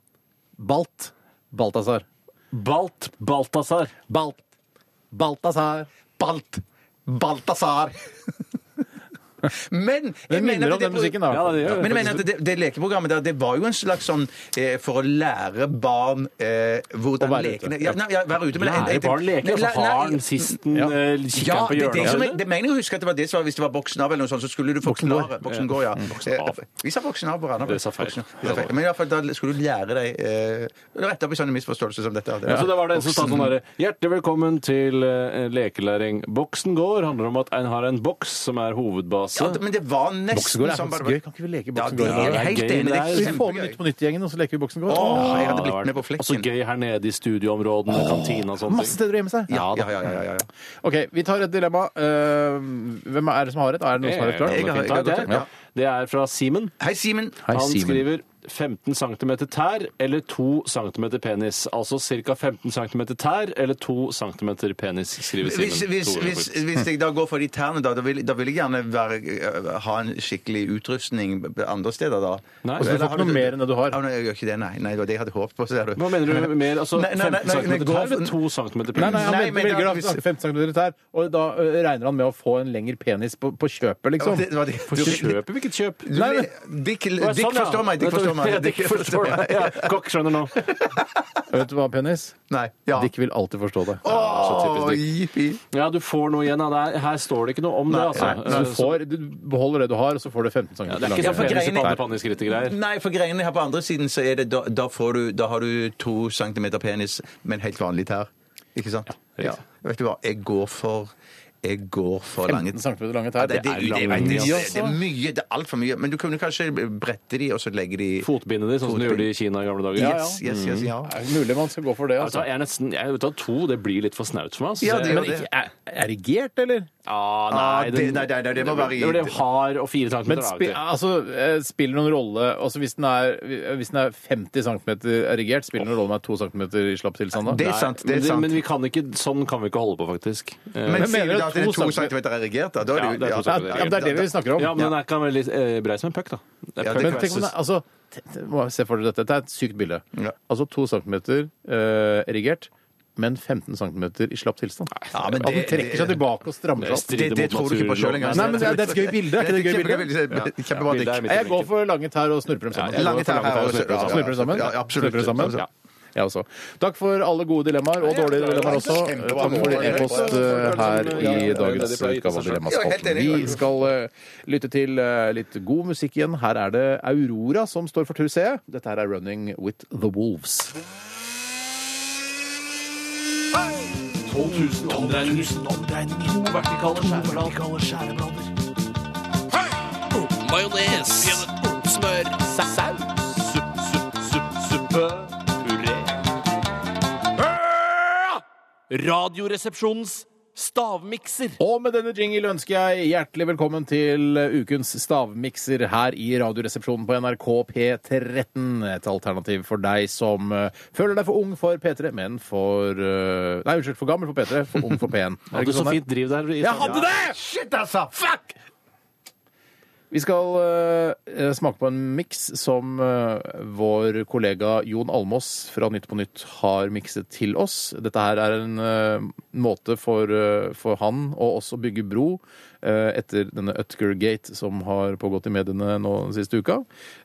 Speaker 3: Balt. Balthazar.
Speaker 5: Balt Balthazar.
Speaker 3: Balt. Balthazar.
Speaker 4: Balt. Balthazar. Men
Speaker 3: Det
Speaker 4: jeg
Speaker 3: minner
Speaker 4: mener
Speaker 3: om
Speaker 4: at det,
Speaker 3: den musikken, da.
Speaker 5: Ja, det gjør det.
Speaker 4: men jeg mener at det, det lekeprogrammet der, det var jo en slags sånn eh, for å lære barn eh, hvordan
Speaker 3: Å være ute.
Speaker 4: lekene ja, nei, ja, være ute. men jeg-
Speaker 5: Lære
Speaker 4: jeg-
Speaker 5: barn leker.
Speaker 4: Nei,
Speaker 5: Altså,
Speaker 4: nei,
Speaker 5: haren, sisten,
Speaker 3: Ja.
Speaker 4: ja,
Speaker 5: eh, kikkeren på
Speaker 4: det, er det, som jeg,
Speaker 5: hjørnet.
Speaker 4: det mener jeg å huske at det var det som var hvis det var boksen av eller noe sånt, så skulle du forklare Boksen går, ja. Eh, Vi sa boksen av hverandre.
Speaker 5: Vi sa feil.
Speaker 4: Vi sa feil. Men i hvert fall da skulle du lære deg eh, rette opp i sånne misforståelser som dette.
Speaker 5: Ja. Så det var det som sa sånn derre Hjertelig velkommen til eh, lekelæring. Boksen går handler om at en har en boks som er hovedbase.
Speaker 4: Ja, men det var nesten
Speaker 3: Boksegård er
Speaker 4: som bare-
Speaker 3: faktisk gøy. Kan ikke vi leke
Speaker 4: Ja, det
Speaker 3: Boksegård?
Speaker 4: er
Speaker 3: Ja,
Speaker 4: jeg helt enig.
Speaker 5: gøy,
Speaker 4: Det
Speaker 5: men
Speaker 4: er
Speaker 5: det
Speaker 3: vi får med
Speaker 4: kjempegøy.
Speaker 3: Nytt på Nytt-gjengen, og så leker vi Boksegård.
Speaker 4: Åh, jeg hadde
Speaker 5: det
Speaker 4: blitt
Speaker 5: var-
Speaker 4: med på flekken.
Speaker 5: Og så gøy her nede i studioområdene, kantina og sånne
Speaker 3: Masse
Speaker 5: ting.
Speaker 3: steder å gjemme seg.
Speaker 4: Ja, ja, ja, ja, ja, ja.
Speaker 3: OK, vi tar et dilemma. Eh, hvem er det som har et? Er det noen som har et klart?
Speaker 5: Jeg kan
Speaker 4: Jeg
Speaker 5: ta
Speaker 4: har-
Speaker 5: det.
Speaker 4: jeg har-
Speaker 5: Det er fra Simen.
Speaker 4: Hei, Simen.
Speaker 3: Hei,
Speaker 5: Han
Speaker 3: Simen.
Speaker 5: skriver 15 cm tær eller 2 cm penis. Altså ca. 15 cm tær eller 2 cm penis, skriver Simen.
Speaker 4: Hvis, hvis,
Speaker 5: To ganger
Speaker 4: hvis,
Speaker 5: fort.
Speaker 4: hvis jeg da går for de tærne, da, da, vil, da vil jeg gjerne være, eh, ha en skikkelig utrustning b- andre steder da.
Speaker 5: Nei.
Speaker 4: Og så
Speaker 5: Du får
Speaker 4: eller
Speaker 3: ikke
Speaker 4: har
Speaker 3: noe mer enn det du har.
Speaker 4: Ja, nei, jeg gjør ikke det, nei. nei. Det var det jeg hadde håpet på, ser du.
Speaker 5: Hva mener du mer? Altså
Speaker 4: Nei, nei, nei,
Speaker 5: 15
Speaker 4: nei,
Speaker 5: cm
Speaker 4: nei,
Speaker 5: tær
Speaker 4: gå for-
Speaker 5: eller 2 cm penis?
Speaker 3: Nei, nei, han
Speaker 4: Nei, men
Speaker 3: velger
Speaker 4: da-
Speaker 3: da, 15 cm tær, og da ø, regner han med å få en lengre penis på, på kjøpet,
Speaker 4: Ja,
Speaker 3: liksom.
Speaker 4: det var det.
Speaker 5: For kjøp? Hvilket kjøp?
Speaker 4: Du-
Speaker 3: Nei,
Speaker 4: Dick,
Speaker 5: Å, ja,
Speaker 4: Dick
Speaker 5: sånn, ja.
Speaker 4: forstår meg, Dick
Speaker 5: Nettopp.
Speaker 4: forstår meg.
Speaker 5: Ja, Dick forstår meg. Ja, Kokk skjønner nå.
Speaker 3: Vet du hva, penis?
Speaker 4: Nei, ja.
Speaker 3: Dick vil alltid forstå det.
Speaker 5: typisk
Speaker 4: Åh,
Speaker 5: Dick.
Speaker 4: jippi.
Speaker 5: Ja, du får noe igjen av det. her. Her står det ikke noe om det, altså.
Speaker 3: Så du, får, du beholder det du har, og så får du 15 cm
Speaker 5: Ja, det er ikke sånn
Speaker 4: for
Speaker 5: penis i
Speaker 4: greiene-
Speaker 5: pannepanniskrittet-greier.
Speaker 4: Nei, for greiene her på andre siden, så er det, da, da, får du, da har du to centimeter penis, men helt vanlig tær. Ikke sant? Ja. Vet du hva, jeg går for jeg går for lange
Speaker 3: 15 cm lange tær.
Speaker 4: det, det, det, det,
Speaker 5: lange,
Speaker 4: det, det,
Speaker 5: altså.
Speaker 4: er mye. Det er altfor mye. Men du kunne kanskje brette de, og så legge de
Speaker 5: Fotbindet ditt, sånn som du
Speaker 4: Fotbind.
Speaker 5: gjorde i Kina i gamle dager.
Speaker 3: Ja, ja.
Speaker 4: Yes, yes, yes, ja.
Speaker 3: er det mulig man skal gå for det,
Speaker 5: Altså,
Speaker 3: altså.
Speaker 5: jeg er nesten, jeg vet du, To det blir litt for snaut for meg. Altså.
Speaker 4: Ja, det gjør
Speaker 5: Men
Speaker 4: det.
Speaker 5: ikke-
Speaker 3: Er- Erigert, eller?
Speaker 5: Ah,
Speaker 4: Ah,
Speaker 5: nei,
Speaker 4: det-
Speaker 5: den-
Speaker 4: nei, nei, nei, det må være i-
Speaker 5: Det blir hard og fire
Speaker 3: Men
Speaker 5: centimeter. da,
Speaker 3: spi,
Speaker 5: vet du.
Speaker 3: altså, eh, spiller noen rolle altså hvis, den er, hvis den er 50 cm erigert, spiller det noen rolle om den er 2 cm i slapp tilstand da?
Speaker 4: Det er sant.
Speaker 5: men,
Speaker 4: det er sant.
Speaker 5: men vi kan ikke, sånn kan vi ikke holde på, faktisk. Eh,
Speaker 4: men
Speaker 3: mener
Speaker 4: sier du
Speaker 3: du
Speaker 4: da at det er
Speaker 3: to
Speaker 4: to
Speaker 3: centimeter-
Speaker 4: centimeter erigert? Da, da
Speaker 5: Ja,
Speaker 4: er det
Speaker 5: det er
Speaker 4: jo
Speaker 5: to
Speaker 4: ja,
Speaker 3: Ja,
Speaker 5: centimeter
Speaker 3: ja, men det er det vi snakker om.
Speaker 5: ja, men den er kan være litt eh, brei som en puck, da. Det er
Speaker 4: Ja,
Speaker 5: puck
Speaker 4: det
Speaker 3: Men
Speaker 4: kan-
Speaker 3: tenk om det, er- altså, t- t- må jeg se for dere dette. Dette er et sykt bilde.
Speaker 4: Ja.
Speaker 3: Altså to centimeter eh, erigert, men 15 centimeter i slapp tilstand.
Speaker 4: Ja, men
Speaker 3: At den
Speaker 4: det-
Speaker 3: trekker seg
Speaker 4: det-
Speaker 3: tilbake og strammer seg opp.
Speaker 5: Det
Speaker 4: det, det tror du ikke på altså. sjøl engang.
Speaker 3: Nei, men det er- det er et gøy bilde, er ikke det et gøy bilde?
Speaker 4: Kjempebra, Kjempebra,
Speaker 5: bildet er
Speaker 4: Dick.
Speaker 5: mitt
Speaker 3: Nei, Jeg går
Speaker 5: øyeblikk.
Speaker 3: for lange tær og snurper dem sammen.
Speaker 4: Ja,
Speaker 3: Jeg går
Speaker 4: lange
Speaker 3: for
Speaker 4: tær her
Speaker 3: og snurper
Speaker 4: og
Speaker 3: dem
Speaker 4: snurper-
Speaker 3: sammen. Snurper dem sammen.
Speaker 4: ja, ja, absolutt.
Speaker 3: Snurper dem sammen.
Speaker 4: Ja.
Speaker 3: Jeg også. Takk for alle gode dilemmaer, og dårlige dilemmaer også. Takk for din e-post eh, her i dagens utgave av Dilemmaspalten. Vi skal eh, lytte til eh, litt god musikk igjen. Her er det Aurora som står for tur C. Dette her er Running with the Wolves.
Speaker 9: 12 000 omdreininger. To vertikale skjæreblader. Majones. Smør. Saus. Supp, supp, supp, suppe. Puré. Radioresepsjonens stavmikser.
Speaker 3: Og med denne jingle ønsker jeg hjertelig velkommen til ukens stavmikser her i Radioresepsjonen på NRK P13. Et alternativ for deg som eh, føler deg for ung for P3, men for eh, Nei, unnskyld, for gammel for P3, for ung for P1. Er det
Speaker 5: Hadde
Speaker 3: ikke
Speaker 5: så
Speaker 3: sånn det er?
Speaker 5: fint driv der. i
Speaker 3: Jeg
Speaker 5: starten.
Speaker 3: hadde det! Shit, altså! Fuck! Vi skal eh, smake på en miks som eh, vår kollega Jon Almås fra Nytt på Nytt har mikset til oss. Dette her er en eh, måte for, eh, for han å også bygge bro eh, etter denne Utger Gate som har pågått i mediene nå den siste uka.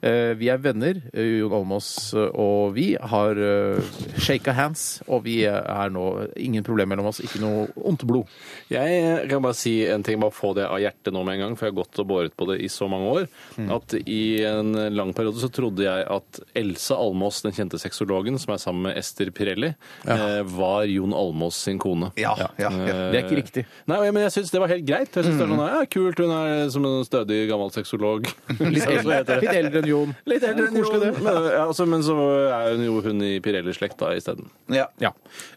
Speaker 3: Eh, vi er venner, eh, Jon Almås og vi har uh, shaka hands, og vi er nå ingen problem mellom oss, ikke noe ondt blod.
Speaker 5: Jeg eh, kan bare si en ting, bare få det av hjertet nå med en gang, for jeg har gått og båret på det i så mange år,
Speaker 4: Mm.
Speaker 5: at i en lang periode så trodde jeg at Elsa Almås, den kjente sexologen, som er sammen med Ester Pirelli, eh, var Jon Almås sin kone.
Speaker 4: Ja, ja, ja.
Speaker 3: Det er ikke riktig.
Speaker 5: Eh, Nei, men jeg syns det var helt greit. Jeg synes det var sånn, ja, Kult, hun er som en stødig gammel sexolog.
Speaker 3: Litt eldre, litt eldre enn Jon.
Speaker 5: Litt eldre enn Koselig, det. Men, ja, altså, men så er hun jo hun i Pirelli-slekt da isteden.
Speaker 4: Ja.
Speaker 3: Ja.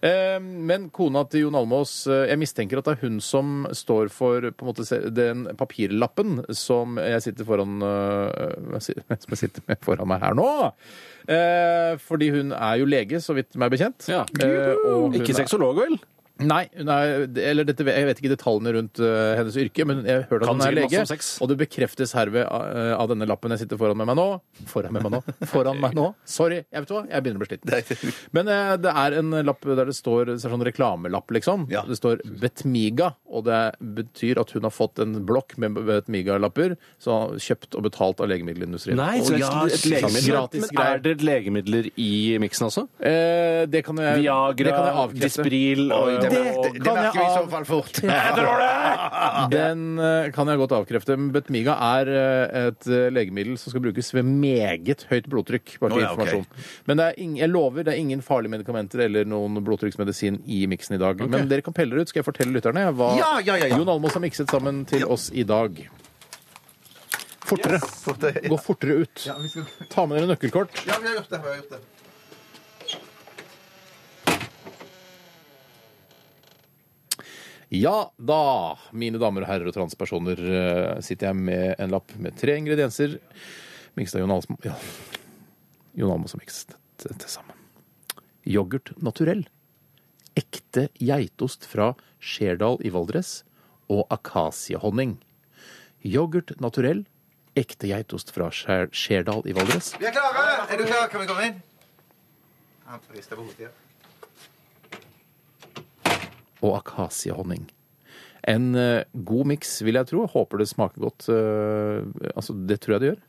Speaker 3: Eh, Men kona til Jon Almås, eh, jeg mistenker at det er hun som står for på en måte, se- den papirlappen som eh, jeg sitter foran øh, hva sier- Som jeg sitter med foran meg her nå. Eh, fordi hun er jo lege, så vidt meg bekjent. Eh, og hun
Speaker 5: Ikke
Speaker 3: er-
Speaker 5: sexolog, vel?
Speaker 3: Nei, hun er, eller dette, jeg vet ikke detaljene rundt øh, hennes yrke, men jeg hørte at
Speaker 5: Kan
Speaker 3: hun er
Speaker 5: sikkert masse
Speaker 3: lege.
Speaker 5: om sex.
Speaker 3: Og det bekreftes herved øh, av denne lappen jeg sitter foran med meg nå. Foran med meg nå. Foran meg nå. Sorry. Jeg vet hva, jeg begynner å bli sliten. Men øh, det er en lapp der det står det er sånn reklamelapp, liksom. Det står Betmiga, og det betyr at hun har fått en blokk med Betmiga-lapper, så kjøpt og betalt av legemiddelindustrien.
Speaker 5: Nei,
Speaker 3: Å,
Speaker 5: så det
Speaker 3: ja,
Speaker 5: er et legemiddel.
Speaker 3: gratis
Speaker 5: Men
Speaker 3: greier.
Speaker 5: er det legemidler i miksen også?
Speaker 3: Eh, det kan jeg det kan jeg
Speaker 5: Viagra,
Speaker 3: avkrefte.
Speaker 5: Dispril og,
Speaker 3: Oi, det- det-
Speaker 5: og
Speaker 3: det merker vi i så
Speaker 4: fall fort.
Speaker 3: Jeg tror
Speaker 4: Ah,
Speaker 3: det! Den eh, kan jeg godt avkrefte. men Betmiga er eh, et eh, legemiddel som skal brukes ved meget høyt blodtrykk. Bare
Speaker 4: Å,
Speaker 3: til
Speaker 4: ja, ok.
Speaker 3: informasjon. Men det er ing, jeg lover, det er ingen farlige medikamenter eller noen blodtrykksmedisin i miksen i dag. Men dere kan pelle dere ut. Skal jeg fortelle lytterne hva
Speaker 4: Ja, ja, ja, ja.
Speaker 3: Jon Almaas har mikset sammen til oss i dag? Fortere. Gå fortere ut.
Speaker 4: Ja, vi skal-
Speaker 3: Ta med dere nøkkelkort.
Speaker 4: Ja, vi har gjort det. Vi har gjort det.
Speaker 3: Ja da, mine damer og herrer og transpersoner, eh, sitter jeg med en lapp med tre ingredienser. Mikset av Jon Almas ja. Jon Almaas har mikset det til sammen. Yoghurt naturell. Ekte geitost fra Skjerdal i Valdres. Og akasiehonning. Yoghurt naturell. Ekte geitost fra Skjer- Skjerdal i Valdres.
Speaker 4: Vi er klare! Er du klar? Kan vi komme inn? Han rister på hodet. ja.
Speaker 3: og akasiehonning. En eh, god miks, vil jeg tro. Håper det smaker godt. Eh, altså, det tror jeg det gjør.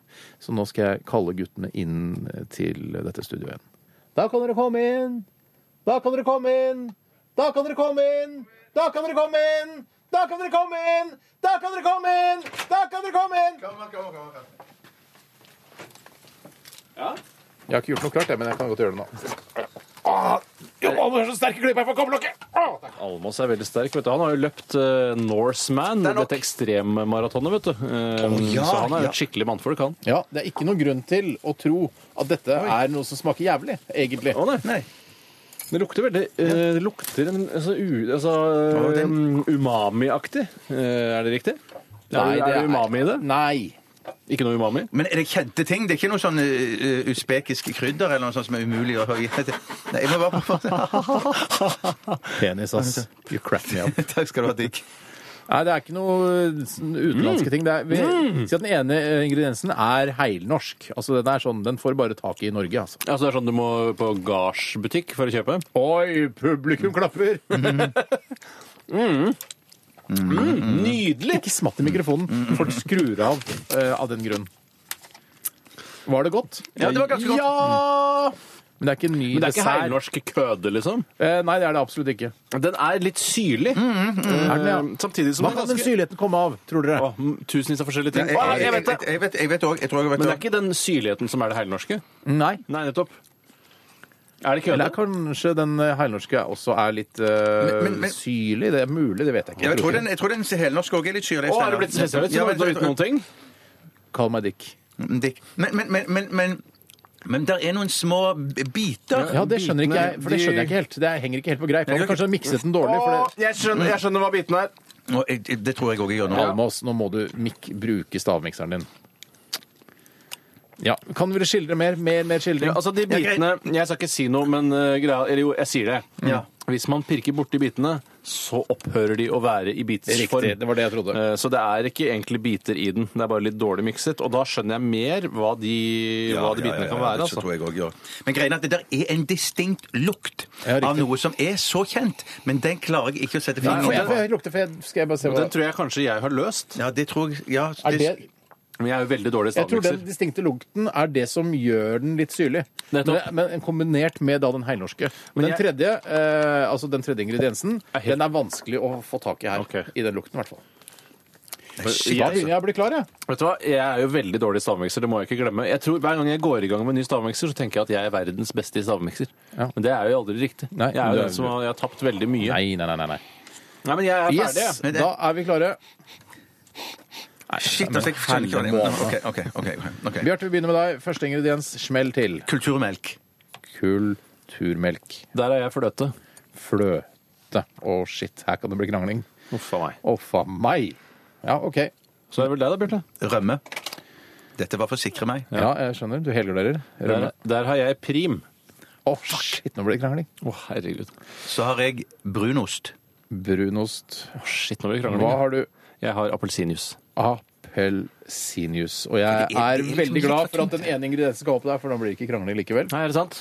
Speaker 3: Så nå skal jeg kalle guttene inn til dette studioet igjen. Da kan dere komme inn! Da kan dere komme inn! Da kan dere komme inn! Da kan dere komme inn! Da kan dere komme inn! Da kan dere komme inn! Da kan dere komme inn! Jeg har ikke gjort noe klart, jeg, men jeg kan godt gjøre det nå. Jo, du er så sterk i klypa! Jeg får kobbelokket!
Speaker 5: Almås er veldig sterk. vet du. Han har jo løpt eh, Norseman, dette ekstremmaratonet, vet du. Eh,
Speaker 3: ja,
Speaker 5: så han er
Speaker 3: ja.
Speaker 5: jo et skikkelig mannfolk, han.
Speaker 3: Ja, det er ikke noen grunn til å tro at dette er noe som smaker jævlig, egentlig.
Speaker 5: Å, nei. Det lukter veldig eh, Det lukter en, altså, u, altså,
Speaker 3: Å, den-
Speaker 5: um, umami-aktig. Eh, er det riktig?
Speaker 3: Nei, det
Speaker 5: er, det
Speaker 3: er-
Speaker 5: umami i det?
Speaker 3: Nei.
Speaker 5: Ikke noe umami?
Speaker 4: Men er det kjente ting? Det er ikke noe sånn eh, usbekisk krydder eller noe sånt som er umulig å høre? Nei, jeg må bare
Speaker 3: Penis, ass. You crack me up.
Speaker 4: Takk skal du ha, Dick.
Speaker 3: Nei, det er ikke noe sånn utenlandske ting. Det er, vi, si at den ene eh, ingrediensen er heilnorsk. Altså, den er sånn, den får bare tak i i Norge, altså.
Speaker 5: Altså, det er sånn du må på gardsbutikk for å kjøpe?
Speaker 3: Oi, publikum klapper!
Speaker 5: mm. Mm. Nydelig!
Speaker 3: Ikke smatt i mikrofonen. Folk skrur av eh, av den grunn. Var det godt?
Speaker 5: Ja, det var ganske godt.
Speaker 3: Ja! Men det er ikke en ny
Speaker 5: Men det er ikke
Speaker 3: dessert.
Speaker 5: heilnorsk køde, liksom?
Speaker 3: Eh, nei, det er det absolutt ikke.
Speaker 5: Den er litt syrlig.
Speaker 3: Er den, ja?
Speaker 5: Eh, Samtidig som
Speaker 3: Hva kan den syrligheten komme av, tror dere?
Speaker 5: Å, m- Tusenvis av forskjellige ting.
Speaker 4: Jeg,
Speaker 5: Å,
Speaker 4: jeg,
Speaker 5: jeg
Speaker 4: jeg,
Speaker 5: vet det!
Speaker 4: jeg vet jeg vet også, Jeg tror jeg vet
Speaker 5: Men det
Speaker 4: det
Speaker 5: er ikke den syrligheten som er det heilnorske?
Speaker 3: Nei.
Speaker 5: Nei, nettopp. Er det køde?
Speaker 3: Eller kanskje den eh, heilnorske også er litt eh,
Speaker 4: Men- men- men-
Speaker 3: syrlig? Det er mulig, det vet jeg ikke.
Speaker 4: Jeg tror den, jeg tror den helnorske òg er litt syrlig.
Speaker 5: Å, er det blitt spesielt
Speaker 4: Ja, men-
Speaker 5: uten noen ting?
Speaker 3: Kall meg Dick.
Speaker 4: Dick. Men, men, men, men, men men der er noen små b- biter.
Speaker 3: Ja, det skjønner ikke jeg, for det
Speaker 5: de-
Speaker 3: skjønner jeg ikke helt. Det henger ikke helt på greip.
Speaker 4: Nei,
Speaker 3: Han
Speaker 4: det er
Speaker 3: kanskje har mikset den dårlig. For det...
Speaker 5: jeg, skjønner, hva biten er.
Speaker 4: Nå, jeg- jeg- Det tror jeg òg jeg gjør nå.
Speaker 3: Almås, nå må du mik bruke stavmikseren din. Ja, Kan dere skildre mer? Mer, mer skildring?
Speaker 5: Ja, altså de bitene, Jeg skal ikke si noe, men eh, greia, eller jo, jeg sier det.
Speaker 4: Ja.
Speaker 5: Hvis man pirker borti bitene, så opphører de å være i biters
Speaker 3: Riktig,
Speaker 5: form.
Speaker 3: det var det jeg trodde.
Speaker 5: Eh, Så det er ikke egentlig biter i den. Det er bare litt dårlig mikset. Og da skjønner jeg mer hva de, hva de bitene kan være.
Speaker 4: det tror
Speaker 5: Altså.
Speaker 4: jeg også, ja. Men greien er at det der er en distinkt lukt
Speaker 3: Ja, riktig.
Speaker 4: av noe som er så kjent, men den klarer jeg ikke å sette
Speaker 3: Får jeg,
Speaker 4: fingeren
Speaker 3: får
Speaker 4: på.
Speaker 3: jeg lukte, for jeg, skal jeg bare se
Speaker 5: Og
Speaker 3: hva
Speaker 5: Den tror jeg kanskje jeg har løst.
Speaker 4: Ja, det tror jeg ja,
Speaker 3: er det,
Speaker 5: Men jeg er jo veldig dårlig
Speaker 3: Jeg tror den
Speaker 5: stavmikser.
Speaker 3: distinkte lukten er det som gjør den litt syrlig. Men,
Speaker 5: Nettopp.
Speaker 3: men kombinert med da den heilnorske. Men den
Speaker 5: jeg-
Speaker 3: tredje, eh, altså den tredje ingrediensen,
Speaker 5: Er helt-
Speaker 3: den er vanskelig å få tak i her.
Speaker 5: Ok.
Speaker 3: I den lukten, i hvert fall.
Speaker 5: Shit,
Speaker 3: Da
Speaker 5: altså.
Speaker 3: begynner jeg å bli klar, jeg.
Speaker 5: Vet du hva? Jeg er jo veldig dårlig stavmikser, det må jeg ikke glemme. Jeg tror Hver gang jeg går i gang med en ny stavmikser, så tenker jeg at jeg er verdens beste i stavmikser.
Speaker 3: Ja.
Speaker 5: Men det er jo aldri riktig.
Speaker 3: Nei,
Speaker 5: jeg, er
Speaker 3: det
Speaker 5: jo
Speaker 3: er
Speaker 5: den som har, jeg har tapt veldig mye.
Speaker 3: Nei, nei, nei. nei.
Speaker 5: Nei, men jeg er
Speaker 3: Yes,
Speaker 5: ferdig. jeg.
Speaker 3: da er vi klare.
Speaker 4: Shit, altså, jeg skjønner ikke hva det er. Ok, ok, ok, ok.
Speaker 3: Bjarte, vi begynner med deg. Første ingrediens, smell til.
Speaker 4: Kulturmelk.
Speaker 3: Kulturmelk.
Speaker 5: Der er jeg fløte.
Speaker 3: Fløte. Å, shit, her kan det bli krangling.
Speaker 5: Uff a meg.
Speaker 3: Å, faen meg. Ja, OK.
Speaker 5: Så er det vel deg da, Bjarte?
Speaker 4: Rømme. Dette var for å sikre meg.
Speaker 3: Ja, jeg skjønner. Du helgarderer.
Speaker 5: Der,
Speaker 3: Rømme.
Speaker 5: der har jeg prim.
Speaker 3: Å, shit, nå ble det krangling.
Speaker 5: Å, herregud.
Speaker 4: Så har jeg brunost.
Speaker 3: Brunost.
Speaker 5: Å, shit, nå blir det krangling.
Speaker 3: Hva har du?
Speaker 5: Jeg har appelsinjuice.
Speaker 3: Appelsinjuice. Og jeg er veldig glad for at den ene ingrediensen skal opp der, for da blir det ikke krangling likevel.
Speaker 5: Nei, er det sant?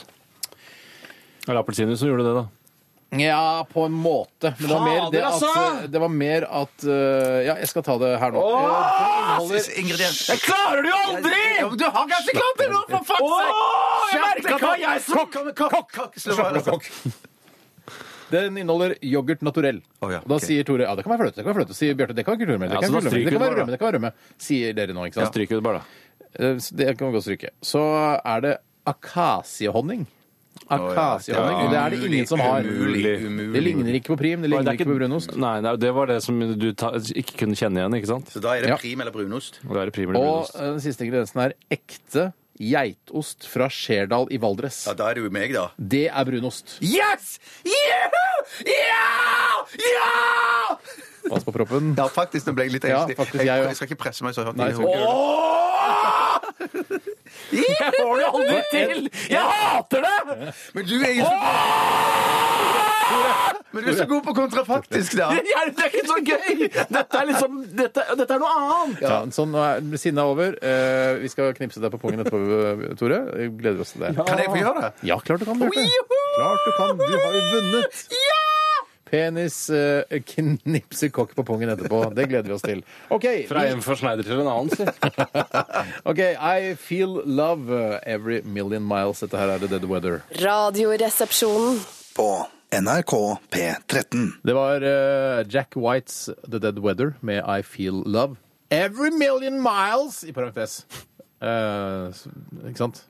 Speaker 5: Er det appelsinjuice som gjorde det, da?
Speaker 3: Ja, på en måte. Men det var mer det
Speaker 5: Fader, altså!
Speaker 3: at, eh, det var mer at øh, Ja, jeg skal ta det her nå.
Speaker 4: Siste Ingrediens.
Speaker 5: Jeg klarer det jo aldri!
Speaker 4: Ja, men Du har kanskje klart det nå, for fuck's sake!
Speaker 5: jeg merket det var jeg som-
Speaker 4: Kokk, kokk, kokk,
Speaker 3: Slapp av,
Speaker 4: slå- altså.
Speaker 3: kokk. Den inneholder yoghurt naturell.
Speaker 4: Å, ja,
Speaker 3: Og da
Speaker 4: ok.
Speaker 3: sier Tore ja, det kan være fløte. det kan være fløte. Sier Bjarte det kan ikke være gullrømme.
Speaker 5: Ja,
Speaker 3: Det kan være
Speaker 5: så da
Speaker 3: gullrømme, det
Speaker 5: stryker
Speaker 3: kan
Speaker 5: vi
Speaker 3: være
Speaker 5: bare,
Speaker 3: rømme. Det kan være rømme. Sier dere nå, ikke
Speaker 5: Jeg
Speaker 3: sant?
Speaker 5: stryker det bare, da.
Speaker 3: Eh, så Det kan vi godt stryke. Så er det akasiehonning. Akasiehonning.
Speaker 4: Å,
Speaker 3: Det
Speaker 4: ja.
Speaker 3: er det ingen som har.
Speaker 4: Umulig, umulig.
Speaker 3: Det ligner ikke på prim, det
Speaker 5: Nei,
Speaker 3: ligner
Speaker 5: det er
Speaker 3: ikke på brunost.
Speaker 5: Nei, nei, det var det som du ta, ikke kunne kjenne igjen, ikke sant?
Speaker 4: Så da er det
Speaker 3: Ja.
Speaker 4: prim eller brunost.
Speaker 5: Og det er det primer
Speaker 3: Og
Speaker 5: brunost.
Speaker 3: eh, den siste ingrediensen er ekte geitost fra Skjerdal i Valdres.
Speaker 4: Ja, da er det jo meg, da.
Speaker 3: Det er brunost.
Speaker 4: Yes! Ja! Ja!
Speaker 3: Pass på proppen.
Speaker 4: Ja, faktisk, nå ble jeg litt
Speaker 3: Ja,
Speaker 4: engstelig.
Speaker 3: faktisk, jeg
Speaker 4: jeg,
Speaker 3: også.
Speaker 4: jeg skal ikke presse meg så hardt.
Speaker 3: Nei,
Speaker 4: inn i
Speaker 3: så-
Speaker 4: hodet.
Speaker 5: Jeg får det aldri til! Jeg hater det!
Speaker 4: Men du er jo så Men du er så god på kontrafaktisk, da.
Speaker 5: Det er, det er ikke så gøy! Dette er liksom Dette, dette er noe annet!
Speaker 3: Ja, sånn, nå er sinnet er over. Eh, vi skal knipse deg på pungen etterpå, Tore. Vi Gleder oss til det.
Speaker 4: Kan jeg få gjøre det?
Speaker 3: Ja, klart du kan, Bjarte. Klart du kan. Du har jo vunnet. Penis eh, knipser kokk på pungen etterpå. Det gleder vi oss til. OK.
Speaker 5: Fra
Speaker 3: vi-
Speaker 5: en forsneider til en annen, si.
Speaker 3: ok, I feel love eh, every million miles. Dette her er The Dead Weather.
Speaker 6: Radioresepsjonen.
Speaker 7: På NRK P13.
Speaker 3: Det var eh, Jack Whites The Dead Weather med I Feel Love. Every million miles! I parentes. Eh, s- ikke sant?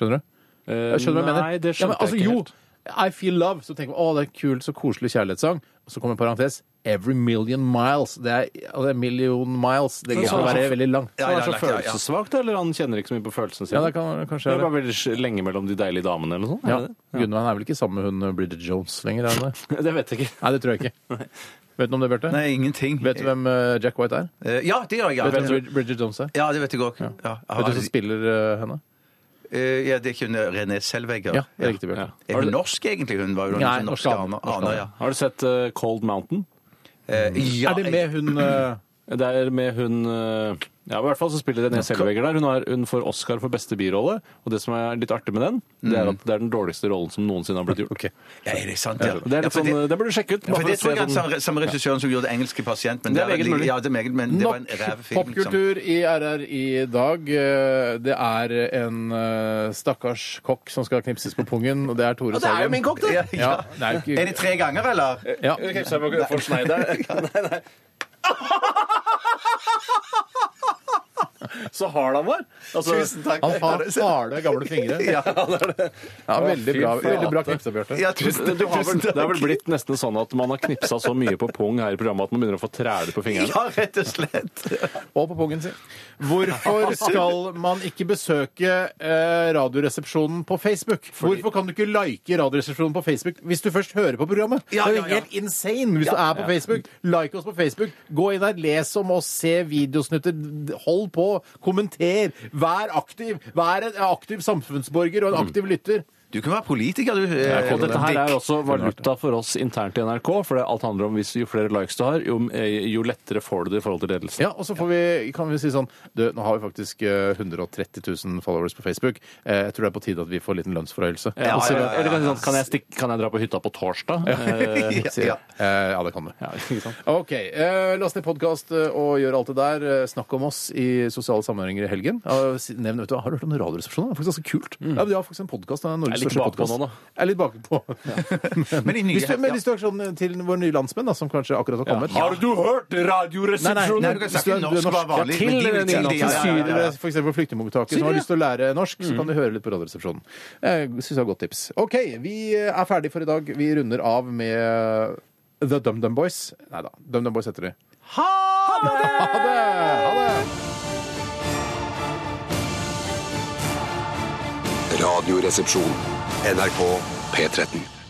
Speaker 3: Skjønner du? Jeg skjønner hva jeg mener.
Speaker 5: Eh, Nei, det
Speaker 3: Ja, men
Speaker 5: skjønte
Speaker 3: altså,
Speaker 5: jeg ikke
Speaker 3: jo,
Speaker 5: helt.
Speaker 3: I Feel Love. Så tenker man å, det er kult, så koselig kjærlighetssang. Og så kommer en parentes. Every million miles. Det er altså, en million miles. Det
Speaker 5: Men
Speaker 3: kan
Speaker 5: sånn-
Speaker 3: være veldig langt.
Speaker 5: Så Han er så
Speaker 4: ja, ja, ja.
Speaker 5: følelsessvak, da, eller han kjenner ikke så mye på følelsene sine?
Speaker 3: Ja, det kan kanskje
Speaker 5: Det er
Speaker 3: være.
Speaker 5: bare veldig lenge mellom de deilige damene eller noe sånt?
Speaker 3: Ja.
Speaker 5: er det
Speaker 3: Gunvand er vel ikke sammen med hun eh, Bridget Jones lenger? Er hun det?
Speaker 5: det? Det vet jeg ikke.
Speaker 3: Nei, det tror jeg ikke. Vet du noe om det, Bjarte?
Speaker 4: Nei, ingenting.
Speaker 3: Vet du hvem eh, Jack White er?
Speaker 4: Eh, Ja, det gjør jeg. Ja,
Speaker 3: Vet du hvem Brid- Bridget Jones er?
Speaker 4: ja det vet jeg òg. Ja. altså,
Speaker 3: Vet du hvem som spiller eh, henne?
Speaker 4: Eh, ja, det er ikke hun René Selvegger.
Speaker 3: Ja, det er riktig, Bjørn.
Speaker 5: Ja.
Speaker 4: Er hun norsk, egentlig? Hun var jo
Speaker 3: Nei,
Speaker 4: sånn
Speaker 3: norsk
Speaker 4: norsk
Speaker 3: dame.
Speaker 4: aner. aner, ja.
Speaker 5: Har du sett eh, Cold Mountain?
Speaker 4: Eh, ja,
Speaker 3: Er det med hun eh,
Speaker 5: Det er med hun eh, Ja, i hvert fall så spiller René Selvegger der. Hun, har, hun får Oscar for beste birolle, og det som er litt artig med den, det er at det er den dårligste rollen som noensinne har blitt gjort.
Speaker 4: Ja, er det sant? Ja.
Speaker 5: Det er litt
Speaker 4: Ja, for
Speaker 5: sånn, eh, det burde du sjekke ut.
Speaker 4: Ja, for
Speaker 5: bare
Speaker 4: det
Speaker 5: for
Speaker 4: tror
Speaker 5: å
Speaker 4: jeg
Speaker 5: se
Speaker 4: er den
Speaker 5: sånn-
Speaker 4: samme, samme regissøren som gjorde 'Engelske pasient'. Men
Speaker 5: Det er
Speaker 4: der-
Speaker 5: meget mulig.
Speaker 4: Ja, det er meget, men det var en ræv
Speaker 3: Nok
Speaker 4: film. liksom.
Speaker 3: popkultur i RR i dag. Eh, Det er en eh, stakkars kokk som skal knipses på pungen, og det er Tore Sagen.
Speaker 4: er jo min kokk, det!
Speaker 3: Ja, det er jo
Speaker 4: Er
Speaker 3: ikke...
Speaker 4: det tre ganger, eller?
Speaker 3: Ja.
Speaker 5: Så hard han var! Altså,
Speaker 4: Tusen takk.
Speaker 3: Han har harde, gamle fingre. Ja, veldig bra, veldig bra knipsa, Bjarte.
Speaker 4: Ja, tusen,
Speaker 5: du har vel,
Speaker 4: tusen
Speaker 5: det
Speaker 4: takk.
Speaker 5: har vel blitt nesten sånn at man har knipsa så mye på pung her i programmet at man begynner å få træler på fingrene.
Speaker 4: Ja, rett og slett.
Speaker 3: Og på pungen sin. Hvorfor skal man ikke besøke eh, Radioresepsjonen på Facebook? Hvorfor kan du ikke like Radioresepsjonen på Facebook hvis du først hører på programmet?
Speaker 4: Ja,
Speaker 3: det er
Speaker 4: ja,
Speaker 3: jo
Speaker 4: ja.
Speaker 3: helt insane hvis du er på Facebook. Like oss på Facebook. Gå inn der, les om oss, se videosnutter, d- hold på, kommenter. Vær aktiv. Vær en aktiv samfunnsborger og en aktiv lytter.
Speaker 4: Du kan være politiker, du. Eh,
Speaker 5: Og dette her er også valuta for oss internt i NRK, for det alt handler om hvis jo flere likes du har, jo, eh, jo lettere får du det i forhold til ledelsen.
Speaker 3: Ja, og så får vi, kan vi si sånn du, Nå har vi faktisk eh, 130 000 followers på Facebook. Eh, Jeg tror det er på tide at vi får en liten lønnsforhøyelse.
Speaker 5: Ja, altså, Eller kan, jeg si sånn, kan, jeg stikke, kan jeg dra på hytta på torsdag? Eh,
Speaker 4: Ja,
Speaker 3: Sier jeg.
Speaker 4: ja.
Speaker 3: Eh, ja, det kan du.
Speaker 5: ja, ikke sant?
Speaker 3: OK. Eh, last ned podkast og gjør alt det der. Eh, Snakk om oss i sosiale sammenhenger i helgen. Ja, si- nevn, vet du, hva, har du hørt om Radioresepsjonen? Det er faktisk ganske kult. Ja, men de har faktisk en podkast.
Speaker 5: Mm. Jeg er litt bakpå nå, da.
Speaker 3: Jeg er litt bakpå.
Speaker 4: Men i nye-
Speaker 3: Hvis du, med distraksjon til våre nye landsmenn, da, som kanskje akkurat har kommet.
Speaker 5: Har du hørt Radioresepsjonen?
Speaker 4: Nei, du kan snakke norsk, bare vanlig.
Speaker 3: til
Speaker 4: men de vil
Speaker 3: til
Speaker 4: til det, ja, ja, ja, ja. Mm.
Speaker 3: syrere, f.eks. flyktningmottakere som har lyst til å lære norsk, så kan de høre litt på Radioresepsjonen. Jeg syns det var et godt tips. OK, vi er ferdige for i dag. Vi runder av med The DumDum Boys. Nei da, DumDum Boys heter de. Ha det! Ha det!
Speaker 8: Radioresepsjon. NRK P13.